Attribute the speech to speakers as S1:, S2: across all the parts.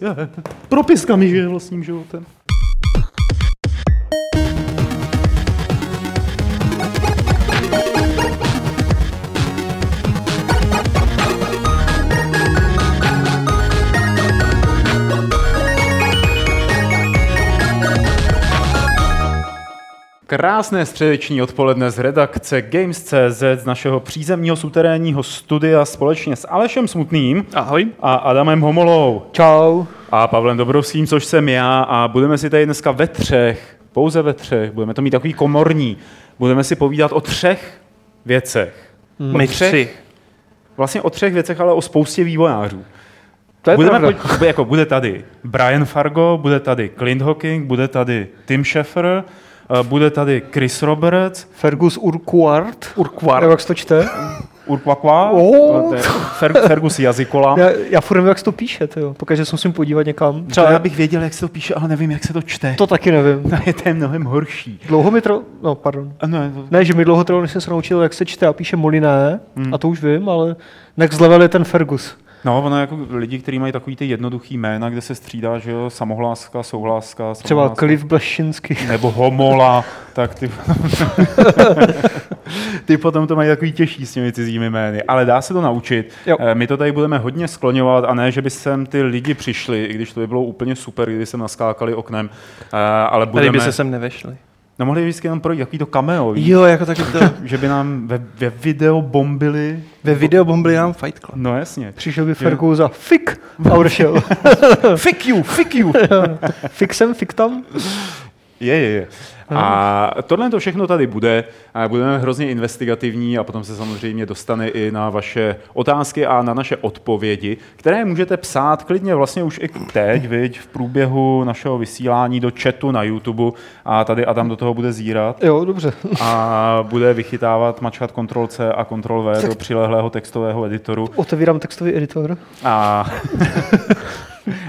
S1: Je, propiskami žije vlastním životem. Krásné středeční odpoledne z redakce Games.cz z našeho přízemního suterénního studia společně s Alešem Smutným
S2: Ahoj.
S1: a Adamem Homolou.
S2: Čau.
S1: A Pavlem Dobrovským, což jsem já, a budeme si tady dneska ve třech, pouze ve třech, budeme to mít takový komorní, budeme si povídat o třech věcech. O
S2: My tři.
S1: Vlastně o třech věcech, ale o spoustě vývojářů.
S2: To je
S1: Budeme
S2: pravda.
S1: po, jako bude tady Brian Fargo, bude tady Clint Hawking, bude tady Tim Schafer, eh, bude tady Chris Roberts,
S3: Fergus Urquhart.
S2: Urkvar.
S3: Nebo jak se to čte?
S1: Urquakua,
S3: Oh.
S1: eh, to je Fer- Fergus Jazykola.
S3: Já, já furt nevím, jak se to píše, tyjo. Pokaže se musím podívat někam.
S1: Třeba já bych věděl, jak se to píše, ale nevím, jak se to čte.
S3: To taky nevím.
S1: To je, to je mnohem horší.
S3: Dlouho mi trvalo, no pardon.
S1: Ano, je to-
S3: Ne, že mi dlouho trvalo, než jsem se naučil, jak se čte a píše Moliné, hmm. a to už vím, ale next level je ten Fergus.
S1: No, ono jako lidi, kteří mají takový ty jednoduchý jména, kde se střídá, že jo, samohláska, souhláska,
S3: Třeba
S1: samohláska,
S3: Cliff Blašinsky.
S1: nebo homola, tak ty, ty potom to mají takový těžší s těmi cizími jmény. Ale dá se to naučit.
S3: Jo.
S1: Eh, My to tady budeme hodně skloňovat a ne, že by sem ty lidi přišli, i když to by bylo úplně super, kdyby se naskákali oknem, eh, ale
S2: Tady
S1: budeme...
S2: by se sem nevešli.
S1: No mohli by vždycky jenom projít takový to cameo, víš?
S2: Jo, jako taky to.
S1: že by nám ve, ve video bombili.
S2: Ve videobombli nám Fight Club.
S1: No jasně.
S3: Přišel by Fergus a fik a odešel.
S1: Fick you, fick you.
S3: fik sem, fik tam.
S1: Je, je, je. A tohle to všechno tady bude. A budeme hrozně investigativní a potom se samozřejmě dostane i na vaše otázky a na naše odpovědi, které můžete psát klidně vlastně už i teď, viď, v průběhu našeho vysílání do chatu na YouTube. A tady Adam do toho bude zírat
S3: Jo, dobře.
S1: a bude vychytávat, mačkat Ctrl C a Ctrl V do přilehlého textového editoru.
S3: Otevírám textový editor.
S1: A,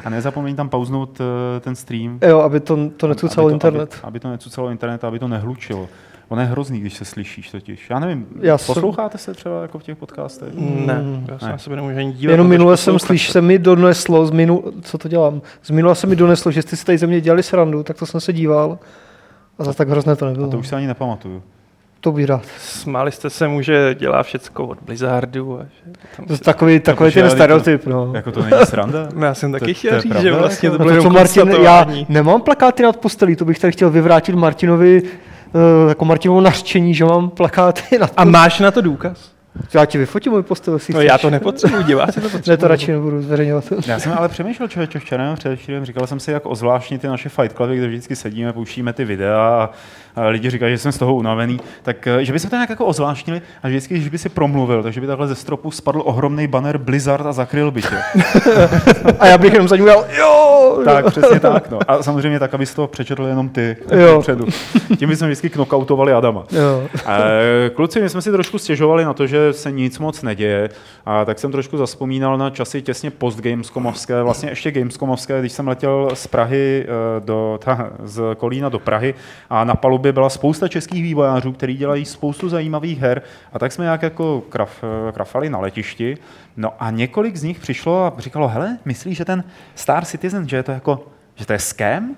S1: a nezapomeň tam pauznout eh, ten stream.
S3: Jo, aby to, to necucalo
S1: Aby to-
S3: internet.
S1: Aby, aby to necucalo internet, aby to nehlučilo. Ono je hrozný, když se slyšíš totiž. Já nevím,
S3: Já
S1: Já
S3: jsem- No.
S1: posloucháte se třeba jako v těch podcastech?
S2: Ne, Mm, já se
S1: Ne.
S2: na sebe nemůžu ani dívat.
S3: Jenom
S2: protože
S3: minule jsem
S2: poslouchat.
S3: slyš, se mi doneslo, z minu, co to dělám, z minule se mi doneslo, že jste si tady ze mě dělali srandu, tak to jsem se díval. A za tak hrozné to nebylo.
S1: A to už se ani nepamatuju.
S3: to bych rád.
S2: Smáli jste se mu, že dělá všecko od Blizzardu. A že tam
S3: To je
S2: se...
S3: takový, takový
S1: protože
S3: ten
S1: já-
S3: stereotyp, no.
S1: Jako to není sranda?
S2: No, já jsem
S1: To-
S2: taky
S1: to
S2: chtěl
S1: je
S2: říct,
S1: pravda,
S2: že vlastně
S1: jako?
S2: to
S3: A
S2: bylo
S3: to, co
S2: jenom
S3: Martin, já
S2: konstatování.
S3: nemám plakáty nad postelí, to bych tady chtěl vyvrátit Martinovi, eh, jako Martinovo nařčení, že mám plakáty nad
S2: A
S3: postelí.
S2: máš na to důkaz?
S3: Já ti vyfotím můj postel, jestli
S2: No
S3: chceš.
S2: já to nepotřebuji, diváci to
S3: Ne,
S2: potřebují.
S3: to radši nebudu zveřejňovat.
S1: Já jsem ale přemýšlel člověče včera, nebo předevčírem, říkal jsem si, jak ozvláštní ty naše fight cluby, kde vždycky sedíme, pouštíme ty videa a, a lidi říkají, že jsem z toho unavený, tak eh, že by se to nějak jako ozvláštnili a že vždycky, když by si promluvil, takže by takhle ze stropu spadl ohromný banner Blizzard a zakryl by tě.
S3: A já bych jenom za ní udělal, jo!
S1: Tak, přesně tak. No. A samozřejmě tak, aby to přečetl jenom ty
S3: Jo.
S1: předu. Tím bychom vždycky knockoutovali Adama.
S3: Jo.
S1: Eh, Kluci, my jsme si trošku stěžovali na to, že se nic moc neděje, a tak jsem trošku zaspomínal na časy těsně post-Gamescomovské, vlastně ještě Gamescomovské, když jsem letěl z Prahy eh, do, ta, z Kolína do Prahy a na palubě byla spousta českých vývojářů, kteří dělají spoustu zajímavých her a tak jsme nějak jako kraf, eh, krafali na letišti. No a několik z nich přišlo a říkalo, hele, myslíš, že ten Star Citizen, že je to jako, že to je scam?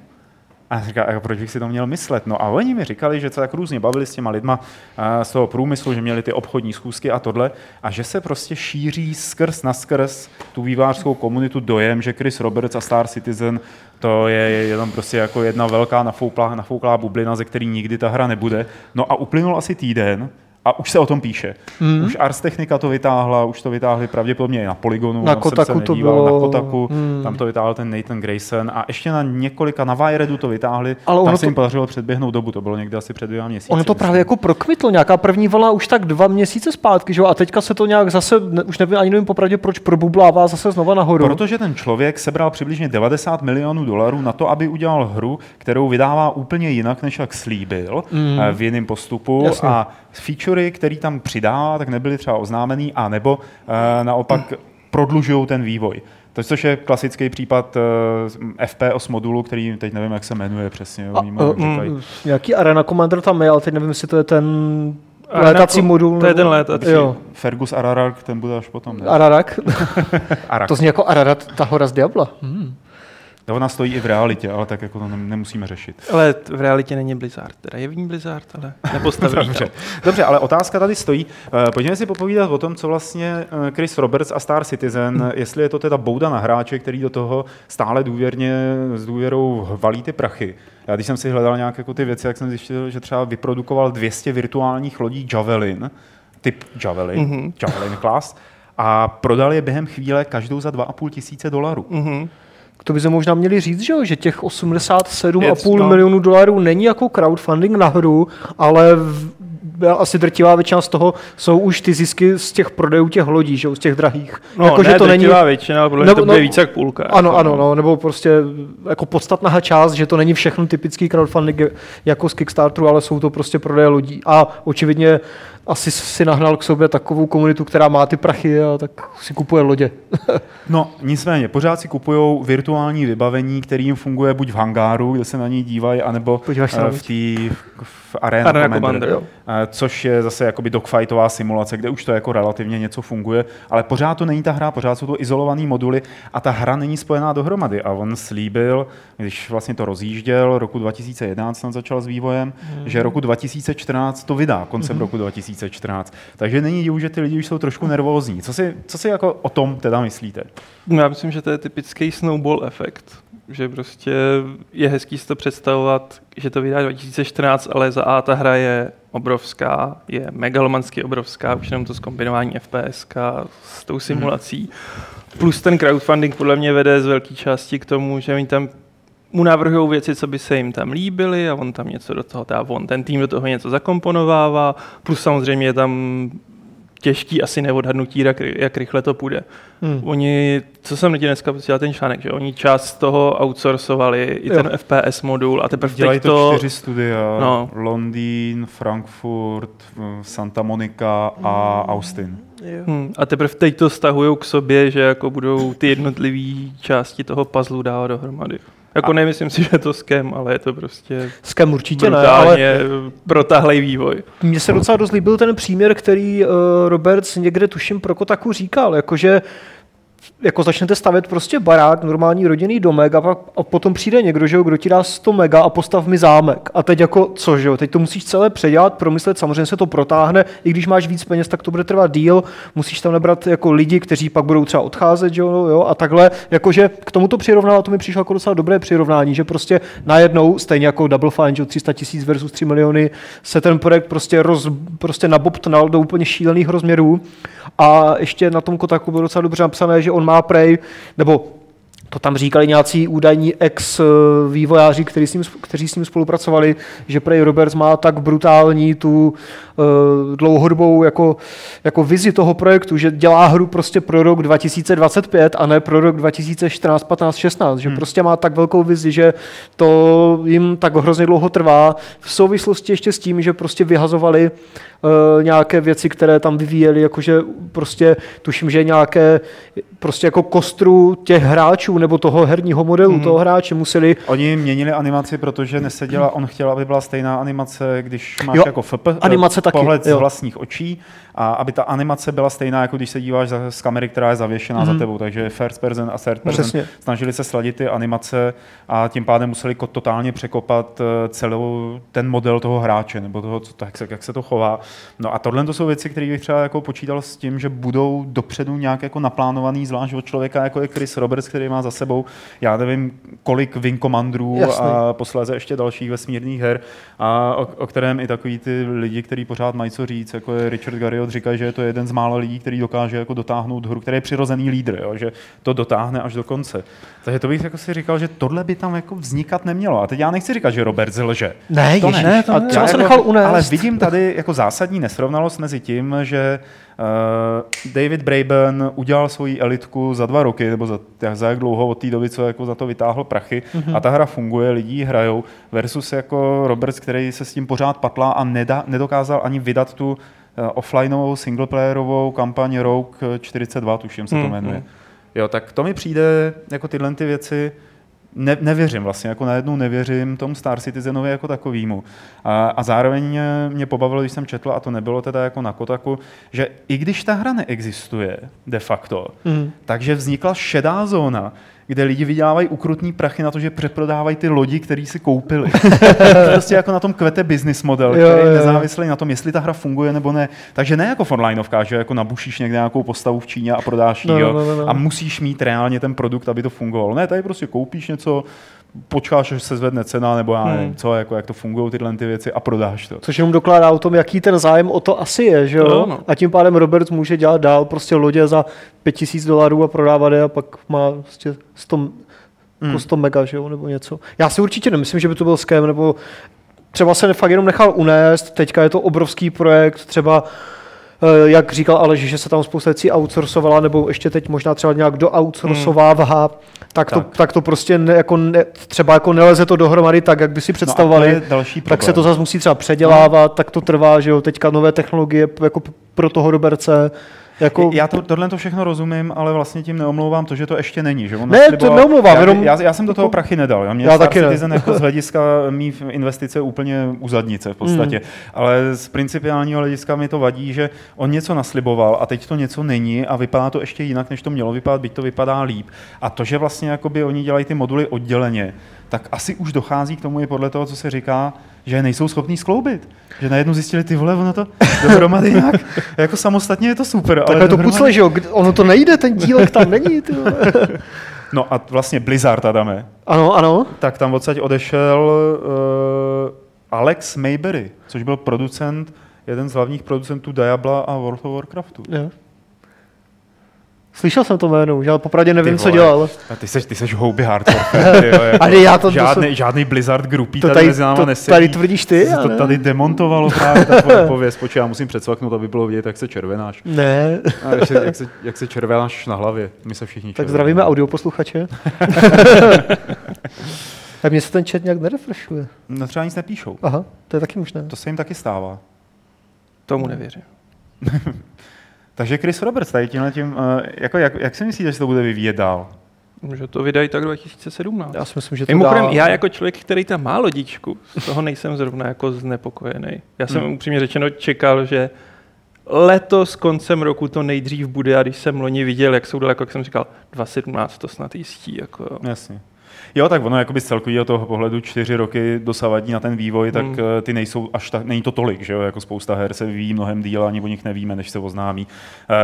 S1: A já jsem říkal, "A proč bych si to měl myslet? No a oni mi říkali, že se tak různě bavili s těma lidma a, z toho průmyslu, že měli ty obchodní schůzky a tohle, a že se prostě šíří skrz na skrz tu vývářskou komunitu dojem, že Chris Roberts a Star Citizen to je jenom prostě jako jedna velká nafouklá, nafouklá bublina, ze který nikdy ta hra nebude. No a uplynul asi týden, a už se o tom píše.
S3: Hmm.
S1: Mm. Už Ars Technica to vytáhla, už to vytáhli pravděpodobně i na Polygonu.
S3: Na
S1: tam jsem se
S3: Kotaku to
S1: nedíval,
S3: bylo. Hmm.
S1: Na Kotaku, mm. tam to vytáhl ten Nathan Grayson a ještě na několika, na Wiredu to vytáhli. Ale
S3: Ale
S1: tam
S3: ono
S1: se jim
S3: to-
S1: podařilo předběhnout dobu, to bylo někde asi před dvěma měsíci.
S3: Ono to
S1: myslím.
S3: právě jako prokvitlo, nějaká první vlna už tak dva měsíce zpátky, že jo? A teďka se to nějak zase, ne, už nevím, ani nevím popravdě, proč probublává zase znova nahoru.
S1: Protože ten člověk sebral přibližně 90 milionů dolarů na to, aby udělal hru, kterou vydává úplně jinak, než jak slíbil mm. v jiném postupu.
S3: Hmm. Jasně.
S1: A featurey, který tam přidává, tak nebyly třeba oznámený, a nebo eh, naopak prodlužují ten vývoj. To, což je klasický případ eh, FPS modulu, který teď nevím, jak se jmenuje přesně.
S3: a,
S1: oni mu
S3: a,
S1: říkají.
S3: mm, nějaký Arena Commander tam je, ale teď nevím, jestli to je ten
S2: Arena
S3: létací
S2: Co-
S3: modul.
S2: to je
S3: nebo-
S2: ten létací.
S3: Jo.
S1: Fergus Ararak, ten bude až potom. Ne?
S3: Ararak?
S1: Arak.
S2: Hmm.
S3: to zní jako Ararat, ta hora z Diabla.
S1: Ona stojí i v realitě, ale tak jako to nem- nemusíme řešit.
S2: Ale t- v realitě není Blizzard, teda je v ní Blizzard, ale nepostavený.
S1: Dobře. Dobře, ale otázka tady stojí. Eh, Pojďme si popovídat o tom, co vlastně eh, Chris Roberts a Star Citizen, jestli je to teda bouda na hráče, který do toho stále důvěrně s důvěrou valí ty prachy. Já když jsem si hledal nějak jako ty věci, jak jsem zjistil, že třeba vyprodukoval 200 virtuálních lodí Javelin, typ Javelin, mm-hmm. Javelin class, a prodal je během chvíle každou za 2,5 tisíce dolarů.
S2: Mhm.
S3: To by se možná měli říct, že, jo, že těch 87,5
S2: Je to-
S3: milionů dolarů není jako crowdfunding na hru, ale v, asi drtivá většina z toho jsou už ty zisky z těch prodejů těch lodí, že jo, z těch drahých.
S2: No, jako, ne, že to není... většina, ale podle mě
S3: Nebo-
S2: to bude
S3: no-
S2: více jak půlka. jako-
S3: Ano, ano, no, nebo prostě jako podstatná část, že to není všechno typický crowdfunding jako z Kickstarteru, ale jsou to prostě prodeje lodí. A očividně asi si nahnal k sobě takovou komunitu, která má ty prachy a tak si kupuje lodě.
S1: No, nicméně, pořád si kupují virtuální vybavení, který jim funguje buď v hangáru, kde se na něj dívají, anebo
S3: Podíváš se na
S1: eh, v
S3: loď?
S1: té v Arena,
S2: Arena
S1: Arena Commander,
S2: Commander, jo.
S1: eh, což je zase jakoby dogfightová simulace, kde už to jako relativně něco funguje, ale pořád to není ta hra, pořád jsou to izolované moduly a ta hra není spojená dohromady. A on slíbil, když vlastně to rozjížděl, roku 2011 snad začal s vývojem,
S3: Mhm.
S1: že roku 2014 to vydá, koncem roku 2014. Takže není divu, že ty lidi už jsou trošku nervózní. Co si, co si jako o tom teda myslíte?
S2: No, já myslím, že to je typický snowball efekt, že prostě je hezký si to představovat, že to vydá 2014, ale za A ta hra je obrovská, je megalomansky obrovská, už jenom to zkombinování FPS s tou simulací. Plus ten crowdfunding podle mě vede z velké části k tomu, že oni tam mu navrhují věci, co by se jim tam líbily a on tam něco do toho dá, on ten tým do toho něco zakomponovává, plus samozřejmě je tam těžký asi neodhadnutí, jak, jak rychle to půjde.
S3: Hmm.
S2: Oni, co jsem ti dneska posílal ten článek, že oni část toho outsourcovali, i ten
S3: Jo.
S2: FPS modul a teprve
S1: Dělají
S2: teď
S1: to,
S2: to...
S1: čtyři studia.
S2: No.
S1: Londýn, Frankfurt, eh, Santa Monica a Austin.
S2: Hmm, a teprve teď to stahují k sobě, že jako budou ty jednotlivé části toho puzzlu dávat dohromady. Jako
S1: A-
S2: a... nemyslím si, že je to skem, ale je to prostě
S3: S kem určitě ne, ale
S2: brutálně protáhlej vývoj.
S3: Mně se docela dost líbil ten příměr, který uh, Roberts někde tuším pro Kotaku říkal, jakože jako začnete stavět prostě barák, normální rodinný domek a, pak, a potom přijde někdo, že jo, kdo ti dá 100 mega a postav mi zámek. A teď jako co, že jo, teď to musíš celé předělat, promyslet, samozřejmě se to protáhne, i když máš víc peněz, tak to bude trvat díl, musíš tam nabrat jako lidi, kteří pak budou třeba odcházet, že jo, no, jo a takhle, jakože k tomuto přirovnává, to mi přišlo jako docela dobré přirovnání, že prostě najednou, stejně jako Double Fine, že jo, 300 tisíc versus 3 miliony, se ten projekt prostě, roz, prostě nabobtnal do úplně šílených rozměrů a ještě na tom Kotaku bylo docela dobře napsané, že on má prej, nebo to tam říkali nějací údajní ex-vývojáři, kteří s, ním, kteří s ním spolupracovali, že Prej Roberts má tak brutální tu uh, dlouhodobou jako, jako vizi toho projektu, že dělá hru prostě pro rok 2025 a ne pro rok 2014, 15, 16, že hmm. prostě má tak velkou vizi, že to jim tak hrozně dlouho trvá v souvislosti ještě s tím, že prostě vyhazovali uh, nějaké věci, které tam vyvíjeli, jakože prostě tuším, že nějaké prostě jako kostru těch hráčů nebo toho herního modelu, hmm. toho hráče museli
S1: Oni měnili animaci, protože neseděla, on chtěl, aby byla stejná animace, když máš
S3: Jo,
S1: jako FP,
S3: animace taky,
S1: pohled z
S3: jo.
S1: vlastních očí, a aby ta animace byla stejná, jako když se díváš za- z kamery, která je zavěšená za tebou. Takže first person a third person
S3: Mhm. Přesně.
S1: snažili se sladit ty animace a tím pádem museli ko- totálně překopat eh, celou ten model toho hráče, nebo toho, co, jak, se, jak se to chová. No a tohle to jsou věci, které bych třeba jako počítal s tím, že budou dopředu nějak jako naplánovaný, zvlášť od člověka, jako je Chris Roberts, který má za sebou, já nevím, kolik Wing Commanderů
S3: Jasný.
S1: a posléze ještě dalších vesmírných her, a o, o kterém i takový ty lidi, kteří pořád mají co říct, jako je Richard Garriott, říkají, že je to jeden z mála lidí, který dokáže jako dotáhnout hru, který je přirozený lídr, jo, že to dotáhne až do konce. Takže to bych jako si říkal, že tohle by tam jako vznikat nemělo. A teď já nechci říkat, že Robert lže.
S3: Ne,
S1: To ne.
S3: ježiš,
S2: to
S3: a
S2: ne.
S3: třeba
S1: Já
S3: se
S1: jako-
S3: nechal unést.
S1: Ale vidím tady jako zásadní nesrovnalost mezi tím, že uh, David Braben udělal svoji elitku za dva roky, nebo za, za jak dlouho od té doby, co jako za to vytáhl prachy,
S3: Mhm.
S1: mm-hmm. a ta hra funguje, lidi ji hrajou, versus jako Roberts, který se s tím pořád patlá a nedá, nedokázal ani vydat tu eh, offlineovou singleplayerovou kampaň Rogue 42, tuším se to
S3: Mm,
S2: Mhm.
S1: jmenuje. No. Jo, tak to mi přijde, jako tyhle ty věci, ne, nevěřím vlastně, jako najednou nevěřím tomu Star Citizenovi jako takovýmu. A, a zároveň eh, mě pobavilo, když jsem četl, a to nebylo teda jako na Kotaku, že i když ta hra neexistuje de facto,
S3: Mhm.
S1: takže vznikla šedá zóna, kde lidi vydělávají ukrutní prachy na to, že přeprodávají ty lodi, které si koupili. prostě jako na tom kvete business model,
S3: Jo,
S1: který
S3: jo.
S1: je nezávislý na tom, jestli ta hra funguje nebo ne. Takže ne jako v onlineovkách, že jako nabušíš někde nějakou postavu v Číně a prodáš ji
S3: No,
S1: jo,
S3: no, no, no.
S1: a musíš mít reálně ten produkt, aby to fungovalo. Ne, tady prostě koupíš něco, počkáš, až se zvedne cena, nebo já nevím,
S2: Hmm.
S1: co, jako, jak to fungují tyhle ty věci a prodáš to. No
S3: Což jenom dokládá o tom, jaký ten zájem o to asi je, že jo?
S2: To ano.
S3: A tím pádem Robert může dělat dál prostě lodě za 5000 dolarů a prodávat je a pak má prostě 100, hmm. 100 mega, že jo, nebo něco. Já si určitě nemyslím, že by to byl scam, nebo třeba se fakt jenom nechal unést, teďka je to obrovský projekt, třeba eh, jak říkal Aleš, že se tam spousta věcí outsourcovala, nebo ještě teď možná třeba nějak dooutsourcovává, tak, tak. To,
S1: Hmm. Tak.
S3: tak to prostě ne, jako ne, třeba jako neleze to dohromady tak, jak by si představovali
S1: No a to je další problém.
S3: tak se to zase musí třeba předělávat, tak to trvá, že jo, teďka nové technologie p- jako p- pro toho Roberce, jako...
S1: Já to, tohle to všechno rozumím, ale vlastně tím neomlouvám to, že to ještě není. Že on
S3: Ne,
S1: nasliboval-
S3: to neomlouvám,
S1: já,
S3: jenom- jako-
S1: já, já, jsem do toho prachy nedal. Já, mě
S3: Já
S1: já Star
S3: taky ne.
S1: Citizen jako z hlediska mý investice úplně u zadnice v podstatě.
S3: Hmm.
S1: Mm. Ale z principiálního hlediska mi to vadí, že on něco nasliboval a teď to něco není a vypadá to ještě jinak, než to mělo vypadat, byť to vypadá líp. A to, že vlastně jakoby oni dělají ty moduly odděleně, tak asi už dochází k tomu i podle toho, co se říká, že je nejsou schopní skloubit. Že najednou zjistili ty vole, ono to dohromady nějak, jako samostatně je to super. ale
S3: Takhle to
S1: dohromady-
S3: pucle, že jo, kdy- ono to nejde, ten dílek tam není, ty vole.
S1: No a vlastně Blizzard Adame,
S3: Ano, ano.
S1: tak tam odsaď odešel uh, Alex Mayberry, což byl producent, jeden z hlavních producentů Diabla a World of Warcraftu.
S3: Jo. Slyšel jsem to jméno už, ale popravdě nevím,
S1: Ty
S3: co
S1: vole.
S3: dělal.
S1: A ty seš, ty seš houby hardcore. fan, ty jo, jako.
S3: Ale já to- to
S1: žádný,
S3: jsem-
S1: žádný Blizzard grupí
S3: To
S1: tady,
S3: tady-
S1: mezi náma
S3: to
S1: nesedí.
S3: tady tvrdíš ty,
S1: To,
S3: ale-
S1: to tady demontovalo právě ta tvoje pověst. Počkej, já musím přecvaknout, aby bylo vidět, jak se červenáš.
S3: Ne,
S1: A jak, se, jak, se, jak se červenáš na hlavě. My se všichni
S3: tak
S1: červenáme.
S3: zdravíme audioposluchače. tak mně se ten chat nějak nerefreshuje.
S1: No třeba nic nepíšou.
S3: Aha, to je taky možné.
S1: To se jim taky stává.
S2: Tomu nevěřím.
S1: Takže Chris Roberts tady tímhle tím, eh, jako jak, jak si myslíte, že se to bude vyvíjet dál?
S2: Že to vydají tak 2017.
S3: Já si myslím, že to
S2: Mimochodem,
S3: dá...
S2: já jako člověk, který tam má lodičku, z toho nejsem zrovna jako znepokojený. Já jsem
S1: Hmm.
S2: hmm. upřímně řečeno čekal, že letos koncem roku to nejdřív bude a když jsem loni viděl, jak jsou daleko, jak jsem říkal, 2017 to snad jistí. Jako, jo.
S1: Jasně. Jo, tak ono jakoby z celkového toho pohledu čtyři roky dosavadní na ten vývoj, tak
S2: Hmm.
S1: eh, ty nejsou až tak, není to tolik, že jo, jako spousta her se vyvíjí mnohem díl, ani o nich nevíme, než se oznámí.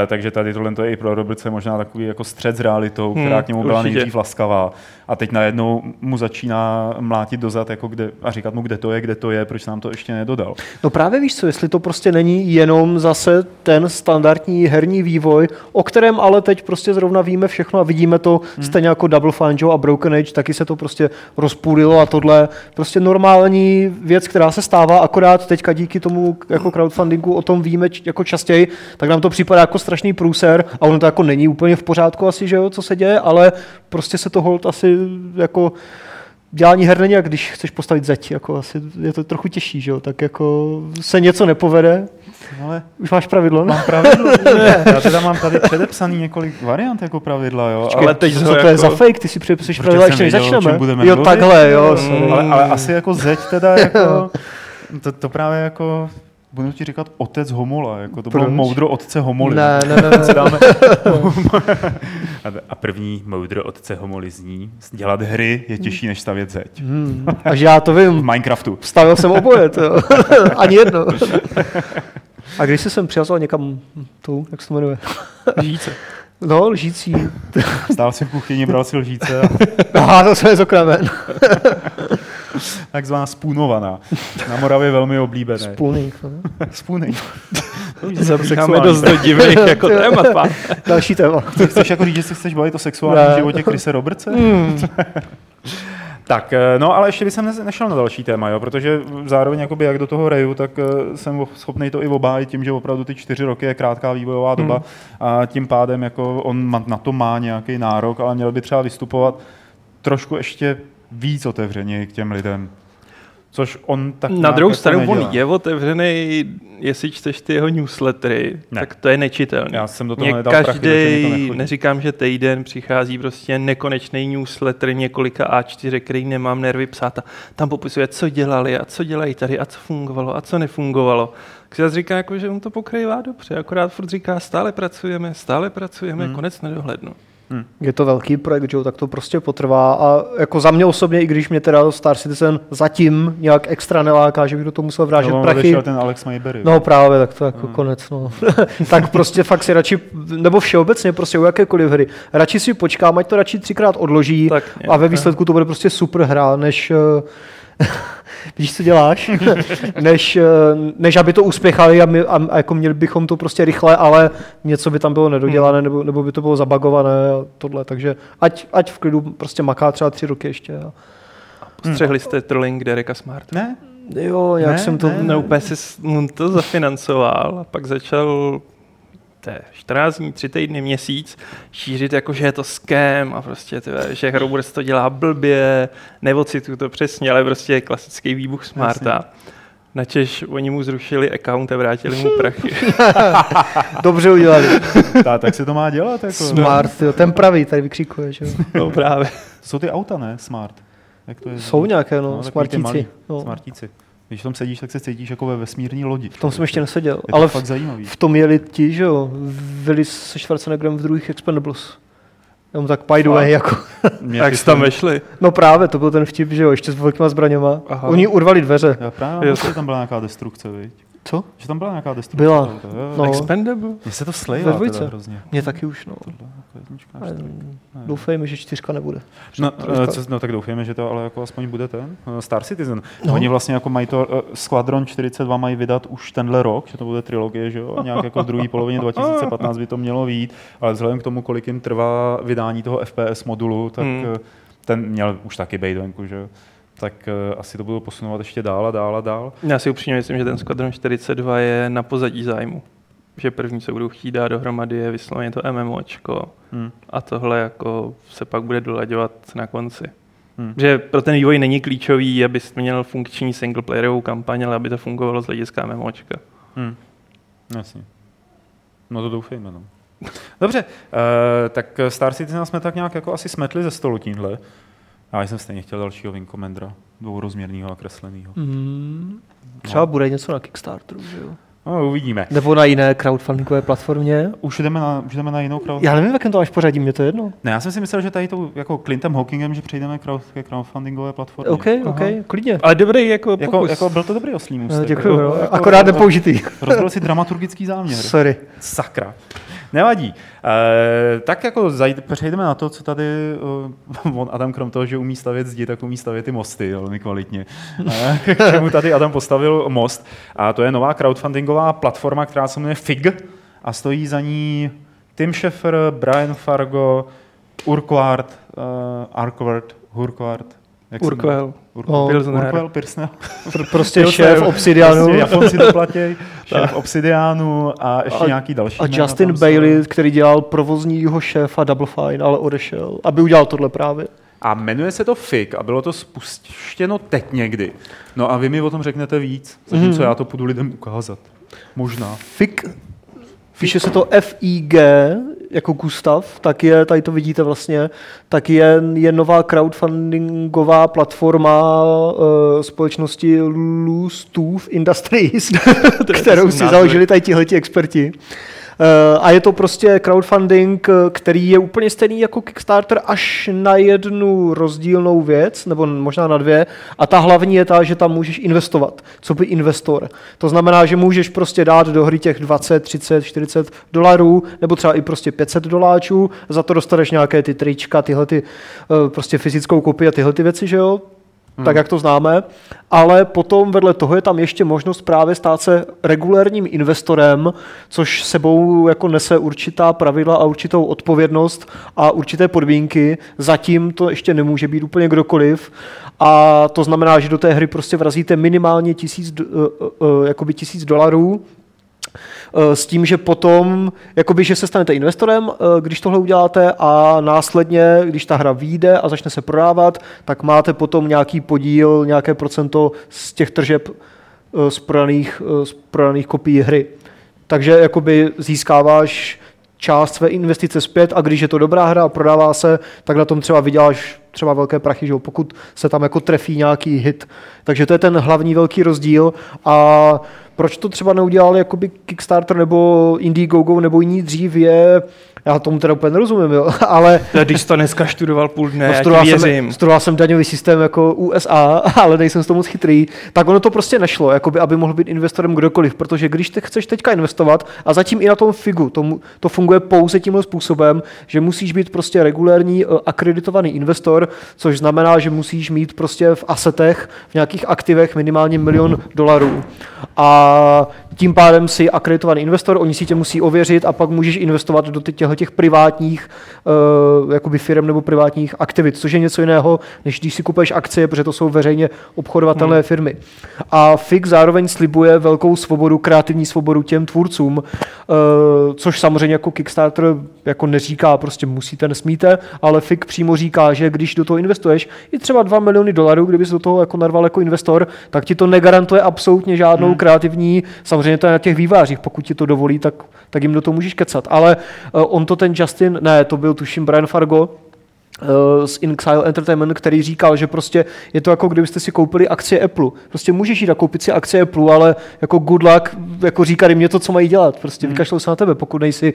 S1: Eh, takže tady tohle to je i pro Robertce možná takový jako střed s realitou,
S2: Hmm,
S1: která k němu byla
S2: určitě.
S1: nejdřív laskavá. A teď najednou mu začíná mlátit dozad jako kde, a říkat mu, kde to je, kde to je, proč nám to ještě nedodal.
S3: No právě víš co, jestli to prostě není jenom zase ten standardní herní vývoj, o kterém ale teď prostě zrovna víme všechno a vidíme to hmm. stejně jako Double Fine Joe a Broken Age, taky se to prostě rozpůlilo a tohle prostě normální věc, která se stává, akorát teďka díky tomu k- jako crowdfundingu o tom víme č- jako častěji, tak nám to připadá jako strašný průser a ono to jako není úplně v pořádku asi, že jo, co se děje, ale prostě se to hold asi jako dělání her není, jak když chceš postavit zeď, jako asi je to trochu těžší, že jo? tak jako se něco nepovede,
S1: Ale
S3: už máš pravidlo, no?
S1: mám pravidlo, já teda mám tady předepsaný několik variant jako pravidla, jo.
S2: Počkej, ale teď
S3: co
S2: ho
S3: to
S2: jako-
S3: je za fake, ty si přepisuješ
S1: Protože
S3: pravidla,
S1: jsem
S3: ještě než
S1: věděl, o čem
S3: začneme.
S1: budeme
S3: jo,
S1: mluvit.
S3: takhle, jo,
S2: Mm.
S3: sorry.
S1: Ale, ale asi jako zeď teda jako, to, to právě jako, budu ti říkat otec Homola, jako to bylo
S3: Proč?
S1: moudro otce Homoly.
S3: Ne, ne, ne, ne.
S1: Se dáme... A- A první moudro otce Homoly zní, dělat hry je těžší než stavět zeď.
S3: Hmm, až já to
S1: V
S3: vím,
S1: Minecraftu.
S3: stavil jsem oboje, to jo. ani jedno. A když jsi sem přijazal někam tu, jak se to jmenuje?
S2: Žijíce.
S3: No, lžící.
S1: Stál si v kuchyni, bral si lžíce a
S3: Aha, to jsme z okna ven.
S1: takzvaná spůnovaná. Na Moravě velmi oblíbené.
S3: Spůlník, no.
S1: Spůny. To už
S2: Zabíháme dost do divných jako témat. pán.
S3: Další téma.
S1: Chceš jako říct, že se chceš bavit o sexuálním
S3: Ne.
S1: životě Krise Robertse? Tak, eh, no ale ještě bych ne- nešel na další téma, jo, protože zároveň jakoby jak do toho reju, tak eh, jsem o- schopný to i obhájit tím, že opravdu ty čtyři roky je krátká vývojová
S3: Hmm.
S1: doba a tím pádem jako on ma- na to má nějaký nárok, ale měl by třeba vystupovat trošku ještě víc otevřeně k těm lidem. Což on tak
S2: Na
S1: nějak
S2: druhou
S1: jako
S2: stranu, on
S1: nedělá.
S2: je otevřený, jestli čteš ty jeho newslettery,
S1: Ne.
S2: ne. tak to je nečitelný.
S1: Já jsem do toho
S2: Mně
S1: nedal prachy,
S2: každý,
S1: takže mi to nechodí.
S2: neříkám, že týden přichází prostě nekonečný newsletter několika A4, který nemám nervy psát a tam popisuje, co dělali a co dělají tady a co fungovalo a co nefungovalo. Takže já říká, jako, že on to pokrývá dobře, akorát furt říká, stále pracujeme, stále pracujeme, konec nedohlednu.
S1: Hmm.
S3: Je to velký projekt, že jo, tak to prostě potrvá a jako za mě osobně, i když mě teda Star Citizen zatím nějak extra neláká, že bych do toho musel vrážet
S1: no,
S3: prachy,
S1: vyšel ten Alex Mayberry.
S3: No právě, tak to jako konec, no. tak prostě fakt si radši, nebo všeobecně prostě u jakékoliv hry, radši si počkám, ať to radši třikrát odloží
S2: Tak
S3: tak,
S2: nějak,
S3: a ve
S2: no.
S3: výsledku to bude prostě super hra, než... eh, Víš, co děláš? než, eh, než aby to uspěchali a, my, a, a jako měli bychom to prostě rychle, ale něco by tam bylo nedodělané, nebo, nebo by to bylo zabagované a tohle, takže ať, ať v klidu prostě maká třeba tři roky ještě. A...
S2: Postřehli jste trolling Dereka Smart.
S1: Ne?
S3: Jo, nějak
S1: Ne,
S3: jsem to...
S1: ne,
S2: No úplně si s- on to zafinancoval a pak začal to je 14 dní, 3 týdny, měsíc šířit jako, že je to scam a prostě ty, ve, že Roberts to dělá blbě, nevocitu to přesně, ale prostě je klasický výbuch smarta. Načež oni mu zrušili account a vrátili mu prachy.
S3: Dobře udělali.
S1: Ta, tak se to má dělat. Jako.
S3: Smart, jo, ten pravý tady vykřikuje, že jo.
S2: No právě.
S1: Jsou ty auta, ne? Smart. Jak to je?
S3: Jsou nějaké,
S1: takový
S3: no,
S1: ty
S3: smartíci,
S1: malý
S3: no.
S1: Smartíci. Když tam sedíš, tak se cítíš jako ve vesmírní lodi.
S3: V tom jsem ještě neseděl,
S1: Je to
S3: ale
S1: ale
S3: v,
S1: fakt zajímavý.
S3: v tom jeli ti, že jo, Willis se Schwarzeneggerem v druhých Expendables. Jenom tak by the way, jako.
S1: Mě
S2: Jak
S1: ty
S2: jste tam
S1: filmy-
S2: vešli?
S3: No právě, to byl ten vtip, že jo, ještě s velkýma zbraněma. Aha.
S2: Aha.
S3: Oni urvali dveře.
S1: Já právě,
S2: Jo.
S1: že tam byla nějaká destrukce, viď?
S3: Co?
S1: Že tam byla nějaká destrukce.
S3: Byla.
S1: auta, jo.
S3: No.
S2: Expendable?
S1: Mně se to
S3: Ve
S1: slejla
S3: dvojce.
S1: teda hrozně.
S3: Mě taky už, no.
S1: Tohle jako jednička,
S3: Ale
S1: čtyřka. Ne.
S3: Doufejme, že čtyřka nebude.
S1: No,
S3: Trojka.
S1: eh, co, no tak doufejme, že to ale jako aspoň bude ten eh, Star Citizen.
S3: No.
S1: No. Oni vlastně jako mají to, eh, Squadron 42 mají vydat už tenhle rok, že to bude trilogie, že jo? Nějak jako v druhé polovině 2015 by to mělo být, ale vzhledem k tomu, kolik jim trvá vydání toho FPS modulu, tak
S2: Hmm.
S1: hmm. ten měl už taky být venku, že jo? Tak eh, asi to budou posunovat ještě dál a dál a dál.
S2: Já si upřímně myslím, že ten Squadron 42 je na pozadí zájmu. Že první, co budou chtít dát dohromady, je vysloveně to MMOčko.
S1: Hmm.
S2: A tohle jako se pak bude dolaďovat na konci.
S1: Hmm.
S2: Že pro ten vývoj není klíčový, aby měl funkční singleplayerovou kampaň, ale aby to fungovalo z hlediska MMOčka.
S1: Hmm. Jasně. No to doufejme, no. Dobře, uh, tak Star Citizen jsme tak nějak jako asi smetli ze stolu tímhle. Já jsem stejně chtěl dalšího Wing Commandera, dvourozměrného a kresleného.
S3: Mm. Třeba bude něco na Kickstarteru, že jo.
S1: No, uvidíme.
S3: Nebo na jiné crowdfundingové platformě.
S1: Už jdeme na, už jdeme na jinou crowd...
S3: Já nevím, v jakém to máš pořadí, mě to je jedno.
S1: Ne, já jsem si myslel, že tady tou jako Clintem Hawkingem, že přejdeme crowd, ke crowdfundingové platformě.
S3: OK, OK, klidně.
S2: Ale dobrý jako pokus.
S1: Jako, jako, byl to dobrý oslý
S3: Eh,
S1: můstek.
S3: Děkuji,
S1: Jako-
S3: jo.
S1: jako-
S3: akorát nepoužitý.
S1: Rozbil si dramaturgický záměr.
S3: Sorry.
S1: Sakra. Nevadí. E, tak jako zajde, přejdeme na to, co tady e, on Adam krom toho, že umí stavět zdi, tak umí stavět i mosty velmi kvalitně. E, k čemu tady Adam postavil most. A to je nová crowdfundingová platforma, která se jmenuje FIG a stojí za ní Tim Schafer, Brian Fargo, Urquhart, uh, Arkvard, Hurquhart, jak se jmenuje?
S2: Urquell.
S1: Urquell,
S2: Pilsner.
S1: Urquell Pilsner.
S3: Pr- prostě
S1: Jo,
S3: šéf
S1: to je-
S3: Obsidianu.
S1: Prostě Japonci to platí, šéf Obsidianu a ještě
S3: A-
S1: nějaký další.
S3: A
S1: jména
S3: Justin
S1: tam jsou.
S3: Bailey, který dělal provozního šéfa Double Fine, ale odešel, aby udělal tohle právě.
S1: A jmenuje se to FIG a bylo to spuštěno teď někdy. No a vy mi o tom řeknete víc, zatímco
S3: Mhm.
S1: já to půjdu lidem ukázat. Možná.
S3: Fig, píše se to FIG, jako Gustav, tak je, tady to vidíte vlastně, tak je, je nová crowdfundingová platforma uh, společnosti Loose Tooth Industries, kterou si
S2: názvy.
S3: založili tady tihleti experti. Eh, A je to prostě crowdfunding, eh, který je úplně stejný jako Kickstarter, až na jednu rozdílnou věc, nebo možná na dvě. A ta hlavní je ta, že tam můžeš investovat, co by investor. To znamená, že můžeš prostě dát do hry těch 20, 30, 40 dolarů, nebo třeba i prostě 500 doláčů, za to dostaneš nějaké ty trička, tyhle ty, eh, prostě fyzickou kopii a tyhle ty věci, že jo? tak jak to známe, ale potom vedle toho je tam ještě možnost právě stát se regulérním investorem, což sebou jako nese určitá pravidla a určitou odpovědnost a určité podmínky. Zatím to ještě nemůže být úplně kdokoliv a to znamená, že do té hry prostě vrazíte minimálně tisíc, d- eh, eh, jakoby tisíc dolarů, Eh, s tím, že potom, jakoby, že se stanete investorem, eh, když tohle uděláte a následně, když ta hra vyjde a začne se prodávat, tak máte potom nějaký podíl, nějaké procento z těch tržeb eh, z prodaných, eh, z prodaných kopií hry. Takže jakoby získáváš část své investice zpět a když je to dobrá hra a prodává se, tak na tom třeba vyděláš třeba velké prachy, že jo, pokud se tam jako trefí nějaký hit. Takže to je ten hlavní velký rozdíl a proč to třeba neudělal jakoby Kickstarter nebo Indiegogo nebo jiný dřív je, já tomu teda úplně nerozumím, jo, ale
S2: Když to dneska študoval půl dne, já ti
S3: No, studoval
S2: věřím.
S3: jsem, studoval jsem daňový systém jako USA, ale nejsem s tomu moc chytrý, tak ono to prostě nešlo, jakoby, aby mohl být investorem kdokoliv, protože když te chceš teďka investovat a zatím i na tom figu, to, mu- to funguje pouze tímhle způsobem, že musíš být prostě regulérní eh, akreditovaný investor, což znamená, že musíš mít prostě v asetech, v nějakých aktivech minimálně milion dolarů. A tím pádem si akreditovaný investor, oni si tě musí ověřit a pak můžeš investovat do těchto těch privátních uh, jakoby firm nebo privátních aktivit, což je něco jiného, než když si kupuješ akcie, protože to jsou veřejně obchodovatelné hmm. firmy. A FIG zároveň slibuje velkou svobodu, kreativní svobodu těm tvůrcům, uh, což samozřejmě jako Kickstarter jako neříká, prostě musíte, nesmíte, ale FIG přímo říká, že když do toho investuješ i třeba 2 miliony dolarů, kdyby se do toho jako narval jako investor, tak ti to negarantuje absolutně žádnou hmm. kreativní, samozřejmě to je na těch vývářích, pokud ti to dovolí, tak, tak jim do toho můžeš kecat. Ale uh, on to ten Justin, ne, to byl tuším Brian Fargo, eh, z Inxile Entertainment, který říkal, že prostě je to jako kdybyste si koupili akcie Apple. Prostě můžeš jít a koupit si akcie Apple, ale jako good luck, jako říkat jim něco, co mají dělat. Prostě vykašlou se na tebe, pokud nejsi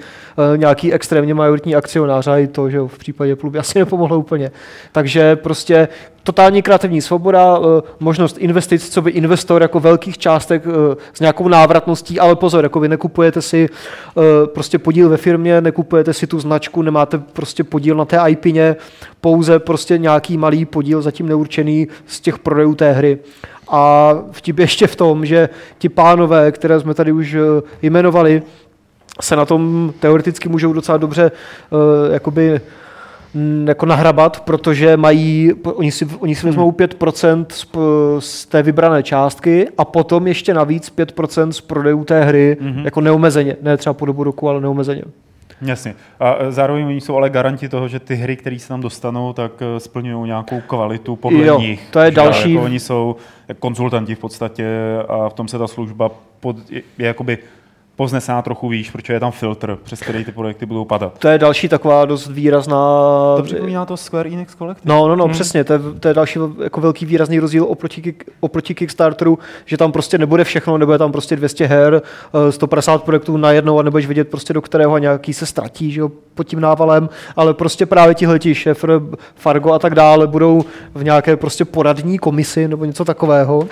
S3: eh, nějaký extrémně majoritní akcionář a i to, že jo, v případě Apple by asi nepomohlo úplně. Takže prostě totální kreativní svoboda, eh, možnost investic, co by investor jako velkých částek eh, s nějakou návratností, ale pozor, jako vy nekupujete si eh, prostě podíl ve firmě, nekupujete si tu značku, nemáte prostě podíl na té IPině, pouze prostě nějaký malý podíl zatím neurčený z těch prodejů té hry. A vtip je ještě v tom, že ti pánové, které jsme tady už eh, jmenovali, se na tom teoreticky můžou docela dobře uh, jakoby mm, jako nahrabat, protože mají, po- oni si, oni si vezmou 5% z, p- z té vybrané částky a potom ještě navíc 5% z prodejů té hry mm-hmm. jako neomezeně, ne třeba po dobu roku, ale neomezeně.
S1: Jasně. A e, zároveň oni jsou ale garanti toho, že ty hry, které se tam dostanou, tak e, splňují nějakou kvalitu podle
S3: Jo,
S1: nich.
S3: to je
S1: Že
S3: další-
S1: Jako oni jsou konzultanti v podstatě a v tom se ta služba pod, je, je jakoby poznesená trochu výš, protože je tam filtr, přes který ty projekty budou padat.
S3: To je další taková dost výrazná...
S1: To připomíná to Square Enix Collective.
S3: No, no, no, hmm. přesně, to je, to je další jako velký výrazný rozdíl oproti, kick- oproti Kickstarteru, že tam prostě nebude všechno, nebude tam prostě 200 her, eh, 150 projektů najednou a nebudeš vědět prostě do kterého a nějaký se ztratí, že jo, pod tím návalem, ale prostě právě tihleti Šefr, Fargo a tak dále budou v nějaké prostě poradní komisi nebo něco takového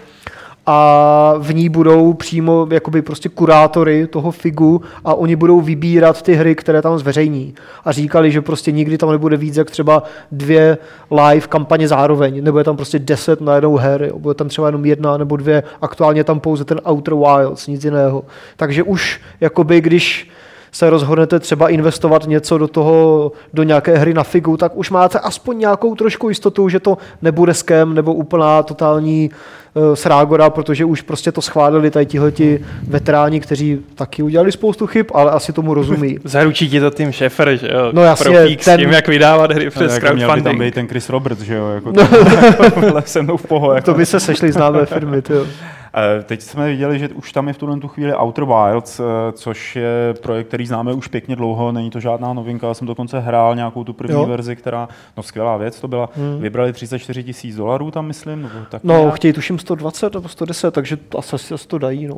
S3: a v ní budou přímo jakoby prostě kurátory toho figu a oni budou vybírat ty hry, které tam zveřejní. A říkali, že prostě nikdy tam nebude víc jak třeba dvě live kampaně zároveň, nebo je tam prostě deset na jednou her, jo. bude tam třeba jenom jedna nebo dvě, aktuálně je tam pouze ten Outer Wilds, nic jiného. Takže už jakoby když se rozhodnete třeba investovat něco do toho, do nějaké hry na figu, tak už máte aspoň nějakou trošku jistotu, že to nebude skem nebo úplná totální eh, srágora, protože už prostě to schválili tady tihleti veteráni, kteří taky udělali spoustu chyb, ale asi tomu rozumí.
S2: Zaručí ti to tím šefer, že jo?
S3: No jasně,
S2: Profík
S3: ten-
S2: s tím, jak vydávat hry
S1: No,
S2: přes
S1: jako měl by tam
S2: crowdfunding.
S1: být ten Chris Roberts, že jo? Jako to, se mnou v poho. Jako.
S3: To by se sešly známé firmy, tyjo.
S1: Eh, Teď jsme viděli, že už tam je v tuhle tu chvíli Outer Wilds, eh, což je projekt, který známe už pěkně dlouho, není to žádná novinka, já jsem dokonce hrál nějakou tu první
S3: Jo.
S1: jo. verzi, která, no skvělá věc to byla, hmm. vybrali 34 tisíc dolarů tam, myslím, nebo tak
S3: No,
S1: nějak.
S3: chtějí tuším 120 nebo 110, takže to asi, asi to dají, no.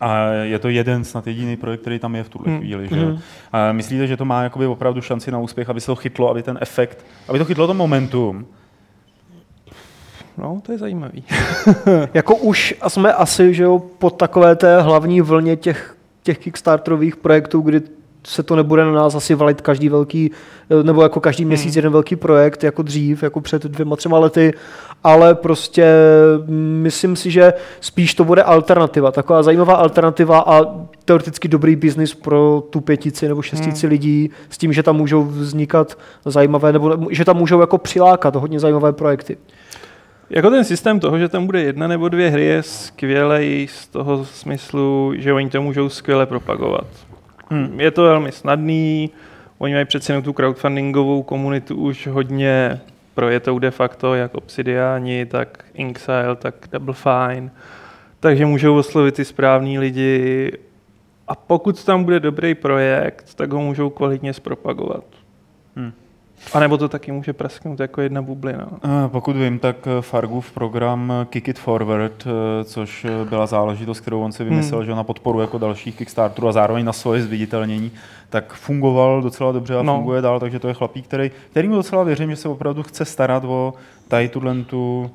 S1: A je to jeden snad jediný projekt, který tam je v tuhle
S2: Hmm.
S1: hmm. chvíli. Že? Hmm. A myslíte, že to má jakoby opravdu šanci na úspěch, aby se to chytlo, aby ten efekt, aby to chytlo to momentum?
S2: No, to je zajímavý.
S3: Jako už jsme asi, že jo, po takové té hlavní vlně těch, těch Kickstarterových projektů, kdy se to nebude na nás asi valit každý velký, eh, nebo jako každý měsíc jeden velký projekt, jako dřív, jako před dvěma, třema lety, ale prostě myslím si, že spíš to bude alternativa, taková zajímavá alternativa a teoreticky dobrý biznis pro tu pětici nebo šestici lidí s tím, že tam můžou vznikat zajímavé, nebo že tam můžou jako přilákat hodně zajímavé projekty.
S2: Jako ten systém toho, že tam bude jedna nebo dvě hry, je skvělej z toho smyslu, že oni to můžou skvěle propagovat. Hmm. Je to velmi snadný, oni mají přece jenom tu crowdfundingovou komunitu už hodně projetou de facto, jak Obsidiani, tak Inxile, tak Double Fine, takže můžou oslovit ty správní lidi a pokud tam bude dobrý projekt, tak ho můžou kvalitně zpropagovat. A nebo to taky může prasknout jako jedna bublina.
S1: Eh, Pokud vím, tak eh, Fargův program eh, Kick It Forward, eh, což eh, byla záležitost, kterou on si vymyslel,
S2: Hmm.
S1: že na podporu jako dalších Kickstarterů a zároveň na svoje zviditelnění, tak fungoval docela dobře a
S2: No.
S1: funguje dál, takže to je chlapík, který, kterýmu docela věřím, že se opravdu chce starat o tady tuhle tu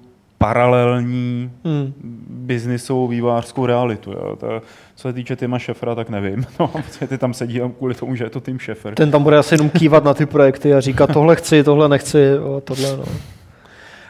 S1: paralelní
S2: Hmm.
S1: biznisovou vývářskou realitu. Jo. To, co se týče Tima Šefra, tak nevím. No, protože ty tam sedí jenom kvůli tomu, že je to Tim Šefer.
S3: Ten tam bude asi jenom kývat na ty projekty a říkat tohle chci, tohle nechci, jo, tohle no.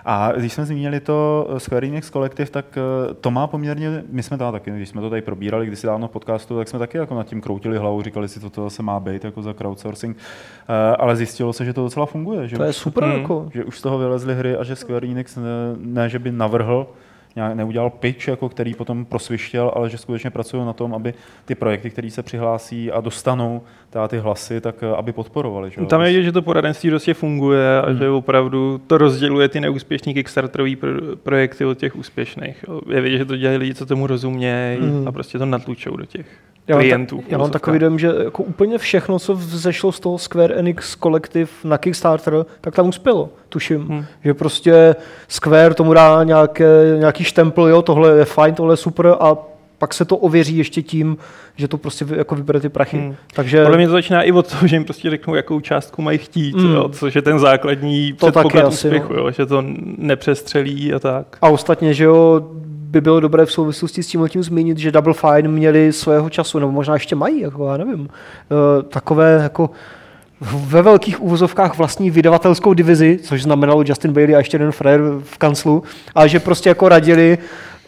S1: A když jsme zmínili to eh, Square Enix kolektiv, tak eh, to má poměrně, my jsme tam taky, když jsme to tady probírali kdysi dávno v podcastu, tak jsme taky jako nad tím kroutili hlavou, říkali si, co to zase má být jako za crowdsourcing, Eh, ale zjistilo se, že to docela funguje, že,
S3: To je super
S2: Hmm.
S3: jako.
S1: že už z toho vylezly hry a že Square Enix ne, ne že by navrhl, nějak neudělal pitch, jako který potom prosvištěl, ale že skutečně pracují na tom, aby ty projekty, které se přihlásí a dostanou teda ty hlasy, tak eh, aby podporovali. Že? jo.
S2: No, Tam je
S3: vlastně.
S2: vidět, že to poradenství prostě funguje
S3: Hmm.
S2: a že opravdu to rozděluje ty neúspěšní Kickstarterový pro- projekty od těch úspěšných. jo. Je vidět, že to dělají lidi, co tomu rozumějí
S3: Hmm.
S2: a prostě to natlučou do těch
S3: Já mám,
S2: klientů.
S3: já mám takový dojem, že jako úplně všechno, co vzešlo z toho Square Enix kolektiv na Kickstarter, tak tam uspělo, tuším.
S2: Hmm.
S3: Že prostě Square tomu dá nějaké, nějaký štempel, jo, tohle je fajn, tohle je super a pak se to ověří ještě tím, že to prostě vy- jako vybere ty prachy.
S2: Hmm.
S3: Takže
S2: Podle mě to začíná i od toho, že jim prostě řeknou, jakou částku mají chtít,
S3: Mm.
S2: mm. jo, což je ten základní
S3: To
S2: to
S3: taky
S2: předpoklad
S3: asi,
S2: úspěchu,
S3: no.
S2: jo, že to nepřestřelí a tak.
S3: A ostatně, že jo, by bylo dobré v souvislosti s tímhle tím zmínit, že Double Fine měli svého času, nebo možná ještě mají, jako já nevím, eh, takové jako ve velkých úvozovkách vlastní vydavatelskou divizi, což znamenalo Justin Bailey a ještě jeden frajer v kanclu, a že prostě jako radili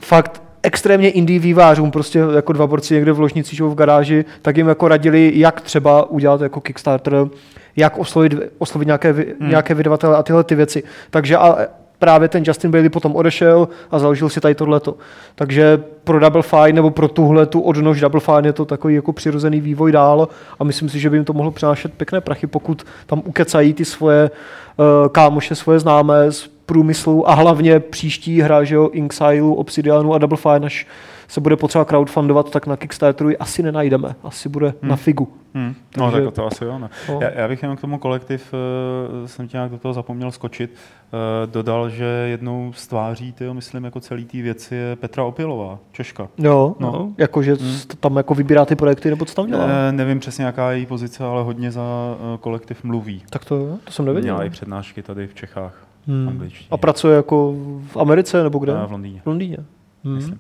S3: fakt extrémně indie vývářům, prostě jako dva borci někde v ložnici nebo v garáži, tak jim jako radili, jak třeba udělat jako Kickstarter, jak oslovit, oslovit nějaké, vy- nějaké vydavatele a tyhle ty věci. Takže a právě ten Justin Bailey potom odešel a založil si tady tohleto. Takže pro Double Fine nebo pro tuhle tu odnož Double Fine je to takový jako přirozený vývoj dál a myslím si, že by jim to mohlo přinášet pěkné prachy, pokud tam ukecají ty svoje uh, kámoše, svoje známé z průmyslu a hlavně příští hra, že jo, Inxilu, Obsidianu a Double Fine, až se bude potřeba crowdfundovat, tak na Kickstarteru ji asi nenajdeme. Asi bude na figu.
S1: Hmm. No
S3: Takže-
S1: tak to asi jo. No.
S3: No.
S1: Já, já bych jenom k tomu kolektiv, eh, jsem tě nějak do toho zapomněl skočit, eh, dodal, že jednou z tváří, tyjo, myslím, jako celý té věci je Petra Opilová, Češka.
S3: Jo, no.
S2: No.
S3: jakože t- tam jako vybírá ty projekty, nebo co tam dělá.
S1: Hmm. Eh, nevím přesně, jaká je její pozice, ale hodně za eh, kolektiv mluví.
S3: Tak to, to jsem nevěděl.
S1: Měla i přednášky tady v Čechách,
S3: Hmm.
S1: hmm. angličtině.
S3: A pracuje jako v Americe nebo kde?
S1: Eh, v Londýně.
S3: V Londýně. Hmm.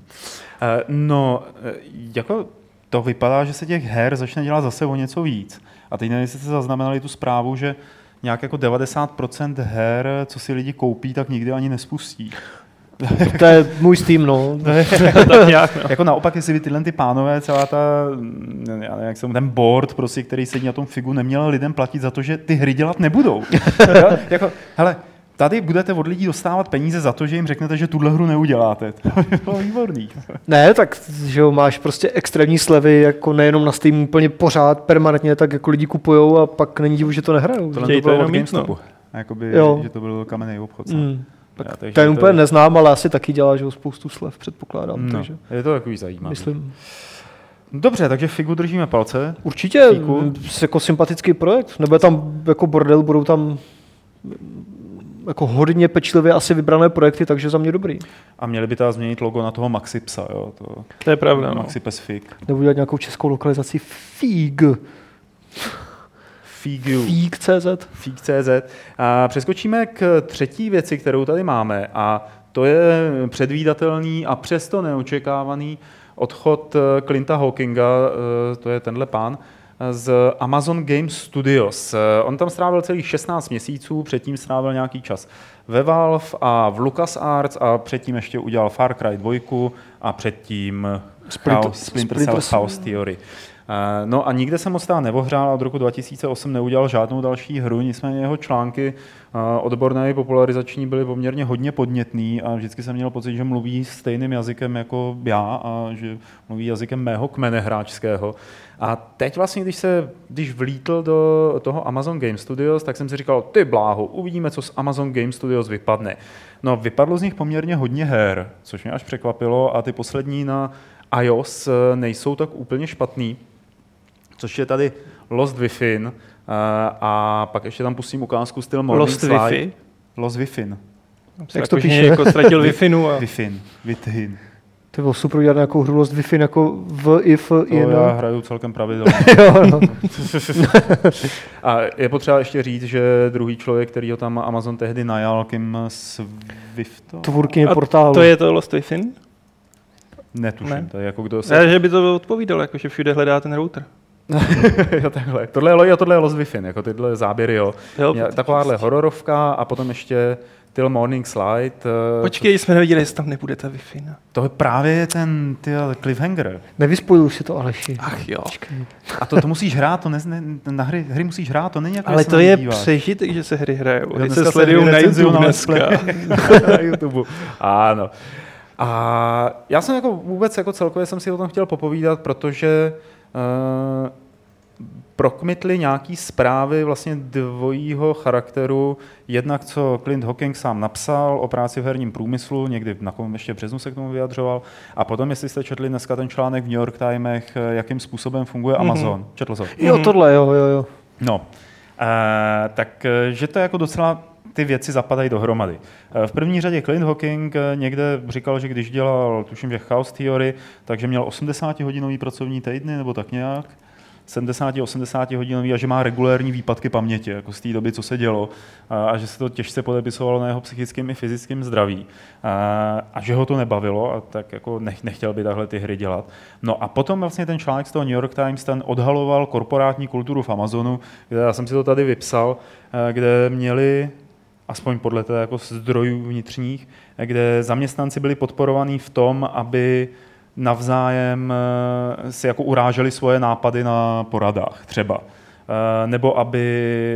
S1: Eh, No, eh, jako to vypadá, že se těch her začne dělat zase o něco víc. A teď nevím, jestli jste zaznamenali tu zprávu, že nějak jako 90% her, co si lidi koupí, tak nikdy ani nespustí.
S3: To je můj Steam, no.
S2: tak nějak, no.
S1: Jako naopak, jestli by tyhle ty pánové, celá ta, mm, já nevím, jak se mu- ten board, prostě, který sedí na tom figu, neměl lidem platit za to, že ty hry dělat nebudou. Jo? jako, hele, tady budete od lidí dostávat peníze za to, že jim řeknete, že tuhle hru neuděláte. To by bylo výborný.
S3: Ne, tak že jo, máš prostě extrémní slevy, jako nejenom na Steam úplně pořád, permanentně, tak jako lidi kupujou a pak není divu, že to nehrajou.
S1: Tohle
S2: Chtějí
S1: to
S2: to
S1: bylo od
S2: jenom mít, no.
S1: GameStopu. Mhm. Jakoby,
S3: Jo.
S1: že to byl kamenný obchod. co?
S3: Mm.
S1: Já, takže
S3: To je úplně neznám, ale asi taky dělá, že jo, spoustu slev, předpokládám.
S1: No,
S3: Takže
S1: je to takový zajímavý.
S3: myslím,
S1: Dobře, takže figu držíme palce.
S3: určitě
S1: Fíku.
S3: m, jako sympatický projekt. Nebude tam jako bordel, budou tam m, jako hodně pečlivě asi vybrané projekty, takže za mě dobrý.
S1: A měli by teda změnit logo na toho Maxi psa, jo. To,
S2: To je pravda. No.
S1: Maxi pes fig.
S3: Nebo udělat nějakou českou lokalizaci FIG.
S1: Figu.
S3: FIG.cz.
S4: Fík.cz. A přeskočíme k třetí věci, kterou tady máme a to je předvídatelný a přesto neočekávaný odchod eh, Clinta Hawkinga, eh, to je tenhle pán, eh, z Amazon Game Studios. Eh, On tam strávil celých 16 měsíců, předtím strávil nějaký čas ve Valve a v LucasArts a předtím ještě udělal Far Cry 2 a předtím
S3: Splinter-
S4: Chaos- Splinter
S3: Splinter
S4: Cell
S3: Cell.
S4: Chaos Theory. Eh, No a nikde se moc teda neohrál a od roku 2008 neudělal žádnou další hru, nicméně jeho články eh, odborné i popularizační byly poměrně hodně podnětný a vždycky jsem měl pocit, že mluví stejným jazykem jako já a že mluví jazykem mého kmene hráčského. A teď vlastně, když se, když vlítl do toho Amazon Game Studios, tak jsem si říkal, ty bláho, uvidíme, co z Amazon Game Studios vypadne. No, vypadlo z nich poměrně hodně her, což mě až překvapilo a ty poslední na iOS eh, nejsou tak úplně špatný což je tady Lost Within, eh,
S1: a pak ještě tam pustím ukázku styl Morning
S2: Lost
S1: Slide.
S2: Wi-Fi.
S1: Los Wi-Fi.
S3: Jak to
S2: Jako, že
S3: píše?
S2: Jako ztratil Wi-Fi a
S1: Wi-Fi. Wi-Fi.
S3: To bylo super udělat nějakou hru Lost Wi-Fi jako v if
S1: To
S3: in.
S2: no.
S1: já hraju celkem pravidelně.
S3: jo, no.
S1: A je potřeba ještě říct, že druhý člověk, který ho tam Amazon tehdy najal, Kim Swifto?
S3: Tvůrkyně
S2: A
S3: portálu.
S2: To je to Lost Wi-Fi?
S1: Netuším,
S2: Ne.
S1: to je jako kdo se...
S2: Ne, že by to odpovídalo, jako že všude hledá ten router.
S1: jo, takhle. Tohle je Loi a tohle je Los Wi-Fi, jako tyhle záběry, jo.
S2: Jo, prostě.
S1: Mě- Takováhle hororovka a potom ještě Till Morning Slide. eh,
S2: Počkej, jsme nevěděli, jestli tam nebude ta Wi-Fi. ne?
S1: To je právě ten ty, cliffhanger.
S3: Nevyspojuju si to, Aleši.
S2: Ach jo.
S1: A to, to musíš hrát, to ne, ne, na hry, hry musíš hrát, to není jako,
S2: Ale
S1: že se
S2: to
S1: na ně
S2: je
S1: díváš.
S2: přežitek, že se hry hrajou. Hry
S1: dneska
S2: se
S1: se no,
S2: sledují
S1: hry
S2: na
S1: recenzují
S2: YouTube
S1: na Let's
S2: dneska.
S1: na YouTube. Ano. A já jsem jako vůbec jako celkově jsem si o tom chtěl popovídat, protože uh, prokmitly nějaký zprávy vlastně dvojího charakteru. Jednak, co Clint Hawking sám napsal o práci v herním průmyslu, někdy na kom ještě v březnu se k tomu vyjadřoval. A potom, jestli jste četli dneska ten článek v New York Timech, eh, jakým způsobem funguje Amazon. Mm-hmm. Četl jsem.
S2: Mhm.
S3: Jo, tohle, jo, jo, jo.
S1: No, eh, tak eh, že to jako docela ty věci zapadají dohromady. Eh, V první řadě Clint Hawking eh, někde říkal, že když dělal, tuším, že Chaos Theory, takže měl 80-hodinový pracovní týdny, nebo tak nějak. 70-80 hodinový a že má regulérní výpadky paměti, jako z té doby, co se dělo, a a že se to těžce podepisovalo na jeho psychickém i fyzickém zdraví a, a že ho to nebavilo a tak jako nech, nechtěl by takhle ty hry dělat. No a potom vlastně ten článek z toho New York Times ten odhaloval korporátní kulturu v Amazonu, kde já jsem si to tady vypsal, eh, kde měli aspoň podle teda jako zdrojů vnitřních, eh, kde zaměstnanci byli podporovaní v tom, aby navzájem eh, si jako uráželi svoje nápady na poradách třeba. Eh, Nebo aby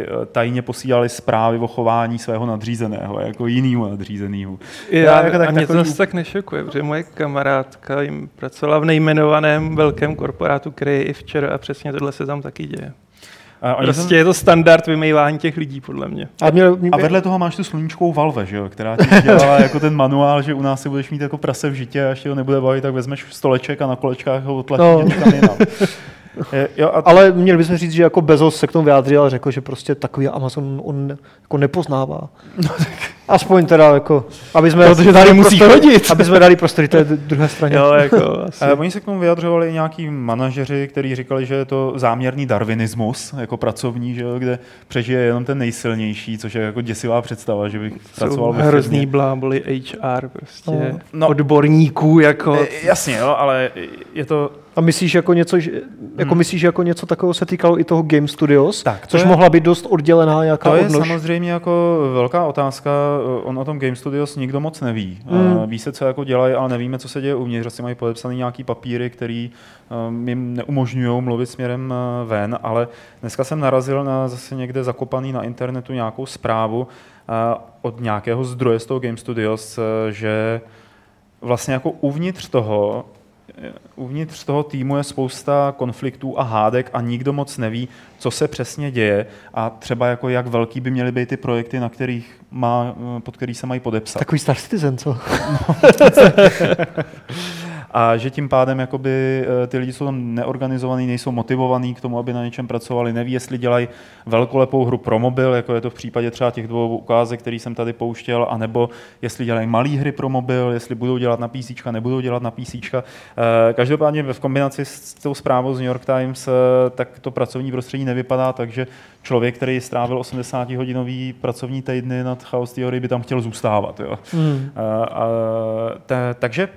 S1: eh, tajně posílali zprávy o chování svého nadřízeného, jako jinýmu nadřízenému.
S2: Já,
S1: jako
S2: a mě to
S1: takový
S2: zase tak nešokuje, protože moje kamarádka jim pracovala v nejmenovaném velkém korporátu, který je i včera a přesně tohle se tam taky děje.
S1: A, Eh, oni
S2: Prostě je to standard vymývání těch lidí, podle mě.
S3: A, měl, mě,
S1: tam, a vedle toho máš tu sluníčkou valve, že jo, která ti dělala jako ten manuál, že u nás si budeš mít jako prase v žitě a až ti ho nebude bavit, tak vezmeš stoleček a na kolečkách ho
S3: No.
S1: otlačíš no. někam jinam. Eh, Jo, a
S3: ale měli bychom říct, že jako Bezos se k tomu vyjádřil a řekl, že prostě takový Amazon on jako nepoznává. Aspoň teda jako, aby jsme,
S2: No Protože tady
S3: dali
S2: musí
S3: prostor,
S2: chodit.
S3: aby jsme dali prostory té d- druhé straně.
S2: Jo, jako asi.
S1: Eh, Oni se k tomu vyjadřovali i nějaký manažeři, kteří říkali, že je to záměrný darwinismus, jako pracovní, že jo, kde přežije jenom ten nejsilnější, což je jako děsivá představa, že bych
S2: Jsou
S1: pracoval ve
S2: hrozný
S1: firmě.
S2: bláboli HR prostě.
S1: No.
S2: No. Odborníků jako.
S1: Eh, Jasně, jo, ale je to...
S3: A myslíš jako něco, že, jako
S2: Mhm.
S3: myslíš jako něco takového se týkalo i toho Game Studios,
S1: Tak, to
S3: což
S1: je-
S3: mohla být dost oddělená nějaká
S1: To je
S3: odnož.
S1: samozřejmě jako velká otázka. On o tom Game Studios nikdo moc neví.
S3: Mm.
S1: Mm. Ví se, co jako dělají, ale nevíme, co se děje uvnitř. Asi mají podepsané nějaký papíry, který um, jim neumožňují mluvit směrem eh, ven, ale dneska jsem narazil na zase někde zakopaný na internetu nějakou zprávu eh, od nějakého zdroje z toho Game Studios, eh, že vlastně jako uvnitř toho eh, uvnitř toho týmu je spousta konfliktů a hádek a nikdo moc neví, co se přesně děje a třeba jako jak velký by měly být ty projekty, na kterých má, eh, pod který se mají podepsat.
S3: Takový Star Citizen, co?
S1: A že tím pádem jakoby, eh, ty lidi jsou tam neorganizovaní, nejsou motivovaní k tomu, aby na něčem pracovali, neví, jestli dělají velkolepou hru pro mobil, jako je to v případě třeba těch dvou ukázek, který jsem tady pouštěl, anebo jestli dělají malé hry pro mobil, jestli budou dělat na PC, nebudou dělat na PC. Eh, Každopádně v kombinaci s tou zprávou z New York Times, eh, tak to pracovní prostředí nevypadá, takže člověk, který strávil 80-hodinový pracovní týdny nad Chaos Theory, by tam chtěl zůstávat. Jo.
S3: Hmm.
S1: A, Eh, a, ta, takže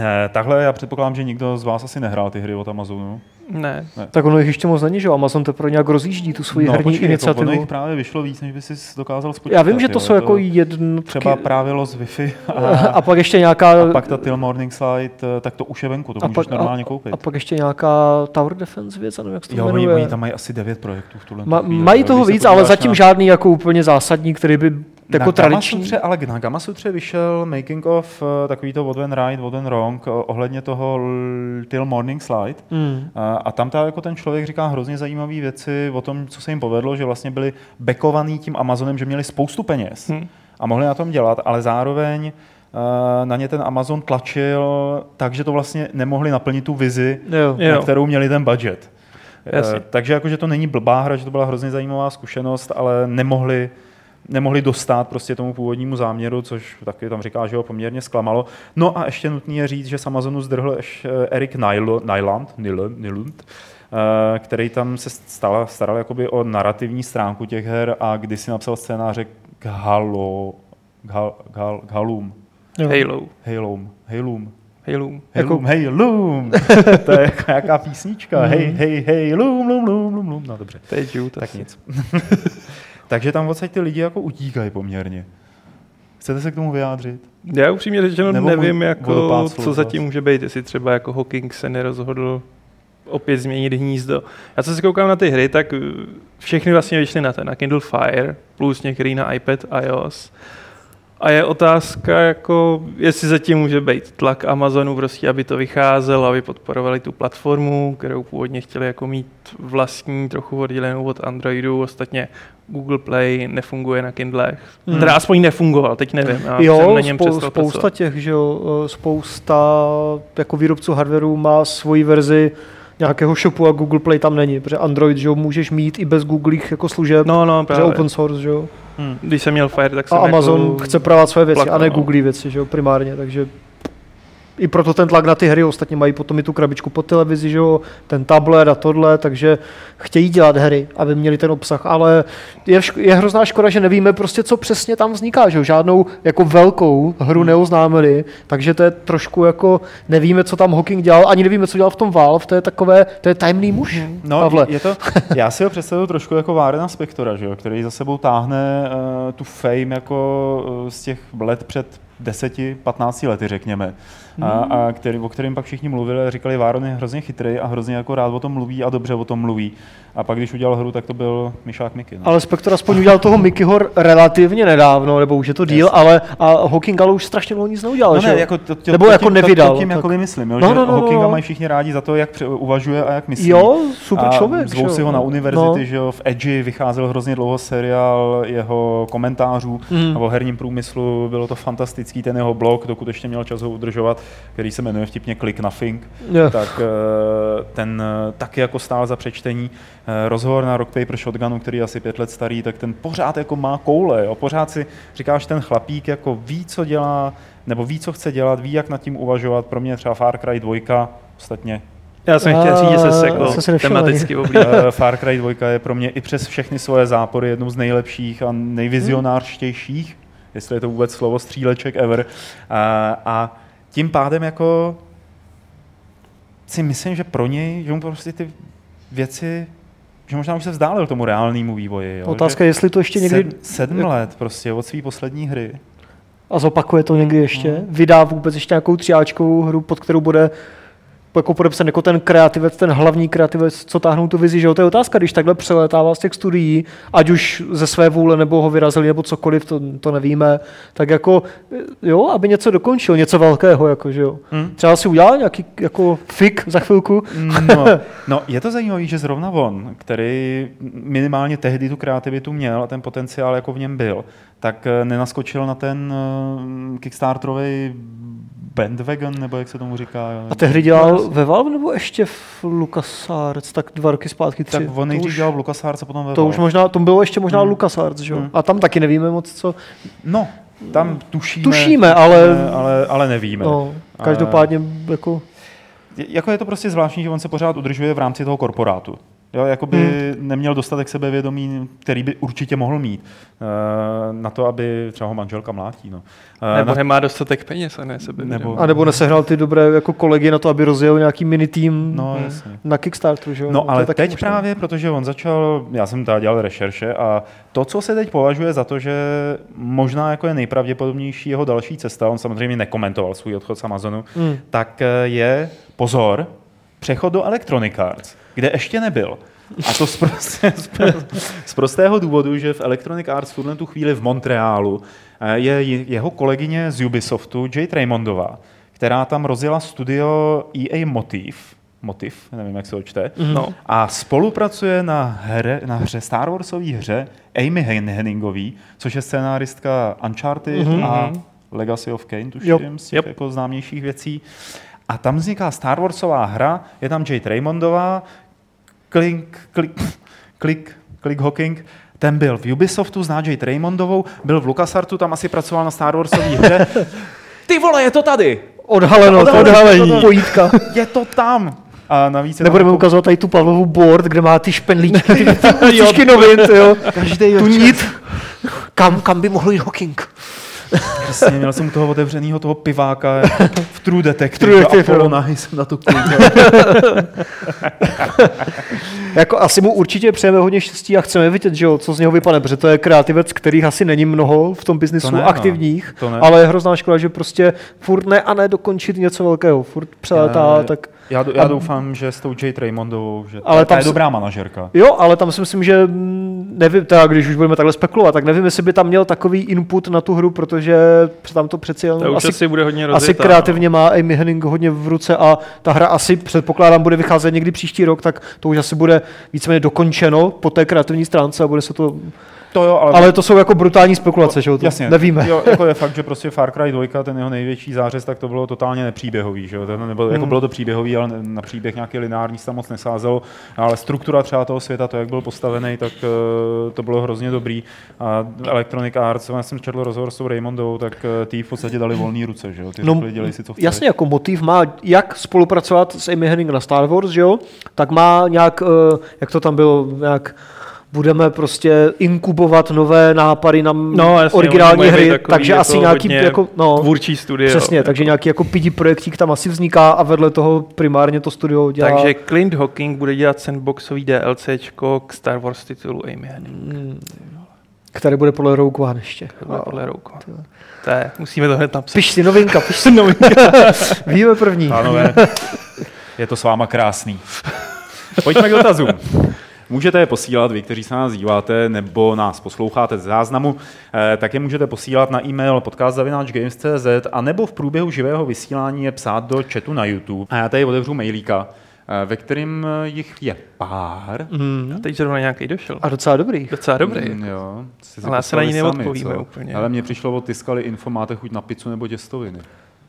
S1: eh, takhle já předpokládám, že nikdo z vás asi nehrál ty hry od Amazonu.
S2: Ne.
S3: Tak ono jich ještě moc není, že jo? Amazon teprve nějak rozjíždí tu svoji herní
S1: počkej,
S3: iniciativu.
S1: Jako ono jich právě vyšlo víc, než by si dokázal spočítat.
S3: Já vím, že to
S1: jo.
S3: jsou jako jednotky.
S1: Třeba právě los Wi-Fi
S3: a,
S1: a,
S3: a pak ještě nějaká...
S1: a pak ta Till Morning Slide, eh, tak to už je venku, to
S3: a
S1: můžeš
S3: pak-
S1: normálně
S3: a,
S1: koupit.
S3: a pak ještě nějaká Tower Defense věc, já nevím, jak se to
S1: jo, oni,
S3: jmenuje.
S1: oni tam mají asi devět projektů v tuhle
S3: Ma,
S1: chvíli,
S3: mají
S1: jo.
S3: toho
S1: Když se
S3: víc, ale
S1: podíváš
S3: zatím
S1: na-
S3: žádný jako úplně zásadní, který by jako
S1: na
S3: tradiční.
S1: Gamasutře, ale na Gamasutře vyšel making of eh, takový to What Went Right, What Went Wrong eh, ohledně toho l- Till Morning Slide.
S3: Hmm.
S1: A a tam ta, jako ten člověk říká hrozně zajímavé věci o tom, co se jim povedlo, že vlastně byli bekovaný tím Amazonem, že měli spoustu peněz
S2: Hm.
S1: a mohli na tom dělat, ale zároveň eh, na ně ten Amazon tlačil, takže to vlastně nemohli naplnit tu vizi,
S3: Jo.
S2: Jo.
S1: na kterou měli ten budget.
S2: Jasně.
S1: Eh, Takže jakože to není blbá hra, že to byla hrozně zajímavá zkušenost, ale nemohli nemohli dostat prostě tomu původnímu záměru, což taky tam říká, že ho poměrně zklamalo. No a ještě nutný je říct, že z Amazonu zdrhl eš- eh, Erik Nyl- Nyland, Nyl- Nylund, eh, který tam se stala, staral jakoby o narrativní stránku těch her a kdysi napsal scénáře k Halo, k, Hal, k, Hal, k Halum,
S2: Halo.
S1: Halum, Halum,
S2: Halo.
S1: Hej
S3: Jako-
S1: lum, hej lum. to je jako nějaká písnička. Hej, hej, hej, lum, lum, lum, lum, lum. No dobře,
S2: To je Jude.
S1: tak
S2: asi.
S1: nic. Takže tam odsaď ty lidi jako utíkají poměrně. Chcete se k tomu vyjádřit?
S2: Já upřímně řečeno
S1: Nebo
S2: nevím,
S1: můj
S2: jako,
S1: vodopád
S2: co
S1: Slouglas.
S2: zatím může být, jestli třeba jako Hawking se nerozhodl opět změnit hnízdo. Já co se koukám na ty hry, tak uh, všechny vlastně vyšly na, ten, na Kindle Fire, plus některý na iPad, iOS. A je otázka, jako, jestli zatím může být tlak Amazonu, prostě, aby to vycházelo, aby podporovali tu platformu, kterou původně chtěli jako mít vlastní, trochu oddělenou od Androidu. Ostatně Google Play nefunguje na Kindlech.
S3: Hmm.
S2: Hmm. Teda aspoň nefungoval, teď nevím. Já jsem
S3: jo,
S2: na něm
S3: spou-
S2: přestal
S3: spousta
S2: pracovat.
S3: těch, že jo, eh, spousta jako výrobců hardwareu má svoji verzi nějakého shopu a Google Play tam není, protože Android, že jo, můžeš mít i bez Google jako služeb,
S2: No, no,
S3: protože
S2: právě.
S3: open source, že jo.
S2: Když jsem měl Fire, tak
S3: A
S2: jsem
S3: Amazon
S2: jako...
S3: chce prodávat své věci,
S2: plakal,
S3: a ne
S2: no.
S3: Google věci, že jo, primárně, takže i proto ten tlak na ty hry, ostatně mají potom i tu krabičku po televizi, že jo, ten tablet a tohle, takže chtějí dělat hry, aby měli ten obsah, ale je, šk- je hrozná škoda, že nevíme prostě, co přesně tam vzniká, že jo, žádnou jako velkou hru
S2: Hmm.
S3: neoznámili, takže to je trošku jako, nevíme, co tam Hawking dělal, ani nevíme, co dělal v tom Valve, to je takové, to je tajemný muž,
S1: No,
S3: Pavle.
S1: je to, já si ho představuju trošku jako Várena Spektora, že jo, který za sebou táhne uh, tu fame jako uh, z těch let před 10-15 lety, řekněme. A, a který, o kterým pak všichni mluvili a říkali, Váron je hrozně chytrý a hrozně jako rád o tom mluví a dobře o tom mluví. A pak, když udělal hru, tak to byl Mišák Miky. No.
S3: Ale Spector aspoň udělal toho Mickeyho relativně nedávno, nebo už je to díl, ale a Hawking ale už strašně dlouho nic neudělal, že? jo?
S1: jako to, to,
S3: Nebo
S1: to,
S3: jako
S1: tím,
S3: nevydal,
S1: To, to tím
S3: tak.
S1: jako myslím, jo, no,
S3: No,
S1: že
S3: no,
S1: no,
S3: no, no,
S1: Hawkinga
S3: no.
S1: mají všichni rádi za to, jak pře- uvažuje a jak myslí.
S3: jo, super
S1: a
S3: člověk.
S1: Zvou
S3: že
S1: si
S3: jo?
S1: ho na univerzity,
S3: No.
S1: no. že jo, v Edgy vycházel hrozně dlouho seriál jeho komentářů
S3: Mm.
S1: mm. o herním průmyslu, bylo to fantastický, ten jeho blog, dokud ještě měl čas ho udržovat, který se jmenuje vtipně Click Nothing,
S3: Jo.
S1: tak eh, ten eh, taky jako stál za přečtení eh, rozhovor na Rock Paper Shotgunu, který je asi pět let starý, tak ten pořád jako má koule, jo, pořád si říkáš, ten chlapík jako ví, co dělá, nebo ví, co chce dělat, ví, jak nad tím uvažovat, pro mě třeba Far Cry 2, ostatně
S2: Já jsem chtěl říct, že se sekl
S3: Já jsem si nevšiml
S2: tematicky oblíbil.
S1: Eh, Far Cry 2 je pro mě i přes všechny svoje zápory jednou z nejlepších a nejvizionářštějších, jestli je to vůbec slovo stříleček ever. A, a tím pádem jako si myslím, že pro něj, že mu prostě ty věci, že možná už se vzdálil tomu reálnému vývoji. Jo?
S3: Otázka je, jestli to ještě
S1: že
S3: někdy,
S1: sedm, sedm let prostě od své poslední hry.
S3: a zopakuje to někdy ještě,
S1: No.
S3: vydá vůbec ještě nějakou třiáčkovou hru, pod kterou bude jako podepsat jako ten kreativec, ten hlavní kreativec, co táhnou tu vizi, že jo, to je otázka, když takhle přelétává z těch studií, ať už ze své vůle, nebo ho vyrazili, nebo cokoliv, to, to nevíme, tak jako, jo, aby něco dokončil, něco velkého, jako, že jo.
S1: Hmm.
S3: Třeba si udělá nějaký jako fik za chvilku,
S1: No, no, je to zajímavé, že zrovna on, který minimálně tehdy tu kreativitu měl a ten potenciál jako v něm byl, tak eh, nenaskočil na ten eh, Kickstarterový bandwagon, nebo jak se tomu říká.
S3: A tehdy
S1: No,
S3: dělal ve Valve nebo ještě v LucasArts, tak dva roky zpátky, tři?
S1: tak on
S3: to
S1: nejdřív
S3: už,
S1: dělal v LucasArts a potom ve
S3: to už
S1: Valve.
S3: možná, to bylo ještě možná hmm. LucasArts, že jo?
S1: Hmm.
S3: A tam taky nevíme moc, co.
S1: No, tam tušíme.
S3: Tušíme, ale-
S1: ale, ale nevíme.
S3: No, každopádně jako...
S1: Je- Jako je to prostě zvláštní, že on se pořád udržuje v rámci toho korporátu. Jo, jakoby hmm. neměl dostatek sebevědomí, který by určitě mohl mít eh, na to, aby třeba ho manželka mlátí. No. Eh,
S2: Nebo
S1: na,
S2: nemá dostatek peněz a ne sebe.
S1: Nebo-
S3: A nebo nesehnal ty dobré jako kolegy na to, aby rozjel nějaký mini tým
S1: no,
S2: Hmm.
S1: jasně.
S3: na Kickstarteru, že jo? to
S1: No
S3: je
S1: ale
S3: taky
S1: teď
S3: možné.
S1: právě, protože on začal, já jsem teda dělal rešerše a to, co se teď považuje za to, že možná jako je nejpravděpodobnější jeho další cesta, on samozřejmě nekomentoval svůj odchod z Amazonu,
S3: Hmm.
S1: tak eh, je, pozor, přechod do Electronic Arts, kde ještě nebyl. A to z, prosté, z pro- z prostého důvodu, že v Electronic Arts v tuhle tu chvíli v Montrealu eh, je ji- jeho kolegyně z Ubisoftu, Jade Raymondová, která tam rozjela studio E EA Motiv, Motiv, nevím, jak se ho čte,
S2: No.
S1: a spolupracuje na, hře, na hře Star Warsové hře Amy Hen- Henningový, což je scénáristka Uncharted mm-hmm. a Legacy of Kane, tuším,
S3: Jo.
S1: z těch
S2: Yep.
S1: jako známějších věcí. A tam vzniká Star Warsová hra, je tam Jade Raymondová, k klink, klik, klik, klik hocking, ten byl v Ubisoftu s Nadjate Raymondovou, byl v LucasArtu, tam asi pracoval na Star Warsové hře. Ty vole, je to tady!
S3: Odhaleno, to odhalení. Pojítka.
S1: Je to tam! A navíc je tam
S3: Nebudeme
S1: jako-
S3: ukazovat tady tu Pavlovu board, kde má ty špenlíčky, ty, ty kůstičky novin, ty jo.
S1: Každý
S3: Tu
S1: večer-
S3: nit. Kam, kam by mohl jít Hawking?
S1: Přesně, měl jsem u toho otevřenýho toho piváka v True Detective. True
S3: True Detective, no.
S1: Detective.
S3: jo.
S1: Apollo Nahý jsem na to koukal.
S3: Jako asi mu určitě přejeme hodně štěstí a chceme vidět, že jo, co z něho vypadne, protože to je kreativec, kterých asi není mnoho v tom biznisu
S1: To ne, no.
S3: aktivních,
S1: To ne.
S3: ale je hrozná škoda, že prostě furt ne a ne dokončit něco velkého, furt přeletá,
S1: Ne.
S3: No, tak...
S1: Já, do- já doufám, že s tou Jade Raymondovou, že
S3: Ale
S1: ale ta
S3: tam
S1: je
S3: se-
S1: dobrá manažerka.
S3: Jo, ale tam si myslím, že mm, nevím, teda, když už budeme takhle spekulovat, tak nevím, jestli by tam měl takový input na tu hru, protože tam to přeci
S2: Ta
S3: jenom
S2: už asi,
S3: asi,
S2: asi bude hodně rozjetá.
S3: asi
S1: no.
S3: kreativně má Amy Henning hodně v ruce a ta hra asi, předpokládám, bude vycházet někdy příští rok, tak to už asi bude víceméně dokončeno po té kreativní stránce a bude se to...
S1: To jo, ale...
S3: Ale to jsou jako brutální spekulace, že jo? To
S1: Jasně,
S3: nevíme.
S1: Jo, jako je fakt, že prostě Far Cry 2, ten jeho největší zářez, tak to bylo totálně nepříběhový. Že? jo. To nebylo,
S2: Hmm.
S1: jako bylo to příběhový, ale na příběh nějaký lineární se tam moc nesázelo. Ale struktura třeba toho světa, to, jak byl postavený, tak eh, to bylo hrozně dobrý. A Electronic Arts, já jsem četl rozhovor s tou Raymondou, tak eh, ty jí v podstatě dali volné ruce. Že? jo. Ty no, řekli, dělej si, co chceš.
S3: jasně, jako motiv má, jak spolupracovat s Amy Henning na Star Wars, že jo? Tak má nějak, eh, jak to tam bylo, nějak budeme prostě inkubovat nové nápady na m-
S2: No, jasně,
S3: originální
S2: oni mají být
S3: hry,
S2: takový
S3: takže
S2: jako
S3: asi nějaký
S2: hodně
S3: jako, no,
S2: tvůrčí studie.
S3: přesně, takže nějaký jako pidi projektík tam asi vzniká a vedle toho primárně to studio dělá.
S2: Takže Clint Hawking bude dělat sandboxový DLCčko k Star Wars titulu Amy Henning.
S3: Mm, který bude podle Rogue One ještě.
S2: To bude
S3: A-
S2: podle Rouko. To je, musíme to hned napsat.
S3: Piš si novinka, piš si novinka. Víme první.
S1: Pánové, je to s váma krásný.
S5: Pojďme k dotazům. Můžete je posílat, vy, kteří se nás díváte nebo nás posloucháte z záznamu, eh, tak je můžete posílat na e-mail podcast.games.cz a nebo v průběhu živého vysílání je psát do chatu na YouTube. A já tady otevřu mailíka, eh, ve kterým eh, jich je pár.
S2: A teď zrovna nějaký došel.
S3: Mm. A docela dobrý.
S2: Docela dobrý.
S5: Mm, jo, jste si
S2: Ale já se na ní
S5: poslali
S2: neodpovíme úplně.
S5: Ale mě přišlo od Tiskali info, máte chuť na pizzu nebo těstoviny.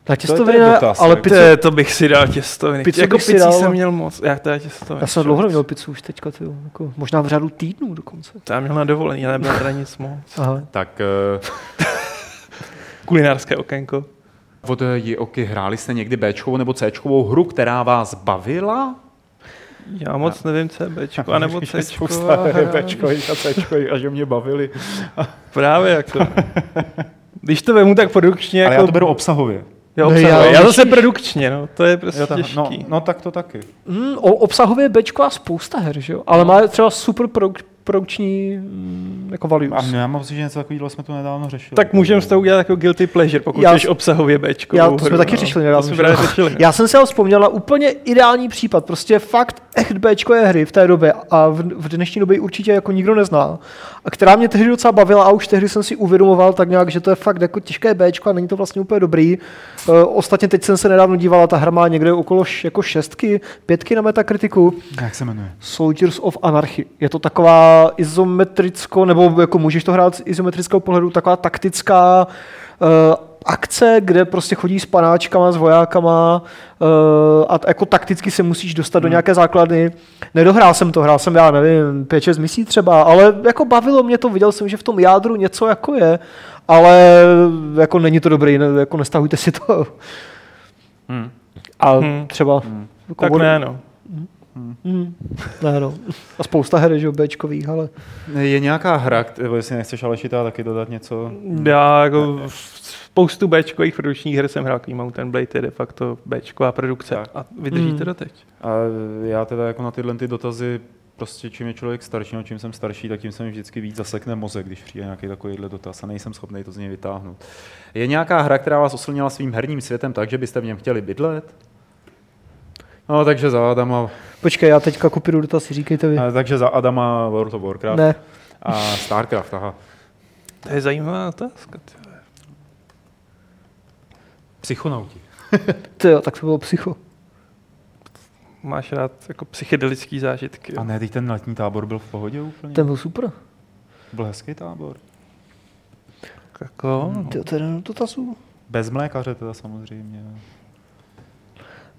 S3: Na
S5: to
S3: těstoviny,
S5: je dotaz,
S3: ale
S5: jako.
S3: pizzu,
S2: Te, to bych si dal těstoviny.
S3: Pizzu
S2: jako
S3: bych si
S2: picí
S3: dal.
S2: jsem měl moc. Já teda těstoviny.
S3: já jsem dlouho neměl pizzu už teďka, tyjo, jako, možná v řádu týdnů dokonce.
S2: To já měl na dovolení, já nebyl teda nic moc.
S3: Aha.
S5: Tak
S2: Kulinářské okénko.
S5: eh, od Jioky hráli jste někdy Bčkovou nebo Cčkovou hru, která vás bavila?
S2: Já moc nevím, co je
S1: Jako,
S2: Bčko, anebo Cčko.
S5: Že spousta her je
S2: a-
S5: Bčkových a Cčkových a že mě
S1: Jako-
S5: bavili.
S2: Právě jako. Když to vemu tak produkčně,
S1: Ale
S2: jako...
S1: já to beru obsahově.
S2: jo,
S3: Ne,
S2: obsahově.
S3: já-
S2: já, zase produkčně, no. To je prostě
S1: Jo, tak,
S2: těžký.
S1: no, no tak to taky.
S3: Mm, o- obsahově Bčko a spousta her, že jo? Ale má třeba super produk- produkční mm, jako
S1: A
S3: values.
S1: já mám pocit, že něco takového jsme tu nedávno řešili.
S2: Tak můžeme z toho udělat jako guilty pleasure, pokud
S3: Já
S2: jsi
S3: s-
S2: obsahově Bčko.
S3: Já, to jsme taky řešili
S2: To
S3: nedávno,
S2: jsme
S3: že?
S2: právě řešili.
S3: Já jsem si ale vzpomněl na úplně ideální případ, prostě fakt echt Bčkové hry v té době a v, v dnešní době ji určitě jako nikdo nezná, a která mě tehdy docela bavila a už tehdy jsem si uvědomoval tak nějak, že to je fakt jako těžké Bčko a není to vlastně úplně dobrý. Uh, ostatně teď jsem se nedávno dívala, ta hra má někde okolo š, jako šestky, pětky na metakritiku.
S1: Jak se jmenuje?
S3: Soldiers of Anarchy. Je to taková izometricko, nebo jako můžeš to hrát z izometrického pohledu, taková taktická uh, akce, kde prostě chodí s panáčkama, s vojákama uh, a t- jako takticky se musíš dostat
S2: Hmm.
S3: do nějaké základny. Nedohrál jsem to, hrál jsem, já nevím, 5-6 misí třeba, ale jako bavilo mě to, viděl jsem, že v tom jádru něco jako je, ale jako není to dobrý, ne, jako nestahujte si to. Hmm. A
S2: Hmm.
S3: třeba... Hmm.
S2: Tak ne, no.
S3: Hmm. Ne, no. A spousta her, že jo, Bčkových, ale...
S1: Je nějaká hra, kterou, jestli nechceš Alešita taky dodat něco?
S2: Já jako v- spoustu Bčkových produkčních her jsem hrál, Clean Mountain Blade je de facto Bčková produkce Hmm.
S1: Tak.
S2: a vydrží
S3: Mm.
S2: to doteď.
S1: A já teda jako na tyhle ty dotazy, prostě čím je člověk starší, no čím jsem starší, tak tím se mi vždycky víc zasekne mozek, když přijde nějaký takovýhle dotaz a nejsem schopný to z něj vytáhnout. Je nějaká hra, která vás oslnila svým herním světem tak, že byste v něm chtěli bydlet? No, takže za Adama,
S3: Počkej, já teďka kopíru dotaz, si říkejte vy.
S1: eh, takže za Adama World of Warcraft
S3: Ne.
S1: a Starcraft, aha.
S2: To je zajímavá otázka. ty vole.
S1: Psychonauti.
S3: Ty jo, tak to bylo psycho.
S2: Máš rád jako psychedelický zážitky.
S1: A
S2: jo?
S1: ne, teď ten letní tábor byl v pohodě úplně.
S3: Ten byl super.
S1: Byl hezký tábor.
S2: Jako, no. Jako?
S3: Ty jo, to je jenom dotazů.
S1: Bez mlékaře teda samozřejmě.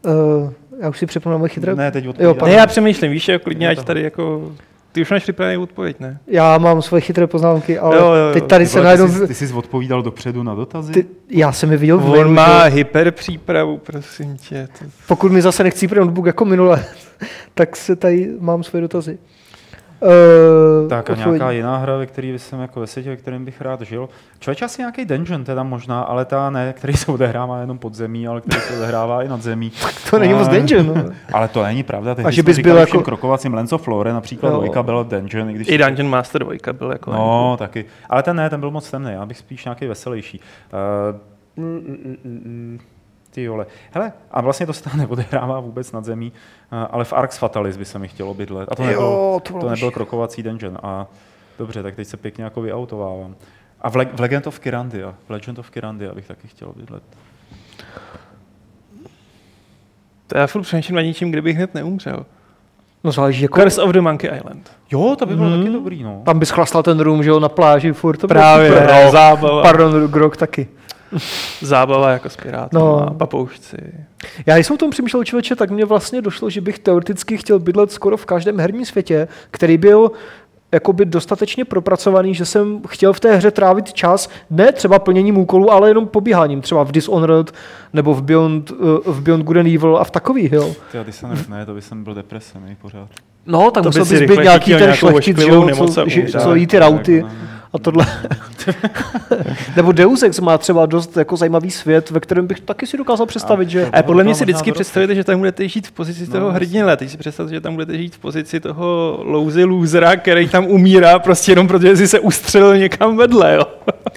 S3: Uh, já už si připomínám moje chytré.
S6: Ne, teď
S3: jo,
S6: odpovídám.
S3: pardon.
S2: Ne, já přemýšlím, víš, jako klidně,
S6: Je
S2: ať
S6: to.
S2: tady jako... Ty už máš připravený odpověď, ne?
S3: Já mám svoje chytré poznámky, ale
S2: Jo, jo, jo.
S3: teď tady
S6: Ty
S3: se
S6: vole,
S3: najednou...
S6: Ty jsi, ty jsi odpovídal dopředu na dotazy?
S3: Ty, já jsem je viděl v mailu,
S2: On
S3: že
S2: má
S3: jo.
S2: hyperpřípravu, prosím tě. To...
S3: Pokud mi zase nechcí pro notebook jako minule, tak se tady mám svoje dotazy. Uh,
S5: Tak a nějaká jiná hra, ve který bych jsem jako ve světě, ve kterém bych rád žil. Člověk asi nějaký dungeon teda možná, ale ta ne, který se odehrává jenom pod zemí, ale který se odehrává i nad zemí.
S3: To není moc
S5: A-
S3: dungeon. No.
S6: Ale to není pravda. Tehdy
S3: A že
S6: jsme
S3: bys
S6: říkali
S3: byl
S6: všem
S3: jako-
S6: krokovacím Lenzo Flore, například
S3: Jo.
S6: dvojka byla Dungeon, i když...
S2: I Dungeon Master 2 byl jako...
S6: No, taky.
S5: Ale ten ne, ten byl moc temný, já bych spíš nějaký veselější. Uh, mm, mm, mm, mm, ty vole. Hele, a vlastně to se tam neodehrává vůbec nad zemí, eh, ale v Arx Fatalis by se mi chtělo bydlet. A to jako-
S3: Jo,
S5: nebyl,
S3: to bylo
S5: to nebyl
S3: šílený.
S5: krokovací dungeon. A dobře, tak teď se pěkně jako vyautovávám. A v, Le- v Legend of Kirandia, v Legend of Kirandia bych taky chtěl bydlet.
S2: To já furt přemýšlím nad něčím, kde bych hned neumřel.
S3: no záleží, jako,
S2: Curse of the Monkey Island.
S5: Jo, to by bylo
S3: Mhm.
S5: hmm. taky dobrý, no.
S3: tam bys chlastal ten room, že jo, na pláži, furt to bylo super.
S2: no. zábava.
S3: Pardon, Grok taky.
S2: Zábava jako s pirátem
S3: No.
S2: no. a papoušci.
S3: Já když jsem o tom přemýšlel člověče, tak mně vlastně došlo, že bych teoreticky chtěl bydlet skoro v každém herním světě, který byl jakoby dostatečně propracovaný, že jsem chtěl v té hře trávit čas, ne třeba plněním úkolů, ale jenom pobíháním, třeba v Dishonored nebo v Beyond, eh, v Beyond Good and Evil a v takových, jo.
S6: Ty, a ty se ne, ne, to by jsem byl depresený pořád.
S3: No, tak
S2: To
S3: musel
S2: by si
S3: bys
S2: rychle
S3: být nějaký
S2: chytil
S3: ten
S2: nějakou
S3: šlechtic, že
S2: ošklivou
S3: jo,
S2: nemoc
S3: co,
S2: a
S3: že,
S2: umřel.
S3: co jí ty rauty a tohle. Nebo Deus Ex má třeba dost jako zajímavý svět, ve kterém bych to taky si dokázal představit, že...
S2: A Eh, podle mě
S5: to
S2: si
S5: možná
S2: vždycky
S5: to-
S2: představíte, že tam budete žít v pozici
S5: No,
S2: toho
S5: jasně.
S2: hrdinele. Teď si představte, že tam budete žít v pozici toho lousy losera, který tam umírá prostě jenom protože si se ustřelil někam vedle, jo.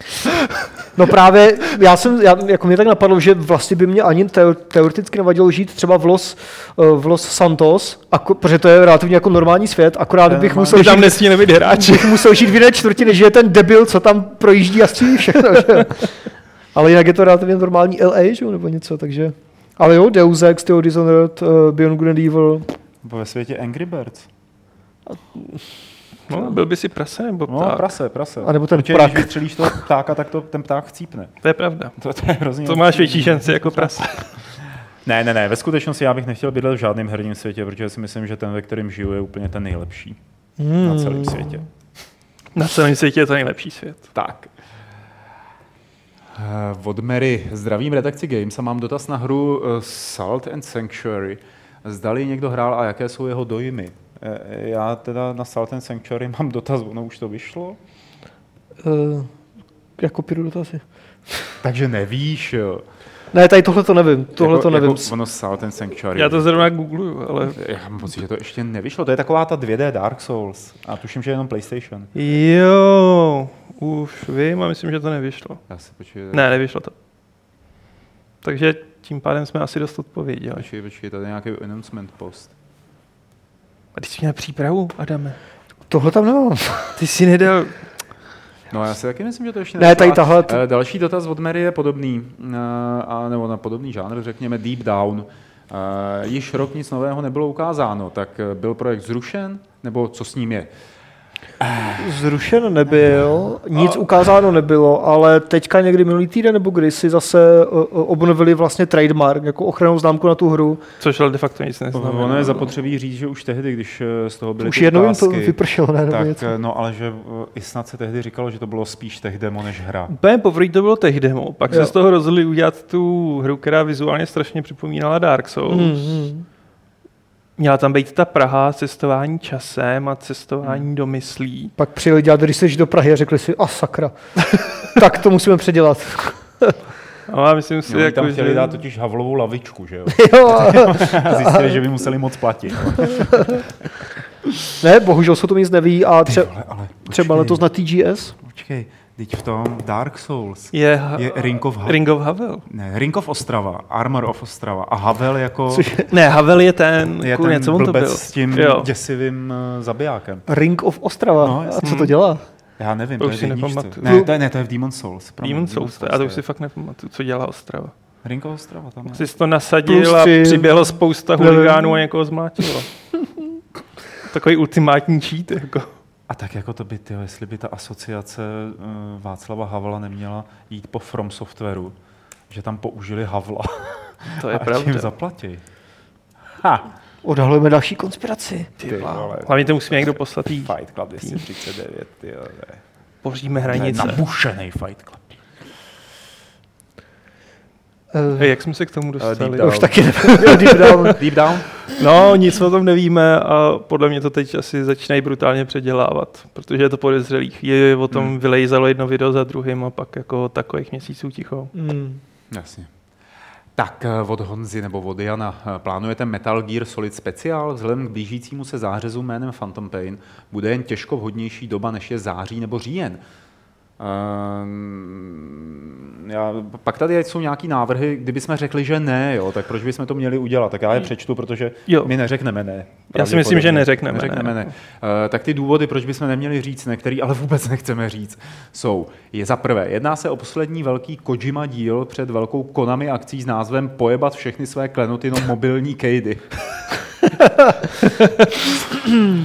S3: No právě, já jsem, já, jako mě tak napadlo, že vlastně by mě ani teo- teoreticky nevadilo žít třeba v Los, eh, v Los Santos, ako, protože to je relativně jako normální svět, akorát bych musel,
S2: Že
S3: žít,
S2: tam nesmí nebýt hráči.
S3: bych musel žít v jiné čtvrti, než je ten debil, co tam projíždí a střílí všechno. Že? jo. Ale jinak je to relativně normální LA, že? jo, nebo něco, takže... Ale jo, Deus Ex, Theo Dishonored, eh, Beyond Good and Evil, eh,
S6: Nebo ve světě Angry Birds.
S2: No, byl by si prase nebo
S6: No,
S2: pták.
S6: prase, prase.
S3: anebo ten
S6: Protože
S3: Prak.
S6: Když vystřelíš toho ptáka, tak to, ten pták chcípne.
S2: To je pravda.
S6: To, to je hrozně...
S2: To máš větší šanci jako prase.
S5: Ne, ne, ne, ve skutečnosti já bych nechtěl bydlet v žádném herním světě, protože si myslím, že ten, ve kterém žiju, je úplně ten nejlepší
S3: Hmm.
S5: na celém světě.
S2: Na celém světě je to nejlepší svět.
S7: Tak. Eh, Od Mary. Zdravím redakci Games a mám dotaz na hru eh, Salt and Sanctuary. Zdali někdo hrál a jaké jsou jeho dojmy?
S5: Eh, Já teda na Salt and Sanctuary mám dotaz, ono už to vyšlo.
S3: Uh, jako píru dotazy.
S7: Takže nevíš, jo.
S3: Ne, tady tohle to nevím, tohle
S7: jako,
S3: to nevím.
S7: Jako ono Salt and Sanctuary.
S2: Já to zrovna googluju, ale...
S7: Já mám pocit, že to ještě nevyšlo.
S5: To je taková ta 2D Dark Souls a tuším, že jenom PlayStation.
S2: Jo, už vím a myslím, že to nevyšlo.
S7: Já se počkej,
S2: Ne, nevyšlo to. Takže tím pádem jsme asi dost odpověděli.
S7: počkej, počkej, tady je nějaký announcement post.
S2: A ty jsi měl přípravu, Adame?
S3: Tohle tam nemám.
S2: Ty jsi nedal...
S7: No já si taky myslím, že to ještě
S3: Ne,
S7: nevyšlo.
S3: tady tahle-
S7: A, eh, Další dotaz od Mary je podobný, eh, a, nebo na podobný žánr, řekněme Deep Down. Eh, Již rok nic nového nebylo ukázáno, tak eh, byl projekt zrušen, nebo co s ním je?
S3: Zrušen nebyl, nic ukázáno nebylo, ale teďka někdy minulý týden nebo kdy si zase o, o, obnovili vlastně trademark, jako ochranou známku na tu hru.
S2: Což ale de facto nic neznamená. no.
S5: Ono je zapotřebí říct, že už tehdy, když eh, z toho byly
S3: Už
S5: ty
S3: jednou jim to
S5: ukázky,
S3: vypršelo, ne? Nebo
S5: tak,
S3: něco.
S5: eh, no ale že eh, i snad se tehdy říkalo, že to bylo spíš tech demo než hra.
S3: Jako
S2: Úplně poprvé to bylo tech demo, pak jo.
S3: Jo.
S2: se z toho rozhodli udělat tu hru, která vizuálně strašně připomínala Dark Souls.
S3: Hmm,
S2: Mm.
S3: hmm.
S2: Měla tam být ta Praha, cestování časem a cestování
S5: Hmm.
S2: mm. do myslí.
S3: Pak přijeli dělat research do Prahy a řekli si, a sakra, tak to musíme předělat.
S2: Ale já myslím si,
S5: Jo, No, oni
S2: jako,
S5: tam chtěli
S2: že...
S5: dát totiž havlovou lavičku, že jo?
S3: jo, a-
S5: A zjistili, že by museli moc platit.
S3: ne, bohužel se o tom nic neví a tře-
S5: Ale, ale
S3: třeba letos na TGS.
S5: Počkej, teď v tom Dark Souls
S2: je,
S5: je Ring of, ha-
S2: Ring of Havel.
S5: ne, Ring of Ostrava, Armor of Ostrava a Havel jako
S3: Což je
S2: Ne, Havel je ten,
S5: je
S2: kurně,
S5: ten
S2: co on to
S5: blbec
S2: byl.
S5: s tím
S2: jo.
S5: děsivým eh, zabijákem.
S3: Ring of Ostrava.
S5: No,
S3: a
S5: jasně.
S3: co to dělá?
S5: Já nevím,
S2: To
S5: to,
S2: už
S5: je v
S2: si
S5: jedničce.
S2: nepamatuju.
S5: Ne, to je, ne, to je v Demon Souls. promiň,
S2: Demon
S5: v
S2: Souls, to- já to už
S5: je.
S2: si fakt nepamatuju, co dělá Ostrava.
S5: Rinko Ostrava tam je.
S2: Jsi si to nasadil a
S3: Plus tři.
S2: přiběhlo spousta
S3: Nevím.
S2: huligánů a někoho zmlátilo. Takový ultimátní cheat, jako.
S5: A tak jako to by, tyjo, jestli by ta asociace eh, Václava Havla neměla jít po From Softwaru, že tam použili Havla
S2: To je
S5: a tím
S2: pravda.
S5: zaplatí. Ha,
S3: Odhalujeme další konspiraci.
S5: ty vole.
S2: Hlavně to musíme někdo poslat jí.
S5: Fight Club 239, ty jo, to je-
S2: Pořídíme hranice.
S5: Nabušenej Fight Club.
S2: Hej, jak jsme se k
S5: Eh,
S2: tomu dostali?
S5: down.
S3: Eh, Už taky nevím. Deep down.
S5: Deep down?
S2: No, nic o tom nevíme a podle mě to teď asi začínají brutálně předělávat, protože je to podezřelý. Chvíli o tom hmm. vylejzalo jedno video za druhým a pak jako takových měsíců ticho.
S3: Hmm.
S5: Jasně. Tak eh, od Honzy nebo od Jana, eh, plánujete Metal Gear Solid speciál? Vzhledem k blížícímu se zářezu jménem Phantom Pain bude jen těžko vhodnější doba, než je září nebo říjen. Ehm, já, pak tady jsou nějaký návrhy, kdybychom řekli, že ne, jo, tak proč bychom to měli udělat? Tak já je přečtu, protože
S2: Jo.
S5: jo. my neřekneme ne.
S2: Já si myslím, že
S5: Pravděpodobně.
S2: neřekneme ne. jako.
S5: neřekneme ne. Eh, tak ty důvody, proč bychom neměli říct, ne, který ale vůbec nechceme říct, jsou, je za prvé, jedná se o poslední velký Kojima díl před velkou Konami akcí s názvem Pojebat všechny své klenoty no mobilní kejdy.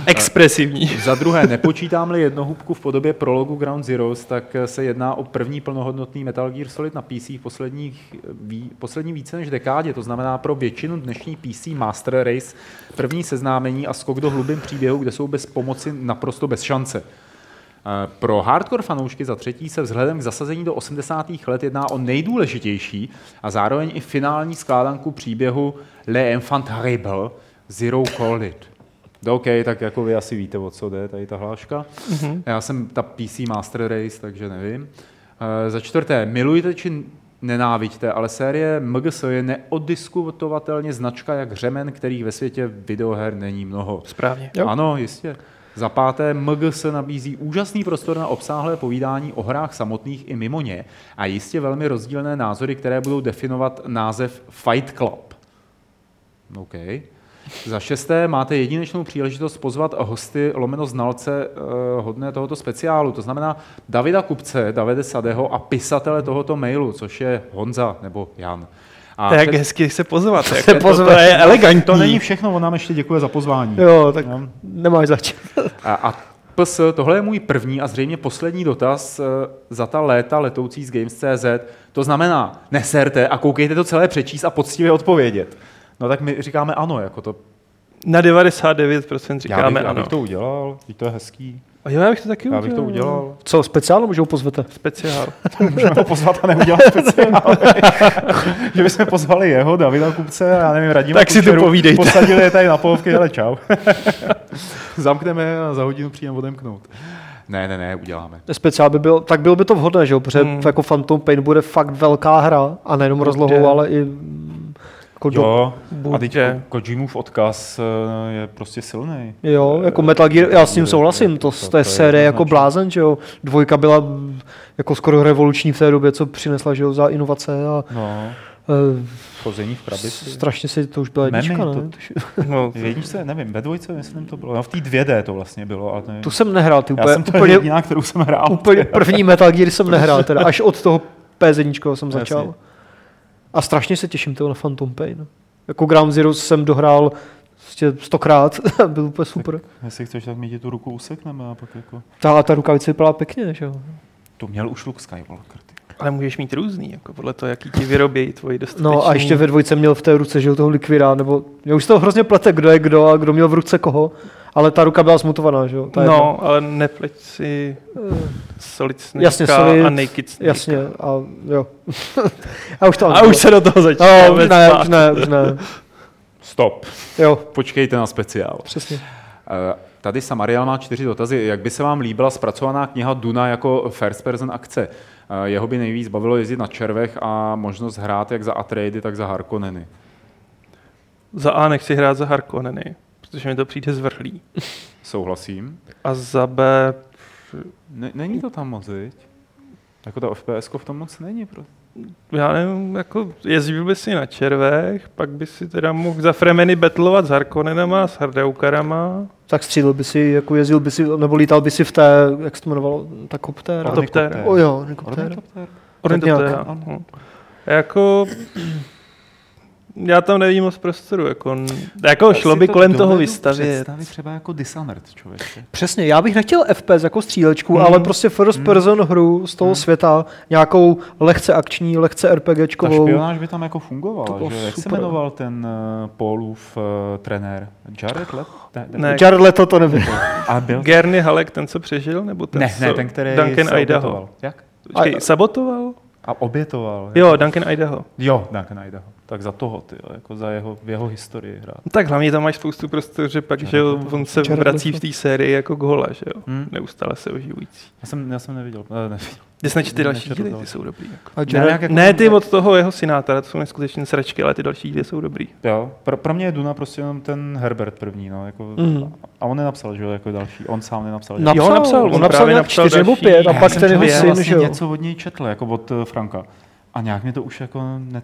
S2: Expresivní.
S5: Za druhé, nepočítám-li jednohubku v podobě prologu Ground Zeroes, tak eh, se jedná o první plnohodnotný Metal Gear Solid na PC v posledních, eh, ví, poslední více než dekádě, to znamená pro většinu dnešní PC Master Race první seznámení a skok do hlubin příběhu, kde jsou bez pomoci naprosto bez šance. Eh, Pro hardcore fanoušky za třetí se vzhledem k zasazení do 80. let jedná o nejdůležitější a zároveň i finální skládanku příběhu Le Enfant Terrible Zero Call It. No, OK, tak jako vy asi víte, o co jde tady ta hláška. Mm-hmm. Já jsem ta PC Master Race, takže nevím. Eh, za čtvrté, milujte či nenávidíte, ale série MGS je neodiskutovatelně značka jak řemen, kterých ve světě videoher není mnoho.
S2: Správně.
S3: Jo.
S5: Ano, jistě. Za páté, MG se nabízí úžasný prostor na obsáhlé povídání o hrách samotných i mimo ně a jistě velmi rozdílné názory, které budou definovat název Fight Club. OK. Za šesté máte jedinečnou příležitost pozvat hosty lomeno znalce eh, hodné tohoto speciálu, to znamená Davida Kupce, Davide Sadeho a pisatele tohoto mailu, což je Honza nebo Jan. A
S2: To je jak
S5: před-
S2: hezky se pozvat. Jako
S3: Se
S2: to-
S3: pozvat.
S2: To je elegantní.
S8: To není všechno, on nám ještě děkuje za pozvání.
S3: Jo, tak nemáš zač.
S5: A, a PS, tohle je můj první a zřejmě poslední dotaz eh, za ta léta letoucí z Games.cz. To znamená, neserte a koukejte to celé přečíst a poctivě odpovědět. No tak my říkáme ano, jako to
S2: Na 99% říkáme
S5: já bych, já
S2: ano.
S5: bych to udělal, teď to je hezký,
S2: A jo, já bych to taky
S5: já
S2: udělal.
S5: bych to udělal.
S3: Co, speciálně můžou pozvete?
S2: Speciál.
S8: Můžeme ho pozvat a neudělat speciál. že bychom pozvali jeho, Davida Kupce, já nevím, Radima
S2: Tak si tu
S8: Kučeru,
S2: povídejte.
S8: Posadili je tady na polovky, hele čau.
S5: Zamkneme a za hodinu přijdeme odemknout. Ne, ne, ne, uděláme.
S3: Speciál by byl, tak bylo by to vhodné, že jo, protože
S2: Hmm.
S3: hmm. jako Phantom Pain bude fakt velká hra a nejenom rozlohou,
S2: Bude.
S3: ale i mm, jako do,
S8: Jo, a teď
S3: eh,
S2: Buďte.
S8: Ko- Kojimův odkaz eh, je prostě silný.
S3: Jo, jako Metal Gear, já s tím souhlasím, to, to je série jako blázen, že jo. Dvojka byla mm, jako skoro revoluční v té době, co přinesla, že jo, za inovace a
S8: No,
S3: e,
S8: chození v krabici.
S3: strašně si to už byla
S8: Memy,
S3: jednička,
S8: to-
S3: ne? To,
S2: No,
S8: V jedničce, nevím, ve dvojce, myslím, to bylo. No, v té 2D to vlastně bylo, ale to nevím.
S3: tu jsem nehrál, ty
S8: Já
S3: úplně,
S8: jsem to
S3: úplně,
S8: úplně, jediná, kterou jsem hrál.
S3: úplně první Metal Gear jsem nehrál, teda až od toho PS1 jsem
S8: Jasně.
S3: začal. A strašně se těším toho na Phantom Pain. Jako Ground Zero jsem dohrál prostě stokrát, byl úplně super.
S8: Jestli chceš, tak mi ti tu ruku usekneme a pak jako...
S3: Ta, ta rukavice vypadala pěkně, že jo.
S8: To měl už Luke Skywalker. Ty.
S2: ale můžeš mít různý, jako podle toho, jaký ti vyrobějí tvoji dostatečný.
S3: No a ještě ve dvojce měl v té ruce, že jo, toho likvida, nebo já už se to hrozně plete, kdo je kdo a kdo měl v ruce koho, ale ta ruka byla smutovaná, že jo. Ta jedna.
S2: No, ale nepleť si Solid Snake
S3: Eh, Jasně,
S2: Solid,
S3: Solid-
S2: a Naked Snake.
S3: Jasně, a jo. a už to
S2: A už se do toho začíná.
S3: No, už ne, už ne, už ne.
S5: Stop.
S3: Jo,
S5: Počkejte na speciál.
S3: přesně.
S5: Eh, Tady Samariel má čtyři dotazy. Jak by se vám líbila zpracovaná kniha Duna jako first person akce? Eh, Jeho by nejvíc bavilo jezdit na červech a možnost hrát jak za Atreidy, tak za Harkonneny.
S2: Za A nechci hrát za Harkonneny, protože mi to přijde zvrhlý.
S5: Souhlasím.
S2: A za B
S5: Ne- není to tam moc, viď? Jako ta fps v tom moc není. Pro...
S2: já nevím, jako jezdil by si na červech, pak by si teda mohl za Fremeny betlovat s Harkonnenama, s Hardeukarama.
S3: Tak střílel by si, jako jezdil by si, nebo lítal by si v té, jak se to jmenovalo, ta koptéra.
S2: A to pter.
S3: O jo, helikoptéra.
S2: no. Ornitoptera.
S3: nějak,
S2: no. Jako já tam nevidím moc prostoru. Jako, jako šlo by kolem toho vystavět.
S5: třeba jako Dishonored, člověče.
S3: Přesně, já bych nechtěl FPS jako střílečku,
S2: Mhm.
S3: mm. ale prostě first person hru z toho mm. světa, nějakou lehce akční, lehce
S5: Ta
S3: RPGčkovou.
S5: špionáž by tam jako fungovala,
S3: To bylo
S5: že? Jak se
S3: super.
S5: jmenoval ten uh, Paulův uh, trenér? Jared Let? Ne, ne.
S2: Ne,
S3: Jared Leto to nevím.
S5: A byl?
S2: Gerny Halek, ten co přežil? Nebo ten,
S5: Ne,
S2: co,
S5: ne, ten, který
S2: Duncan
S5: se
S2: Idaho.
S5: obětoval. Jak?
S2: Počkej, sabotoval?
S5: A obětoval.
S2: Jo, Duncan Idaho.
S5: Jo, Duncan Idaho. Tak za toho, ty, jako za jeho, v jeho historii hrát.
S2: No Tak hlavně tam máš spoustu prostoru, že pak, že jo, on se vrací v té sérii jako gola, že jo. Neustále se oživující.
S5: Já jsem, já jsem neviděl. Ne, ne,
S2: Ty snad ty další
S5: Nečetl
S2: díly,
S5: to.
S2: ty jsou dobrý. Jako.
S3: A
S5: ne,
S3: Jared,
S5: jak jako
S2: Ne, ty od toho jeho synátora, to jsou neskutečně sračky, ale ty další díly jsou dobrý.
S5: Jo, pro, pro mě je Duna prostě jenom ten Herbert první, no, jako,
S3: Mhm.
S5: mm. a on nenapsal, že jo, jako další, on sám nenapsal.
S3: Napsal,
S2: jo, napsal, on
S3: on napsal
S2: právě
S3: nějak
S2: napsal
S3: čtyři nebo
S2: další.
S3: pět No, a
S2: Já
S3: pak
S5: jsem
S3: ten jeho
S5: člověk
S3: syn,
S5: vlastně
S3: že jo.
S5: něco od něj četl, jako od eh, Franka. A nějak mi to už jako, ne,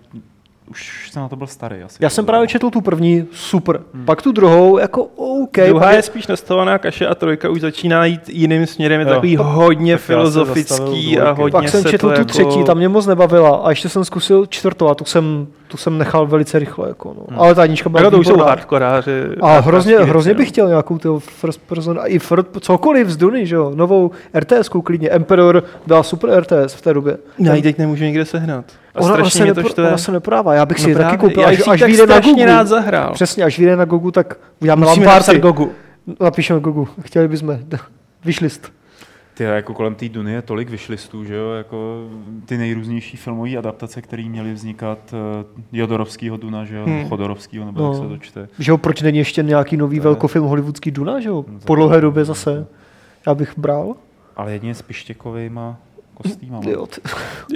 S5: už jsem na to byl starý asi. Jako-
S3: Já jsem právě četl tu první, super. Pak tu druhou, jako OK.
S2: Okay, Hmm. Druhá
S3: pak
S2: je spíš nastavená kaše a trojka už začíná jít jiným směrem, je
S5: Jo.
S2: takový hodně
S5: Tak já se zastavil u
S2: filozofický a
S5: dvojky.
S2: hodně
S3: Pak jsem
S2: se
S3: četl
S2: to
S3: tu
S2: jako...
S3: třetí, ta mě moc nebavila. A ještě jsem zkusil čtvrtou a tu jsem, tu jsem nechal velice rychle. Jako, no. Ale ta jednička byla
S2: Jako to už jsou
S3: výborná.
S2: hardkoráři.
S3: A
S2: hardkorářský
S3: hrozně,
S2: věci,
S3: hrozně
S2: no.
S3: bych chtěl nějakou tyho first person, a i first, cokoliv z Duny, že jo, novou RTS klidně. Emperor byla super RTS v té době.
S2: Já ji teď nemůžu nikde sehnat. A
S3: Ona, ona, se
S2: strašně mě to
S3: nepro,
S2: štve.
S3: ona se neprodává, já bych si
S2: No
S3: ji taky
S2: právě,
S3: koupil,
S2: já
S3: až,
S2: si
S3: až
S2: tak
S3: vyjde na
S2: strašně
S3: Google.
S2: rád zahrál.
S3: Přesně, až vyjde na Google, tak uděláme
S2: Musíme
S3: LAN
S2: napsat
S3: party.
S2: Gogu.
S3: Napíšeme Google, chtěli bychom. Vyšlist.
S5: Ty, jako kolem té Duny je tolik vyšlistů, že jo, jako ty nejrůznější filmové adaptace, které měly vznikat eh, Jodorovskýho Duna, že jo,
S2: Hmm.
S5: hmm. Chodorovskýho, nebo
S3: No.
S5: jak se to čte.
S3: Že jo, proč není ještě nějaký nový velkofilm hollywoodský Duna, že jo? Po dlouhé době zase. Já bych bral.
S5: Ale jedině s Pištěkovejma kostýmama.
S3: Jo, ty-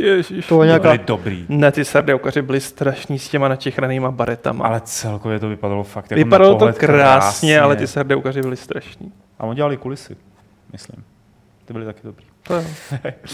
S2: Ježiš.
S3: to je nějaká...
S5: Byly dobrý.
S2: Ne, ty sardeukaři byli strašní s těma načehranýma baretama.
S5: Ale celkově to vypadalo fakt jako
S2: Vypadalo
S5: na
S2: to
S5: pohled
S2: krásně, ale ty sardeukaři byli strašní.
S5: A oni dělali kulisy, myslím. Ty byly taky dobrý.
S2: To jo.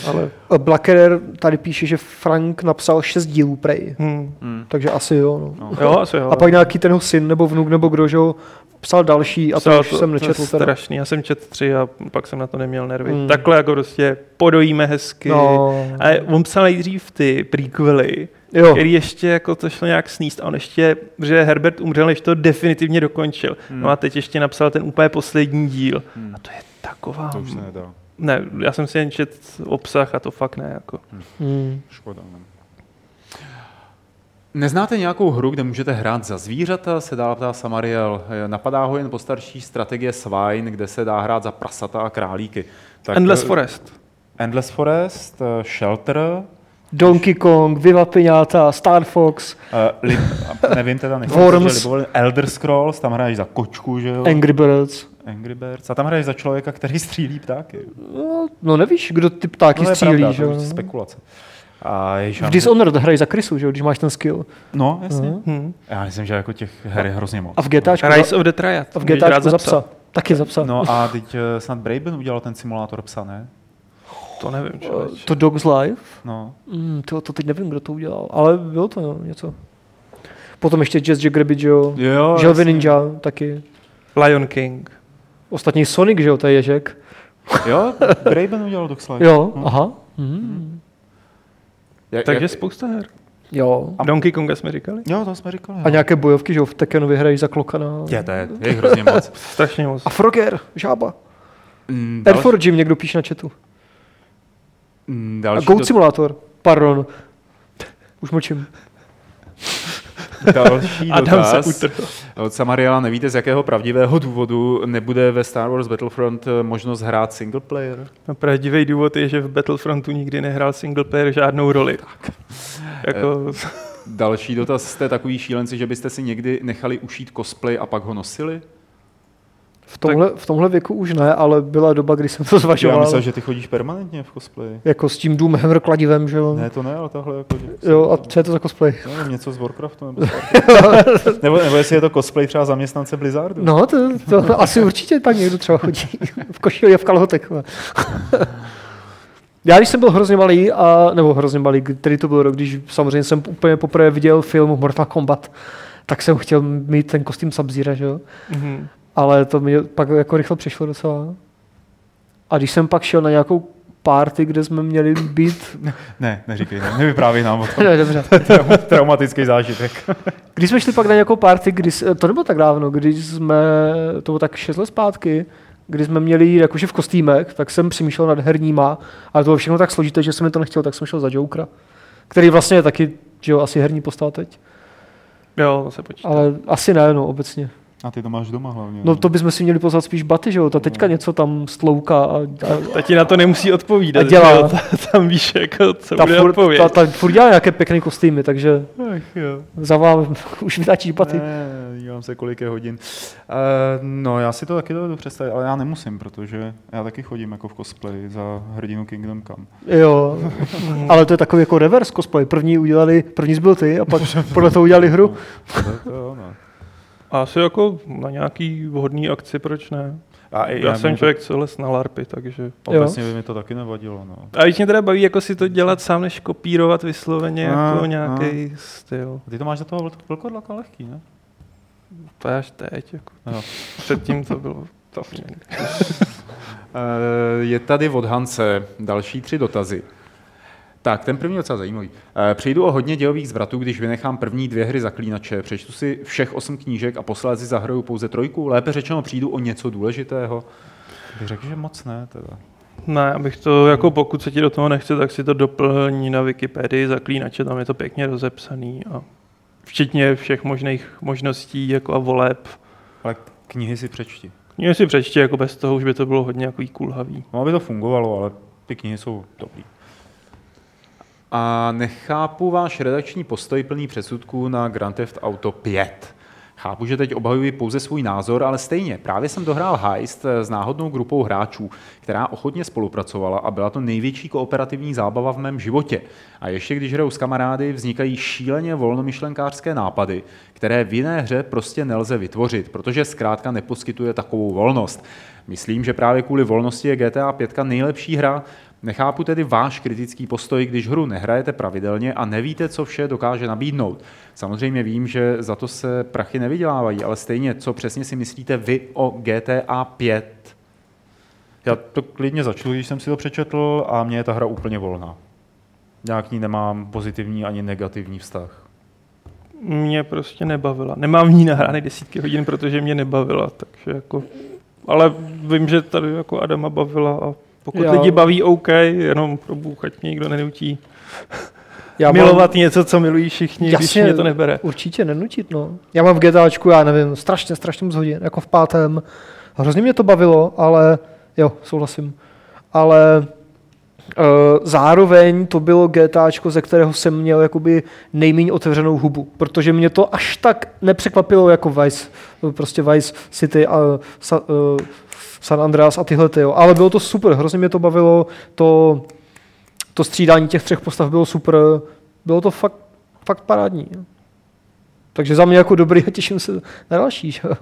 S2: ale...
S3: Blackerer tady píše, že Frank napsal šest dílů prej.
S2: Hmm.
S3: Takže asi jo, no.
S2: Jo, asi jo.
S3: Hm. A pak nějaký ten jeho syn nebo vnuk nebo kdo, že jo, psal další a to
S2: Psal
S3: už jsem
S2: to je
S3: nečetl teda.
S2: strašný, já jsem čet tři a pak jsem na to neměl nervy.
S3: Hmm.
S2: Hmm. Takhle jako prostě podojíme hezky. No.
S3: No,
S2: A on psal nejdřív ty prequely,
S3: jo,
S2: který ještě jako to šlo nějak sníst a on ještě, že Herbert umřel, než to definitivně dokončil. Hmm. No a teď ještě napsal ten úplně poslední díl. Hmm. A to je taková...
S5: To už se nedá.
S2: Ne, já jsem si jen čet obsah a to fakt ne. Jako.
S3: mm,
S5: Škoda. no. Ne?
S9: Neznáte nějakou hru, kde můžete hrát za zvířata, se dál ptá Samariel. Eh, Napadá ho jen postarší strategie Swine, kde se dá hrát za prasata a králíky.
S2: Tak
S9: Tak,
S2: Endless
S9: eh,
S2: Forest.
S5: Endless Forest, eh, Shelter, uh,
S3: Donkey Kong, Viva Piñata, Star Fox,
S5: lib, a nevím teda, nechci
S3: Worms.
S5: říct, že libovoli- Elder Scrolls, tam hraješ za kočku, že jo?
S3: Angry Birds.
S5: Angry Birds. A tam hraješ za člověka, který střílí ptáky.
S3: No, no nevíš, kdo ty ptáky
S5: to je
S3: střílí,
S5: pravda,
S3: že
S5: to je
S3: jo.
S5: prostě spekulace. A ježiš, já
S3: V
S5: myslím-
S3: Dishonored hrají za krysu, že jo, když máš ten skill.
S5: No, jasně.
S2: Hm.
S5: Já myslím, že jako těch her je hrozně moc.
S3: A v GTAčku,
S2: Rise of the Triad.
S3: a v
S2: Můžeš hrát
S3: GTAčku
S2: za
S3: za
S2: psa.
S3: psa. Taky za psa.
S5: No a teď eh, snad Braben udělal ten simulátor psa, ne?
S2: To nevím, člověč.
S3: To Dogs Life?
S5: No.
S3: Mm, to, to teď nevím, kdo to udělal, ale bylo to jo, něco. Potom ještě Jazz Jack Rabbit, že jo.
S5: Jo,
S3: Želvy Ninja taky.
S2: Lion King.
S3: Ostatní Sonic, že jo, to je ježek.
S5: jo Braben udělal Doxlight.
S3: Jo, aha. Mm.
S9: Jak,
S2: Takže
S9: Takže jak,
S2: spousta her.
S3: Jo.
S2: A Donkey Konga jsme říkali?
S5: Jo, to jsme říkali. no.
S3: A nějaké bojovky, že jo, v Tekkenovi hrají za klokana.
S9: je, to je, je jich hrozně moc.
S2: Strašně moc.
S3: A Frogger, žába.
S9: Mm,
S3: Air
S9: další-
S3: for Jim někdo píše na chatu.
S9: mm,
S3: A
S9: Další,
S3: Goat
S9: do,
S3: Simulator, pardon. Už mlčím.
S9: další
S2: Adam se
S9: dotaz.
S2: utrhl.
S9: Od Samariela nevíte, z jakého pravdivého důvodu nebude ve Star Wars Battlefront eh, možnost hrát single player?
S2: No, pravdivý důvod je, že v Battlefrontu nikdy nehrál single player žádnou roli. Tak. Jako,
S9: Další dotaz. Jste takový šílenci, že byste si někdy nechali ušít cosplay a pak ho nosili?
S3: V tomhle, v tomhle věku už ne, ale byla doba, kdy jsem to
S5: Já
S3: zvažoval.
S5: myslel, že ty chodíš permanentně v cosplayi.
S3: Jako s tím Doomhammer kladivem, že jo.
S5: Ne, to ne, ale tahle jako... Že...
S3: Jo, a co je to za cosplay?
S5: Nevím, něco z Warcraftu nebo, z Warcraftu. nebo, nebo jestli je to cosplay třeba zaměstnance Blizzardu.
S3: No, to, to asi určitě tak někdo třeba chodí. V košili a v kalhotech. ale. Já když jsem byl hrozně malý, a, nebo hrozně malý, který to byl rok, když samozřejmě jsem úplně poprvé viděl film Mortal Kombat, tak jsem chtěl mít ten kostým Sabzíra, že jo?
S2: mhm.
S3: Ale to mě pak jako rychle přišlo docela. A když jsem pak šel na nějakou party, kde jsme měli být.
S1: Ne, neříkej, ne, nevyprávěj nám o tom.
S3: ne, dobře.
S1: Traumatický zážitek.
S3: Když jsme šli pak na nějakou party, kdy, s- to nebylo tak dávno, když jsme, to bylo tak 6 let zpátky, kdy jsme měli jít jakože v kostýmech, tak jsem přemýšlel nad herníma, ale to bylo všechno tak složité, že jsem mi to nechtěl, tak jsem šel za Jokera, který vlastně je taky, že jo, asi herní postava teď,
S2: Jo, to se počítá.
S3: ale asi ne, no, obecně.
S1: A ty to máš doma hlavně.
S3: No to bychom si měli pozvat spíš baty, že jo, ta teďka něco tam stlouká a, a
S2: Ta ti na to nemusí odpovídat.
S3: A dělá.
S2: že jo, Ta, tam víš, jako, co
S3: ta,
S2: bude
S3: furt,
S2: odpověď.
S3: ta, ta furt dělá nějaké pěkné kostýmy, takže
S2: Ach, jo.
S3: za vám už vytáčíš baty.
S1: Ne, dívám se, kolik je hodin. Uh, no, já si to taky dovedu představit, ale já nemusím, protože já taky chodím jako v cosplay za hrdinu Kingdom Come.
S3: Jo, ale to je takový jako reverse cosplay. První udělali, první zbyl ty a pak podle toho udělali hru.
S1: To, to, jo, no.
S2: A asi jako na nějaký vhodný akci, proč ne?
S1: A i
S2: Já, já jsem
S1: mě
S2: člověk, no. co les na larpy, takže...
S1: To, obecně by mi to taky nevadilo. No.
S2: A víc mě teda baví jako si to dělat sám, než kopírovat vysloveně
S1: A,
S2: jako nějaký styl.
S1: A ty to máš za toho vlk- vlkodlaka lehký, ne?
S2: To je až teď. Jako.
S1: Jo.
S2: Předtím to bylo... vlastně- To
S5: Eh, Je tady od Hance další tři dotazy. Tak, ten první je docela zajímavý. Eh, Přijdu o hodně dějových zvratů, když vynechám první dvě hry zaklínače, přečtu si všech osm knížek a posléze zahraju pouze trojku. Lépe řečeno, přijdu o něco důležitého.
S1: Bych řekl, že moc ne. Teda.
S2: ne, abych to, jako pokud se ti do toho nechce, tak si to doplní na Wikipedii, zaklínače, tam je to pěkně rozepsaný a včetně všech možných možností jako a voleb.
S1: Ale knihy si přečti.
S2: Knihy si přečti, jako bez toho už by to bylo hodně jako kulhavý.
S1: No, aby to fungovalo, ale ty knihy jsou dobrý.
S5: A nechápu váš redakční postoj plný předsudků na Grand Theft Auto 5. Chápu, že teď obhajuji pouze svůj názor, ale stejně. Právě jsem dohrál heist eh, s náhodnou grupou hráčů, která ochotně spolupracovala a byla to největší kooperativní zábava v mém životě. A ještě když hraju s kamarády, vznikají šíleně volnomyšlenkářské nápady, které v jiné hře prostě nelze vytvořit, protože zkrátka neposkytuje takovou volnost. Myslím, že právě kvůli volnosti je GTA 5 nejlepší hra, Nechápu tedy váš kritický postoj, když hru nehrajete pravidelně a nevíte, co vše dokáže nabídnout. Samozřejmě vím, že za to se prachy nevydělávají, ale stejně, co přesně si myslíte vy o GTA 5?
S1: Já to klidně začnu, když jsem si to přečetl a mě je ta hra úplně volná. Já k ní nemám pozitivní ani negativní vztah.
S2: Mě prostě nebavila. Nemám v ní nahrány desítky hodin, protože mě nebavila, takže jako... Ale vím, že tady jako Adama bavila a pokud
S3: Já-
S2: Já... lidi baví OK, jenom pro Bůh, ať mě nikdo nenutí
S3: Já mám-
S2: milovat něco, co milují všichni, Jasně. když
S3: Jasně.
S2: mě to nebere.
S3: Určitě nenutit, no. Já mám v GTAčku, já nevím, strašně, strašně moc hodin, jako v pátém. Hrozně mě to bavilo, ale jo, souhlasím. Ale uh, zároveň to bylo GTAčko, ze kterého jsem měl jakoby nejméně otevřenou hubu, protože mě to až tak nepřekvapilo jako Vice, prostě Vice City a sa, uh, San Andreas a tyhle, ty, jo. ale bylo to super, hrozně mě to bavilo, to, to střídání těch třech postav bylo super, bylo to fakt, fakt parádní. no. jo. Takže za mě jako dobrý a těším se na další. Že? jo.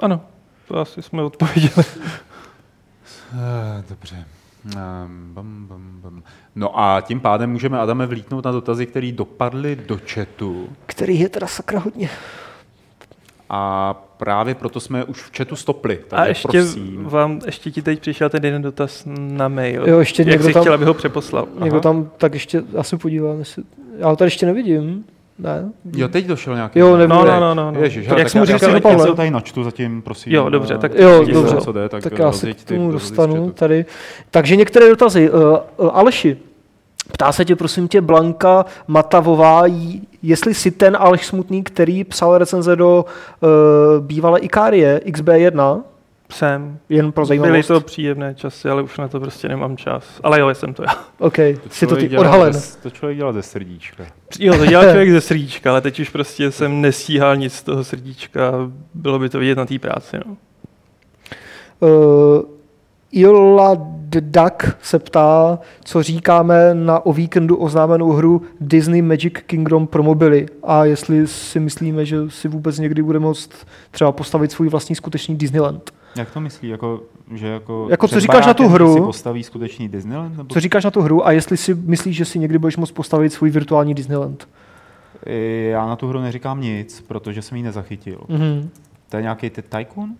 S2: Ano, to asi jsme odpověděli.
S5: Dobře. Bam, bam, bam. No a tím pádem můžeme, Adame, vlítnout na dotazy, které dopadly do chatu.
S3: Který je teda sakra hodně.
S5: A právě proto jsme už v chatu stopli. Takže
S2: A ještě
S5: prosím.
S2: vám, ještě ti teď přišel ten jeden dotaz na mail.
S3: Jo, ještě
S2: Jak
S3: někdo
S2: jsi
S3: tam-
S2: chtěl, aby ho přeposlal.
S3: Někdo tam, tak ještě, já se podívám, jestli, já ho tady ještě nevidím. Ne?
S5: Jo, teď došel nějaký.
S3: Jo, nevím.
S2: No, no, no, no. no.
S5: Ježiš,
S2: tak
S5: hele,
S2: jak
S5: tak
S2: jsem
S5: já-
S2: mu
S1: Já
S3: Říkal
S1: si,
S3: to
S2: říkal,
S1: já
S3: Pavel.
S1: si to tady načtu zatím, prosím.
S2: Jo, dobře,
S1: A-
S2: tak-
S3: Jo,
S2: Ti
S3: dobře.
S2: se
S5: co jde, tak eh,
S3: tak já se
S5: rozjeď
S3: k
S5: ty,
S3: tomu
S5: rozjeď z
S3: dostanu
S5: chatu.
S3: tady. Takže některé dotazy. Uh, uh, Aleši, ptá se tě prosím tě Blanka Matavová, j- jestli si ten Aleš Smutný, který psal recenze do uh, bývalé Ikárie XB1,
S2: jsem.
S3: jen pro
S2: Byly
S3: zajímavost.
S2: to příjemné časy, ale už na to prostě nemám čas. Ale jo, jsem to já.
S3: OK, jsi to
S1: člověk
S3: ty
S1: dělá
S3: odhalen.
S1: ze- To člověk dělá ze srdíčka.
S2: Jo, to dělal člověk ze srdíčka, ale teď už prostě jsem nestíhal nic z toho srdíčka. Bylo by to vidět na té práci. No.
S3: Uh, Iola Duck se ptá, co říkáme na o víkendu oznámenou hru Disney Magic Kingdom pro mobily a jestli si myslíme, že si vůbec někdy bude moct třeba postavit svůj vlastní skutečný Disneyland.
S1: Jak to myslí? Jako, že jako
S3: Jako, co
S1: před
S3: říkáš na tu
S1: barákem
S3: hru?
S1: Si postaví skutečný Disneyland? Nebo...
S3: Co říkáš na tu hru a jestli si myslíš, že si někdy budeš moct postavit svůj virtuální Disneyland?
S1: Já na tu hru neříkám nic, protože jsem ji nezachytil.
S3: Mm-hmm.
S1: To je nějaký ty tycoon?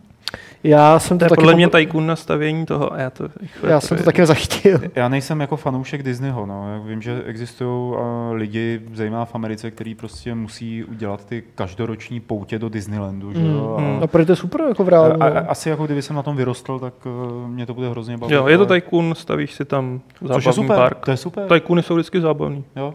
S3: Já jsem
S2: To
S3: to,
S2: je
S3: taky
S2: podle
S3: pom-
S2: mě tajkun na stavění toho a já to...
S3: já jsem to taky nezachytil.
S1: Já nejsem jako fanoušek Disneyho, no. Já vím, že existují eh, lidi, zejména v Americe, kteří prostě musí udělat ty každoroční poutě do Disneylandu, že jo?
S2: Mm, mm.
S1: A,
S3: No, protože to je super jako v reálu.
S1: Mhm. a, a, asi jako kdyby jsem na tom vyrostl, tak eh, mě to bude hrozně bavit.
S2: Jo, je to
S1: ale-
S2: tajkun, stavíš si tam
S1: Což je
S2: zábavní
S1: super,
S2: park.
S1: to je super.
S2: Tajkuny jsou vždycky zábavní.
S1: Jo.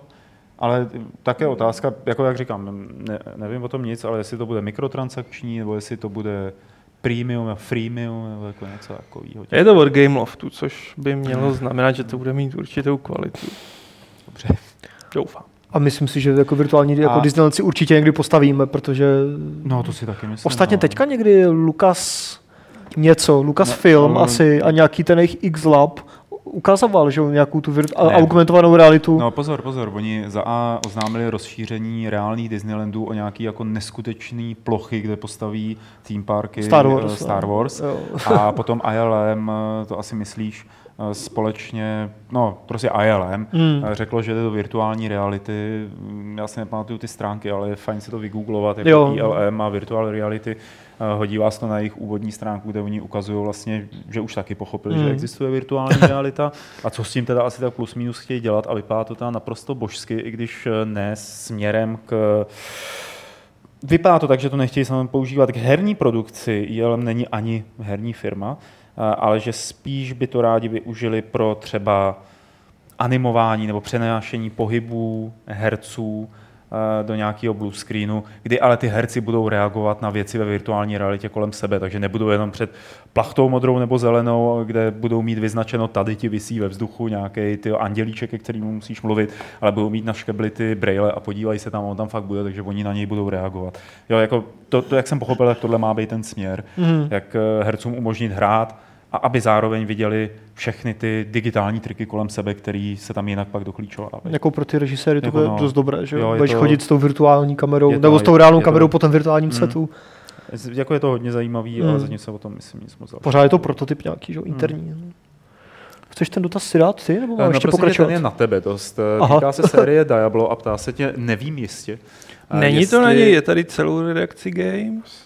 S1: Ale také otázka, jako jak říkám, ne, nevím o tom nic, ale jestli to bude mikrotransakční, nebo jestli to bude premium a freemium, nebo jako něco takového.
S2: Je to od Game Loftu, což by mělo znamenat, že to bude mít určitou kvalitu.
S1: Dobře.
S2: Doufám.
S3: A myslím si, že jako virtuální jako
S1: A-
S3: Disneyland si určitě někdy postavíme, protože
S1: No, to si taky myslím.
S3: ostatně
S1: no.
S3: teďka někdy Lukas něco, Lukas no, Film
S1: no,
S3: asi a nějaký ten jejich X-Lab ukazoval, že jo, nějakou tu virt- a-
S1: Ne.
S3: augmentovanou realitu.
S1: No pozor, pozor, oni za A oznámili rozšíření reálných Disneylandů o nějaký jako neskutečný plochy, kde postaví theme parky
S3: Star Wars,
S1: eh, Star
S3: no.
S1: Wars.
S3: Jo.
S1: A potom ILM, eh, to asi myslíš, eh, společně, no prostě ILM,
S3: Mm.
S1: mm. řeklo, že jde do virtuální reality. Mm, Já si nepamatuju ty stránky, ale je fajn si to vygooglovat, jako
S3: Jo.
S1: jo. ILM a virtual reality. Eh, Hodí vás to na jejich úvodní stránku, kde oni ukazují vlastně, že už taky pochopili, mm.
S3: Mm.
S1: že existuje virtuální realita a co s tím teda asi tak plus minus chtějí dělat a vypadá to teda naprosto božsky, i když eh, ne směrem k Vypadá to tak, že to nechtějí samozřejmě používat k herní produkci, ILM není ani herní firma, a- ale že spíš by to rádi využili pro třeba animování nebo přenášení pohybů herců eh, do nějakého blue screenu, kdy ale ty herci budou reagovat na věci ve virtuální realitě kolem sebe, takže nebudou jenom před plachtou modrou nebo zelenou, kde budou mít vyznačeno tady ti visí ve vzduchu nějaký ty andělíček, ke kterému musíš mluvit, ale budou mít na škebli ty braille a podívají se tam, on tam fakt bude, takže oni na něj budou reagovat. Jo, jako to, to jak jsem pochopil, tak tohle má být ten směr, mm. jak eh, hercům umožnit hrát a aby zároveň viděli všechny ty digitální triky kolem sebe, který se tam jinak pak doklíčovávají.
S3: Jako pro ty režiséry to
S1: Jako
S3: bude
S1: no.
S3: dost dobré, že jo?
S1: Jo, je
S3: Budeš
S1: to-
S3: chodit s tou virtuální kamerou,
S1: je to-
S3: nebo s tou
S1: je-
S3: reálnou
S1: je to- Mm.
S3: kamerou po tom virtuálním setu.
S1: Z- Jako je to hodně zajímavý,
S3: Mm.
S1: mm. ale zatím se o tom myslím nic moc.
S3: Pořád je to prototyp nějaký, že
S1: Mm.
S3: jo, interní. Chceš ten dotaz si dát ty,
S1: Eh,
S3: nebo mám
S1: no,
S3: ještě
S5: prosím tě,
S3: pokračovat?
S5: No, prostě Ten je na tebe dost.
S3: Aha.
S5: Aha. Týká se série Diablo a ptá se tě, nevím jistě. eh,
S2: Není
S5: jestli...
S2: to na něj, je tady celou redakci Games?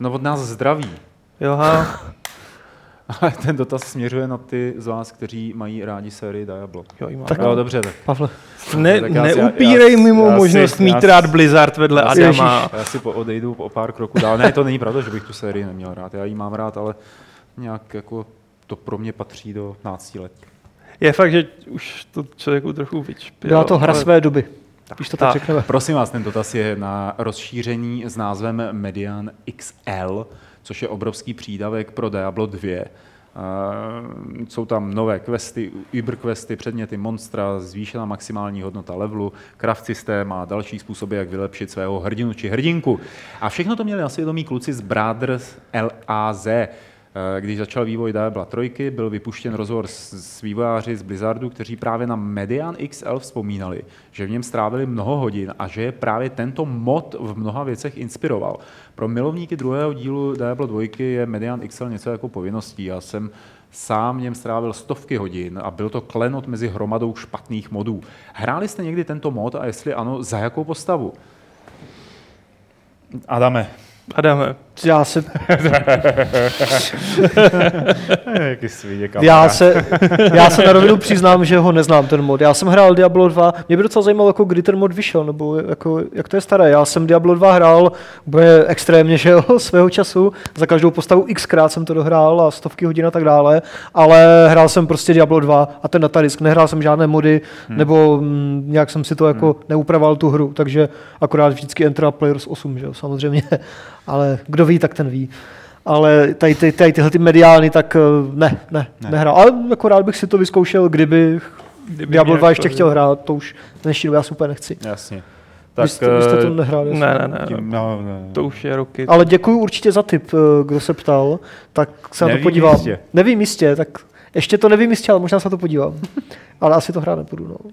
S5: No od nás zdraví.
S2: Joha,
S5: Ale ten dotaz směřuje na ty z vás, kteří mají rádi sérii Diablo.
S2: jo, jí mám
S3: Tak-
S2: rád.
S5: Jo, dobře, tak.
S3: Pavle,
S2: ne,
S5: tak já si-
S2: neupírej
S5: já-
S2: mi mou
S5: já si-
S2: možnost
S5: já
S2: mít
S5: si-
S2: rád Blizzard vedle
S5: já
S3: si-
S2: Adama.
S5: Já si po odejdu o pár kroků dál. Ne, to není pravda, že bych tu sérii neměl rád. Já ji mám rád, ale nějak jako to pro mě patří do 15 let.
S2: Je fakt, že už to člověku trochu vyčpělo.
S3: byla to hra
S2: ale-
S3: své doby, když to tak,
S2: tak.
S3: řekneme.
S5: Prosím vás, ten dotaz je na rozšíření s názvem Median XL, což je obrovský přídavek pro Diablo 2. Uh, jsou tam nové questy, Uber questy, předměty monstra, zvýšená maximální hodnota levelu, craft systém a další způsoby, jak vylepšit svého hrdinu či hrdinku. A všechno to měli na svědomí kluci z Brothers LAZ. Eh, Když začal vývoj Diabla 3, byl vypuštěn rozhovor s, s vývojáři z Blizzardu, kteří právě na Median XL vzpomínali, že v něm strávili mnoho hodin a že je právě tento mod v mnoha věcech inspiroval. Pro milovníky druhého dílu Diablo 2 je Median XL něco jako povinností. Já jsem sám v něm strávil stovky hodin a byl to klenot mezi hromadou špatných modů. Hráli jste někdy tento mod a jestli ano, za jakou postavu?
S1: Adame.
S2: Adame,
S3: Já se,
S1: Jaký svídě,
S3: já, se, já se na rovinu přiznám, že ho neznám ten mod. Já jsem hrál Diablo 2, mě by docela zajímalo, jako kdy ten mod vyšel, nebo jako, jak to je staré. Já jsem Diablo 2 hrál, bude extrémně, že jo, svého času. Za každou postavu xkrát jsem to dohrál a stovky hodin a tak dále, ale hrál jsem prostě Diablo 2 a ten datadisk. Nehrál jsem žádné mody, hmm. nebo mm, nějak jsem si to jako hmm. neupravoval tu hru, takže akorát vždycky Enter a Players 8, že jo, samozřejmě. ale kdo ví, tak ten ví. Ale tady, tady, tady tyhle ty mediální, tak eh, ne, ne, ne. nehrál. Ale jako rád bych si to vyzkoušel, kdyby, kdyby
S2: Kdyby
S3: Diablo
S2: mě
S3: 2 ještě
S2: jako-
S3: chtěl hrát, to už v dnešní době já super nechci.
S1: Jasně.
S3: Tak,
S1: Tak,
S3: vy, jste, vy jste to
S1: eh,
S3: nehráli. asi.
S2: ne, ne, ne,
S1: tím, no, ne.
S2: to už je roky.
S3: Ale děkuji určitě za tip, eh, kdo se ptal, tak se na to
S1: Nevím
S3: podívám.
S1: jistě.
S3: Nevím jistě, tak ještě to nevím jistě, ale možná se na to podívám. ale asi to hrát nepůjdu. No.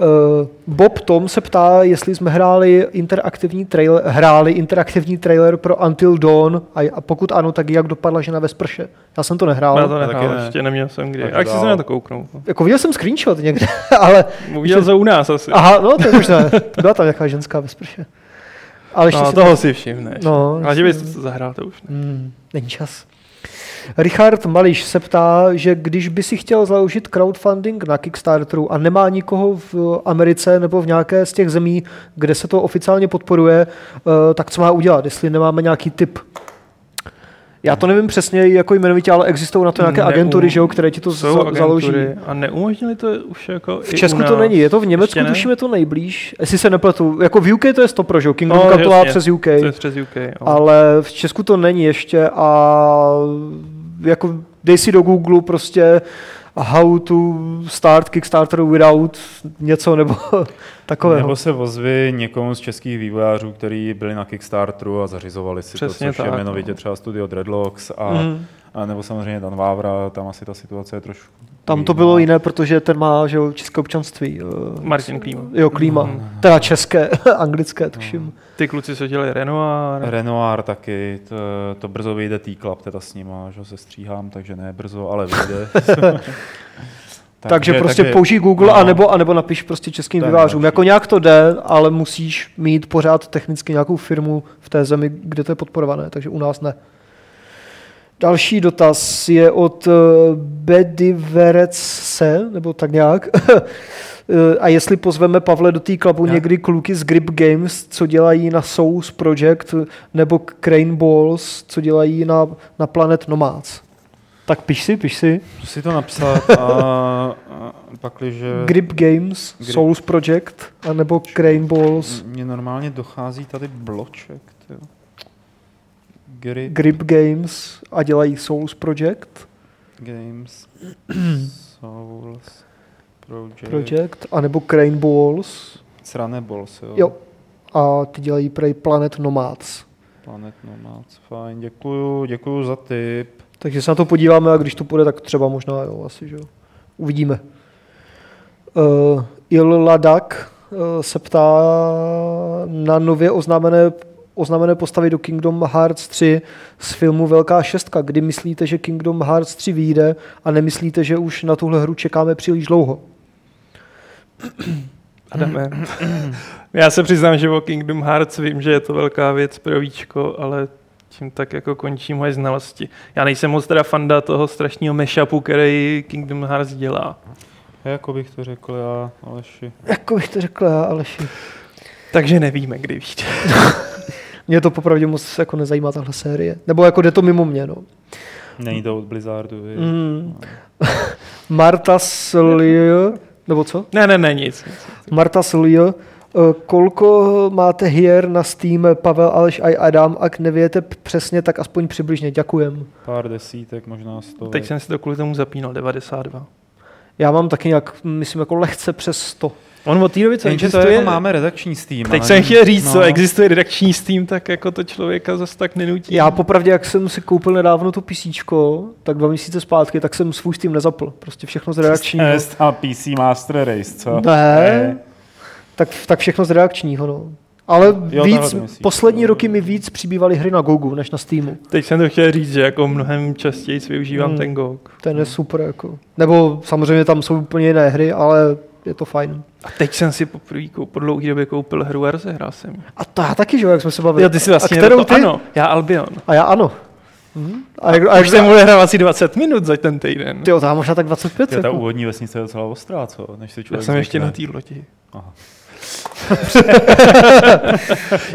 S3: Eh, Bob Tom se ptá, jestli jsme hráli interaktivní trailer, hráli interaktivní trailer pro Until Dawn a, a pokud ano, tak jak dopadla žena ve sprše. Já jsem to nehrál.
S2: Já to
S1: taky
S2: nechal,
S1: ne.
S2: ještě neměl jsem kdy.
S1: Tak
S2: Jak si
S1: dál.
S2: se na to kouknout? no.
S3: Jako viděl jsem screenshot někde, ale
S2: Uviděl to u nás asi.
S3: Ah, Aha, no to je možné. Byla tam nějaká ženská ve sprše. Ale ještě
S2: No,
S3: si
S2: toho si všimneš.
S3: No,
S2: Ale že
S3: jasně.
S2: bys to zahrál, to už ne.
S3: Hmm, není čas. Richard Mališ se ptá, že když by si chtěl založit crowdfunding na Kickstarteru a nemá nikoho v Americe nebo v nějaké z těch zemí, kde se to oficiálně podporuje, eh, tak co má udělat, jestli nemáme nějaký tip? Já to nevím přesně, jako jmenovitě, ale existují na to nějaké
S2: Neu-
S3: agentury, že jo, které ti to
S2: Jsou
S3: za-
S2: agentury
S3: založí.
S2: A neumožnili to už jako
S3: V
S2: i
S3: Česku
S2: u nás.
S3: to není, je to v Německu,
S2: Ještě ne?
S3: tuším, je to nejblíž. Jestli se nepletu, jako v UK to je 100 pro, že jo, Kingdom
S2: No,
S3: Come to má
S2: jasně,
S3: přes UK.
S2: To je přes UK, jo.
S3: Ale v Česku to není ještě a jako dej si do Google prostě how to start Kickstarter without něco nebo takového.
S1: Nebo se ozvi někomu z českých vývojářů, kteří byli na Kickstarteru a zařizovali si
S2: Přesně
S1: to, což
S2: tak,
S1: je
S2: no.
S1: jmenovitě třeba studio Dreadlocks a,
S3: Mhm.
S1: mm. a nebo samozřejmě Dan Vávra, tam asi ta situace je trošku...
S3: Tam to
S1: no.
S3: bylo jiné, protože ten má že jo, české občanství. eh,
S2: Martin Klíma.
S3: Jo, klíma. Teda české, anglické, tuším.
S2: Ty kluci, co dělají Renoir.
S1: Renoir taky, to, to brzo vyjde T-Club teda s nima, že ho se stříhám, takže ne brzo, ale vyjde.
S3: Takže prostě použij Google,
S1: no.
S3: anebo, anebo napiš prostě českým
S1: To je
S3: vývářům.
S1: nejlepší.
S3: Jako nějak to jde, ale musíš mít pořád technicky nějakou firmu v té zemi, kde to je podporované, takže u nás ne. Další dotaz je od eh, Bediverece, nebo tak nějak. Eh, A jestli pozveme Pavle do té klubu někdy kluky z Grip Games, co dělají na Souls Project, nebo Crane Balls, co dělají na, na Planet Nomads. Tak piš si, piš si.
S1: Si to napsat a, a eh, pakliže...
S3: Grip Games,
S1: Grip.
S3: Souls Project, anebo Crane Balls,
S1: Mně normálně dochází tady bloček, tyjo. Grip
S3: Grip Games a dělají Souls Project,
S1: Games Souls Project,
S3: Project anebo Crane Balls,
S1: Sranebols, jo?
S3: jo. A ty dělají prej Planet Nomads.
S1: Planet Nomads, fajn, děkuju, děkuju za tip.
S3: Takže se na to podíváme a když to půjde, tak třeba možná, jo, asi, že jo. Uvidíme. Uh, Il Ladak uh, se ptá na nově oznámené, oznámené postavy do Kingdom Hearts 3 z filmu Velká šestka. Kdy myslíte, že Kingdom Hearts 3 vyjde a nemyslíte, že už na tuhle hru čekáme příliš dlouho?
S2: Adame. Já se přiznám, že o Kingdom Hearts vím, že je to velká věc pro víčko, ale tím tak jako končí moje znalosti. Já nejsem moc teda fanda toho strašného mashupu, který Kingdom Hearts dělá.
S1: Jako bych to řekl já, Aleši.
S3: Jako bych to řekl já, Aleši.
S2: Takže nevíme, kdy vyjde.
S3: Mě to popravdě moc jako nezajímá tahle série. Nebo jako jde to mimo mě, no.
S1: Není to od Blizzardu, vy.
S3: Mm. Marta Slier, nebo co?
S2: Ne, ne, ne, nic. nic.
S3: Marta Sulio, eh, kolko máte hier na Steam Pavel Aleš a Adam, ak nevíte p- přesně, tak aspoň přibližně, děkujem.
S1: Pár desítek, možná sto.
S2: Teď jsem si to kvůli tomu zapínal, 92.
S3: Já mám taky nějak, myslím, jako lehce přes 100.
S2: On od té doby, co
S1: Jenže to jako
S2: existuje,
S1: máme redakční s tým.
S2: Teď
S1: ale
S2: jsem
S1: není-
S2: chtěl říct, co
S1: no.
S2: existuje redakční Steam, tak jako to člověka zase tak nenutí.
S3: Já popravdě, jak jsem si koupil nedávno to písíčko, tak dva měsíce zpátky, tak jsem svůj Steam nezapl. Prostě všechno z redakčního.
S1: Eh,
S5: Test a PC Master Race, co?
S3: Ne, tak, tak všechno z redakčního, no. Ale
S1: E. Jo,
S3: víc,
S1: takhle to myslíš.
S3: poslední roky mi víc přibývaly hry na Gogu než na Steamu.
S2: Teď jsem to chtěl říct, že jako mnohem častěji využívám
S3: Hmm.
S2: ten GOG.
S3: Ten je super, jako. Nebo samozřejmě tam jsou úplně jiné hry, ale je to fajn.
S2: A teď jsem si poprvé kou- po dlouhé době koupil hru a rozehrál jsem ji.
S3: A to já taky, že jo, jak jsme se bavili.
S2: Jo, ty si vlastně
S3: a kterou
S2: to,
S3: ty?
S2: ano, já Albion.
S3: A já ano. A, jak, a
S2: A
S3: jak
S2: už jsem
S3: jsem...
S2: odehrál asi 20 minut za ten týden.
S3: Ty jo, tam možná tak 25.
S1: Je ta
S3: Jako.
S1: úvodní vesnice je docela ostrá, co? Než se
S2: Já
S1: člověk
S2: jsem ještě
S1: zvykne.
S2: na té lodi.
S1: Aha.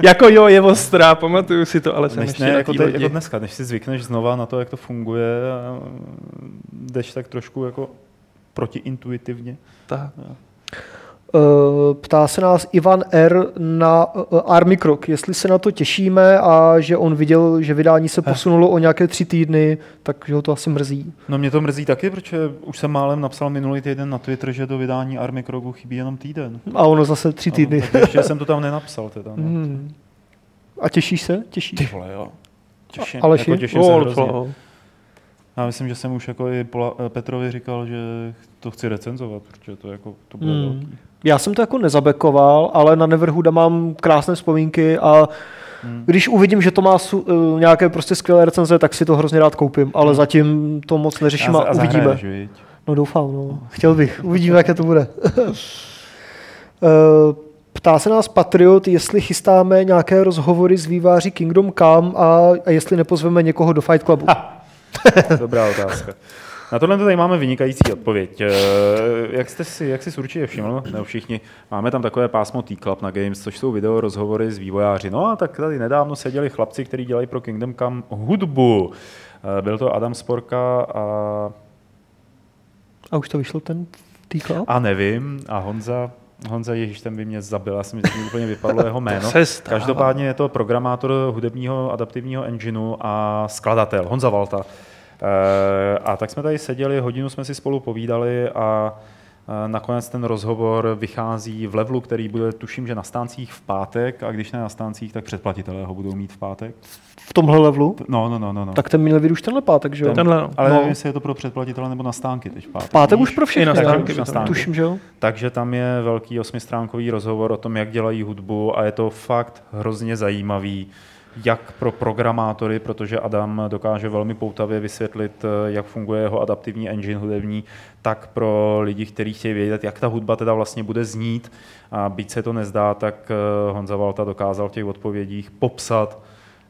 S2: jako jo, je ostrá, pamatuju si to, ale jsem
S1: Než
S2: ještě
S1: ne,
S2: na
S1: jako,
S2: té
S1: te,
S2: lodi.
S1: jako dneska, než si zvykneš znova na to, jak to funguje, a mm, jdeš tak trošku jako protiintuitivně.
S2: Tak.
S3: Eh, Ptá se nás Ivan R. na eh, Army Krok, jestli se na to těšíme a že on viděl, že vydání se
S2: Eh.
S3: posunulo o nějaké tři týdny, takže ho to asi mrzí.
S1: No mě to mrzí taky, protože už jsem málem napsal minulý týden na Twitter, že do vydání Army Krogu chybí jenom týden.
S3: A ono zase tři
S1: No,
S3: týdny.
S1: takže ještě jsem to tam nenapsal teda. No.
S3: Hmm. A těšíš se? Těšíš?
S1: Ty vole, jo. Těším,
S3: A- Aleši?
S1: jako těším se
S2: Wall
S1: hrozně.
S2: Flow.
S1: Já myslím, že jsem už jako i Pola, eh, Petrovi říkal, že to chci recenzovat, protože to jako to bude
S3: Hmm.
S1: velký.
S3: Já jsem to jako nezabekoval, ale na Neverhuda mám krásné vzpomínky a když uvidím, že to má su, eh, nějaké prostě skvělé recenze, tak si to hrozně rád koupím, ale zatím to moc neřeším Hmm. a,
S1: za-
S3: uvidíme.
S1: zahraješ, viď?
S3: No doufám, no. Chtěl bych. Uvidíme, jaké to bude. Eh, Ptá se nás Patriot, jestli chystáme nějaké rozhovory s výváři Kingdom Come a, a jestli nepozveme někoho do Fight Clubu.
S1: Dobrá otázka. Na tohle tady máme vynikající odpověď. Eh, Jak jste si, jak jsi si určitě všiml, ne všichni, máme tam takové pásmo T-Club na Games, což jsou video rozhovory s vývojáři. No a tak tady nedávno seděli chlapci, kteří dělají pro Kingdom Come hudbu. Eh, Byl to Adam Sporka a,
S3: A už to vyšlo ten týkal?
S1: a nevím, a Honza Honza Ježíš, ten by mě zabil, já jsem mi teď úplně vypadlo jeho jméno.
S2: se stává.
S1: Každopádně je to programátor hudebního adaptivního engineu a skladatel Honza Valta. Eh, A tak jsme tady seděli, hodinu jsme si spolu povídali a eh, nakonec ten rozhovor vychází v levelu, který bude, tuším, že na stáncích v pátek, a když ne na stáncích, tak předplatitelé ho budou mít v pátek.
S3: V tomhle levelu?
S1: No, no, no, no. no.
S3: Tak ten měl být už tenhle pátek, že jo?
S2: Tenhle, no.
S1: Ale
S3: no.
S1: nevím, jestli je to pro předplatitele nebo na stánky teď v pátek.
S3: Pátek
S1: víš?
S3: už pro všechny,
S2: na
S3: ne?
S2: stránky by to
S1: bylo.
S3: Tuším, že jo?
S1: Takže tam je velký osmistránkový rozhovor o tom, jak dělají hudbu a je to fakt hrozně zajímavý, jak pro programátory, protože Adam dokáže velmi poutavě vysvětlit, eh, jak funguje jeho adaptivní engine hudební, tak pro lidi, kteří chtějí vědět, jak ta hudba teda vlastně bude znít. A byť se to nezdá, tak eh, Honza Valta dokázal v těch odpovědích popsat,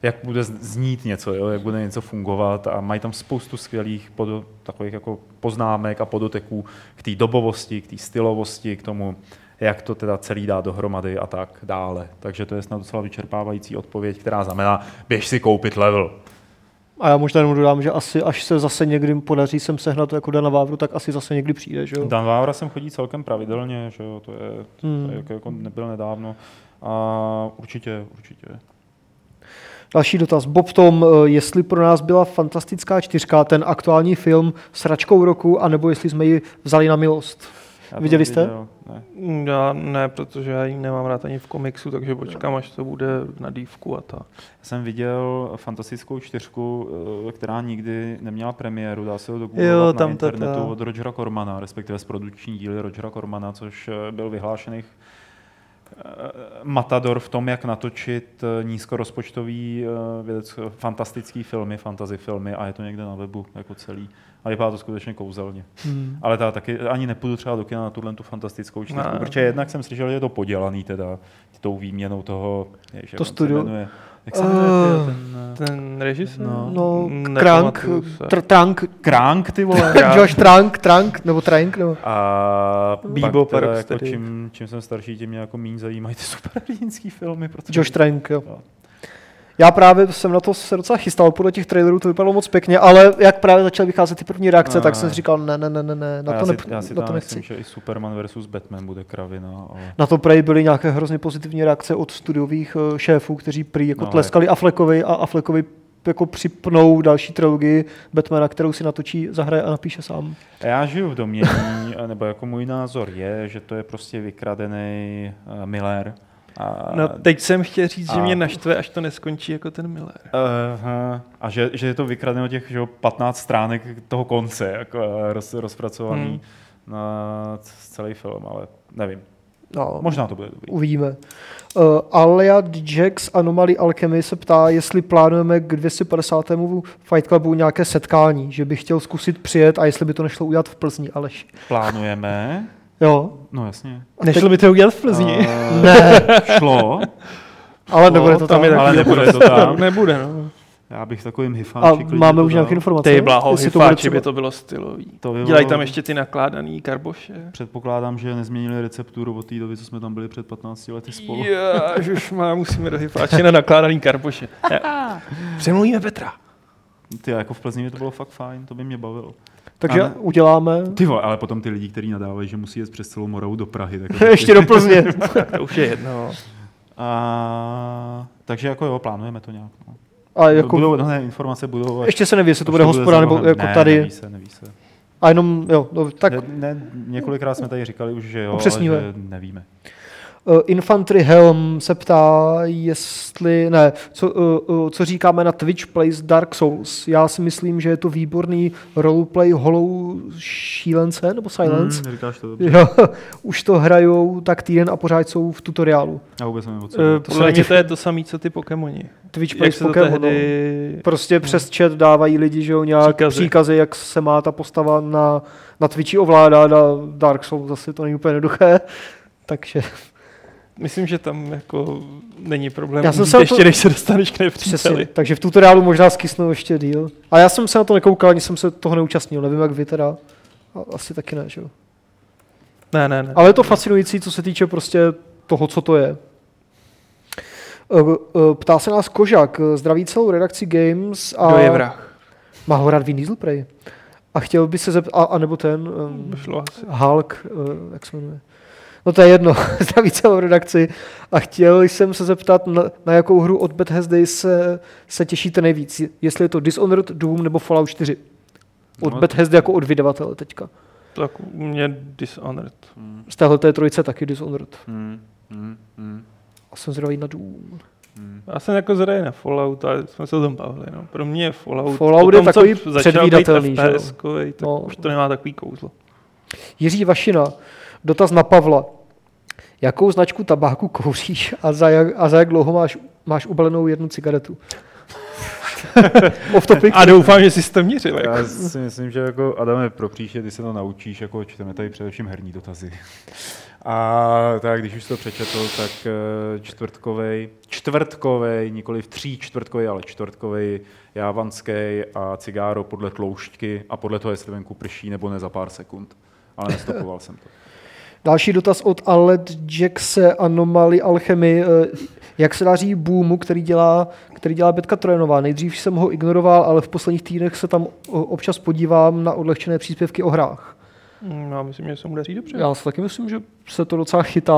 S1: jak bude z- znít něco, jo? jak bude něco fungovat a mají tam spoustu skvělých podo, takových jako poznámek a podoteků k té dobovosti, k té stylovosti, k tomu, jak to teda celý dá dohromady a tak dále. Takže to je snad docela vyčerpávající odpověď, která znamená, běž si koupit level.
S3: A já možná jenom dodám, že asi až se zase někdy podaří sem sehnat jako Dana Vávru, tak asi zase někdy přijde, že jo?
S1: Dan Vávra sem chodí celkem pravidelně, že jo, to je, to
S3: Hmm.
S1: je jako, jako nebyl nedávno. A určitě, určitě.
S3: Další dotaz. Bob Tom, eh, jestli pro nás byla fantastická čtyřka, ten aktuální film s račkou roku, anebo jestli jsme ji vzali na milost.
S1: Já to
S3: Viděli jste?
S1: neviděl, Ne.
S2: Mm, Já ne, protože já ji nemám rád ani v komiksu, takže počkám, až to bude na dívku a tak.
S1: Já jsem viděl fantastickou čtyřku, eh, která nikdy neměla premiéru, dá se ho
S2: Jo,
S1: dogooglovat na
S2: tam ta- ta.
S1: internetu od Rogera Cormana, respektive z produční díly Rogera Cormana, což eh, byl vyhlášený eh, matador v tom, jak natočit eh, nízkorozpočtový eh, vědec, fantastický filmy, fantasy filmy a je to někde na webu jako celý. A vypadá to skutečně kouzelně.
S3: Hmm.
S1: Ale ta taky ani nepůjdu třeba do kina na tuhle tu fantastickou čtyřku,
S2: Ne.
S1: protože jednak jsem slyšel, že je to podělaný teda tou výměnou toho, ježiš, jak
S3: To
S1: on se
S3: studio?
S1: jmenuje. Jak se jmenuje
S3: Eh,
S1: ty, ten, eh,
S2: Ten režisér?
S1: No.
S3: No, Krank,
S2: Nepamatuju se.
S3: tr- Trank,
S1: Kránk, ty vole.
S3: Josh Trank, Trank, nebo Trank, nebo...
S1: A
S2: Bebo
S1: Bebo pak teda
S2: Park
S1: jako
S2: tady.
S1: čím, čím, jsem starší, tím mě jako méně zajímají ty superhrdinský filmy. Protože
S3: Josh Trank, jo.
S1: Jo.
S3: Já právě jsem na to se docela chystal, podle těch trailerů to vypadalo moc pěkně, ale jak právě začaly vycházet ty první reakce,
S1: Ne,
S3: tak
S1: ne,
S3: jsem
S1: ne.
S3: si říkal, ne, ne, ne, ne, ne
S1: A
S3: na
S1: já
S3: to,
S1: si,
S3: nep-
S1: já si
S3: na
S1: tam
S3: to nechci.
S1: myslím, že i Superman versus Batman bude kravina. Ale...
S3: Na to prej byly nějaké hrozně pozitivní reakce od studiových eh, šéfů, kteří prý jako
S1: No, ale-
S3: tleskali Affleckovi a Affleckovi jako připnou další trilogii Batmana, kterou si natočí, zahraje a napíše sám.
S1: Já žiju v domění, nebo jako můj názor je, že to je prostě vykradený uh, Miller. A,
S2: No, teď jsem chtěl říct, že
S1: a-
S2: mě naštve, až to neskončí jako ten Miller.
S1: Aha. A že, že je to vykradeno těch že, jo, 15 stránek toho konce, jako eh, roz, rozpracovaný
S2: Hmm.
S1: hmm. na c- celý film, ale nevím.
S3: No,
S1: Možná to bude dobrý.
S3: Uvidíme. Uh, Alia Jax Anomaly Alchemy se ptá, jestli plánujeme k 250. Fight Clubu nějaké setkání, že bych chtěl zkusit přijet a jestli by to nešlo udělat v Plzni, Aleš.
S1: Plánujeme.
S3: Jo?
S1: No jasně.
S3: A Nešlo
S2: by to udělat v
S1: Eh,
S3: Ne,
S1: šlo,
S3: ale nebude to tam.
S2: No, je
S1: ale
S2: taky
S1: nebude to tam.
S2: Nebude, no.
S1: Já bych takovým
S3: A
S1: hyfáčik
S3: máme už nějaké informace?
S2: Ty blaho,
S3: Vlastně, jestli to bude
S2: hyfáči
S3: třeba-
S2: by to bylo stylový.
S1: To by bylo-
S2: Dělají tam ještě ty nakládaný karboše.
S1: Předpokládám, že nezměnili recepturu od té doby, co jsme tam byli před 15 lety spolu.
S2: Já, už má, musíme do hyfáče na nakládaný karboše. Přemluvíme Petra.
S1: Ty, jako v Plzni mi to bylo fakt fajn, to by mě bavilo.
S3: Takže
S1: Ano.
S3: uděláme
S1: Ty vole, ale potom ty lidi, kteří nadávají, že musí jet přes celou Moravu do Prahy. Tak
S3: ještě do Plzně.
S2: To už je jedno. no.
S1: A, takže jako jo, plánujeme to nějak. No.
S3: A jako,
S1: budou, no ne, informace budou. až-
S3: ještě se neví, jestli to
S1: až
S3: bude hospoda
S1: za
S3: nebo
S1: rohem.
S3: jako
S1: ne,
S3: tady.
S1: Neví se, neví se.
S3: A jenom, jo, no,
S1: Tak...
S3: tak
S1: Ne, ne, několikrát jsme tady říkali už, že jo,
S3: Upřesníme.
S1: ale že nevíme.
S3: Uh, Infantry Helm se ptá, jestli, ne, co, uh, uh, co říkáme na Twitch Plays Dark Souls. Já si myslím, že je to výborný roleplay holou šílence, nebo silence.
S1: Hmm, říkáš to dobře.
S3: Hmm. Jo, už to hrajou tak týden a pořád jsou v tutoriálu.
S1: Já vůbec nevím, o co jde.
S2: Eh,
S3: se
S2: Podle mě
S3: netěš-
S2: to je to samé, co ty Pokémoni.
S3: Twitch
S2: Jak
S3: Plays
S2: se to
S3: Pokémon. no.
S2: tehdy...
S3: Prostě přes chat dávají lidi, že jo, nějak
S2: Hmm. Příkazy.
S3: příkazy. příkazy, jak se má ta postava na, na Twitchi ovládat a Dark Souls zase to není úplně jednoduché. Takže
S2: Myslím, že tam jako není problém.
S3: Já jsem
S2: Jít
S3: se na to-
S2: ještě, než se dostaneš k nepříteli.
S3: Přesně, takže v tutoriálu možná skysnou ještě díl. A já jsem se na to nekoukal, ani jsem se toho neúčastnil, nevím jak vy teda. A- Asi taky ne, že jo.
S2: Ne, ne, ne.
S3: Ale je to fascinující, co se týče prostě toho, co to je. E, e, Ptá se nás Kožak, e, zdraví celou redakci Games a
S2: Kdo je vrah?
S3: má ho rád Vin Diesel prej. A chtěl by se zeptat, a, a nebo ten um,
S2: Šlo asi.
S3: Hulk, eh, jak se jmenuje. No to je jedno, zdraví celou redakci. A chtěl jsem se zeptat, na, na jakou hru od Bethesdy se, se těšíte nejvíc, jestli je to Dishonored, Doom nebo Fallout 4. Od
S5: No,
S3: Bethesdy jako od vydavatele teďka.
S2: Tak u mě Dishonored.
S3: Z téhle té trojice taky Dishonored.
S5: Hmm, hmm, hmm,
S3: A jsem zrovna na Doom.
S5: hmm.
S2: Já jsem jako zraje na Fallout, ale jsme se o tom bavili. No. Pro mě je Fallout,
S3: Fallout
S2: po
S3: je
S2: tom, co
S3: takový
S2: začal být
S3: předvídatelný, že jo?
S2: FPS-kovej, tak
S3: No.
S2: no. už to nemá takový kouzlo.
S3: Jiří Vašina, dotaz na Pavla. Jakou značku tabáku kouříš a za jak, a za jak dlouho máš, máš ubalenou jednu cigaretu? Off topic.
S2: A doufám, že jsi to měřil. Jako.
S1: Já si myslím, že jako Adame, pro příště, ty se to naučíš, jako čteme tady především herní dotazy. A tak, když už jsi to přečetl, tak eh, čtvrtkovej, čtvrtkovej, nikoli v tří čtvrtkovej, ale čtvrtkovej, jávanský a cigáro podle tloušťky a podle toho, jestli venku prší nebo ne za pár sekund. Ale nestopoval jsem to.
S3: Další dotaz od Aled Jackse Anomaly Alchemy. Eh, Jak se daří boomu, který dělá, který dělá Betka Trojanová? Nejdřív jsem ho ignoroval, ale v posledních týdnech se tam o- občas podívám na odlehčené příspěvky o hrách.
S2: Mm, Já myslím, že se mu daří dobře.
S3: Já si taky myslím, že se to docela chytá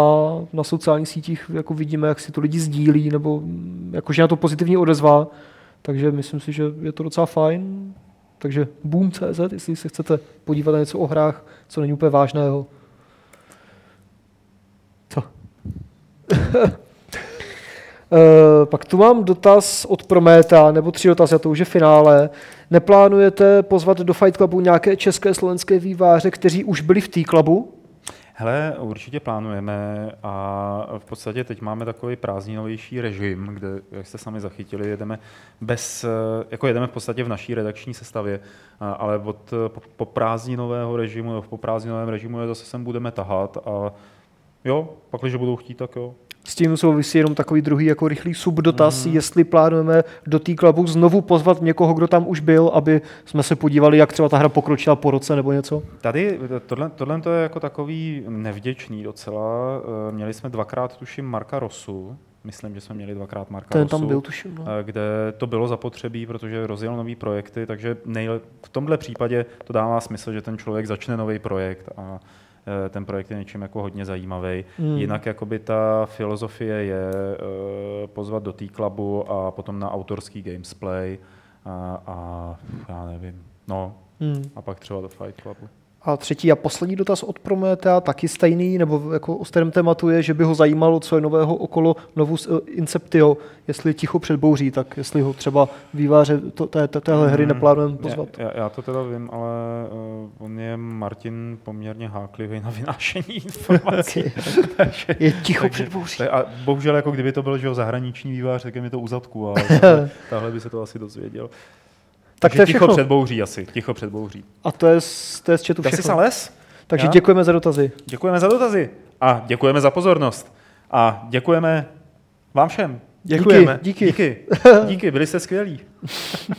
S3: na sociálních sítích, jako vidíme, jak si to lidi sdílí, nebo mm, jako že na to pozitivní odezva. Takže myslím si, že je to docela fajn. Takže boom.cz, jestli se chcete podívat na něco o hrách, co není úplně vážného. Co? Eh, pak tu mám dotaz od Prometa, nebo tři dotazy, a to už je finále. Neplánujete pozvat do Fight Clubu nějaké české, slovenské výváře, kteří už byli v T Clubu?
S1: Hele, určitě plánujeme a v podstatě teď máme takový prázdninovější režim, kde, jak jste sami zachytili, jedeme bez, eh, jako jedeme v podstatě v naší redakční sestavě, a- ale od eh, po, po prázdninového režimu, po prázdninovém režimu je zase sem budeme tahat a jo, pak, když budou chtít, tak jo.
S3: S tím souvisí jenom takový druhý jako rychlý subdotaz,
S1: Mhm.
S3: mm. jestli plánujeme do té klubu znovu pozvat někoho, kdo tam už byl, aby jsme se podívali, jak třeba ta hra pokročila po roce nebo něco.
S1: Tady tohle, tohle to je jako takový nevděčný docela. Eh, Měli jsme dvakrát, tuším, Marka Rosu. Myslím, že jsme měli dvakrát Marka
S3: Ten
S1: Rosu.
S3: tam byl, tuším. No.
S1: eh, kde to bylo zapotřebí, protože rozjel nový projekty, takže nejle- v tomhle případě to dává smysl, že ten člověk začne nový projekt a eh, ten projekt je něčím jako hodně zajímavý.
S3: Mm.
S1: Mm. Jinak jakoby ta filozofie je eh, pozvat do té klubu a potom na autorský gamesplay a, a já nevím, no
S3: Mm.
S1: a pak třeba do Fight Clubu.
S3: A třetí a poslední dotaz od Prometea, taky stejný, nebo jako o starém tématu je, že by ho zajímalo, co je nového okolo Novus eh, Inceptio, jestli ticho předbouří, tak jestli ho třeba výváře to, té, té, téhle hry
S1: Hmm.
S3: neplánujeme pozvat.
S1: Já, já, já to teda vím, ale uh, on je Martin poměrně háklivý na vynášení informací.
S3: Je ticho předbouří.
S1: To je- A bohužel, jako kdyby to byl že jo, zahraniční vývář, tak je mi to u zadku, ale tahle, tahle by se to asi dozvěděl.
S3: Tak
S1: Takže
S3: to je
S1: ticho
S3: všechno.
S1: předbouří asi, ticho předbouří.
S3: A to je z, to je z chatu všechno.
S1: sales?
S3: Takže
S1: Já?
S3: děkujeme za dotazy.
S1: Děkujeme za dotazy a děkujeme za pozornost. A děkujeme vám všem.
S2: Děkujeme.
S3: Díky. díky.
S1: Díky, díky byli jste skvělí.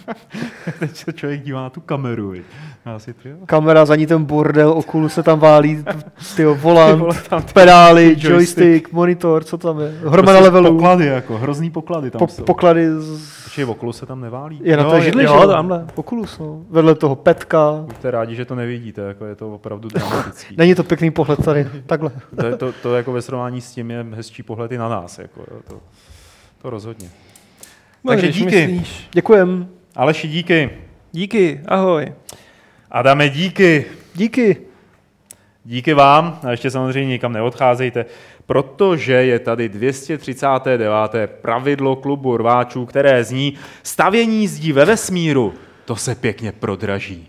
S1: Teď se člověk dívá na tu kameru. viď. Já si ty, jo.
S3: Kamera, za ní ten bordel, okulu se tam válí, ty volant, pedály,
S1: joystick.
S3: joystick, monitor, co tam je? Hromada
S1: Prostě
S3: levelů,
S1: Poklady, jako, hrozný poklady tam
S3: po,
S1: jsou.
S3: poklady z...
S1: Počkej, okolo se tam neválí.
S3: Je na
S1: Jo,
S3: té židli,
S2: jo,
S3: že
S2: tamhle.
S3: Oculus, no. Vedle toho petka.
S1: Buďte rádi, že to nevidíte, jako je to opravdu dramatický.
S3: Není to pěkný pohled tady, takhle.
S1: To, je- to, to jako ve srovnání s tím je hezčí pohled i na nás. Jako, jo, to, to rozhodně.
S2: No,
S1: Takže
S2: když
S1: díky.
S2: Myslíš.
S3: Děkujem.
S1: Aleši, díky.
S2: Díky, ahoj.
S1: Adame, díky.
S3: Díky.
S1: Díky vám. A ještě samozřejmě nikam neodcházejte, protože je tady 239. pravidlo klubu rváčů, které zní stavění zdí ve vesmíru. To se pěkně prodraží.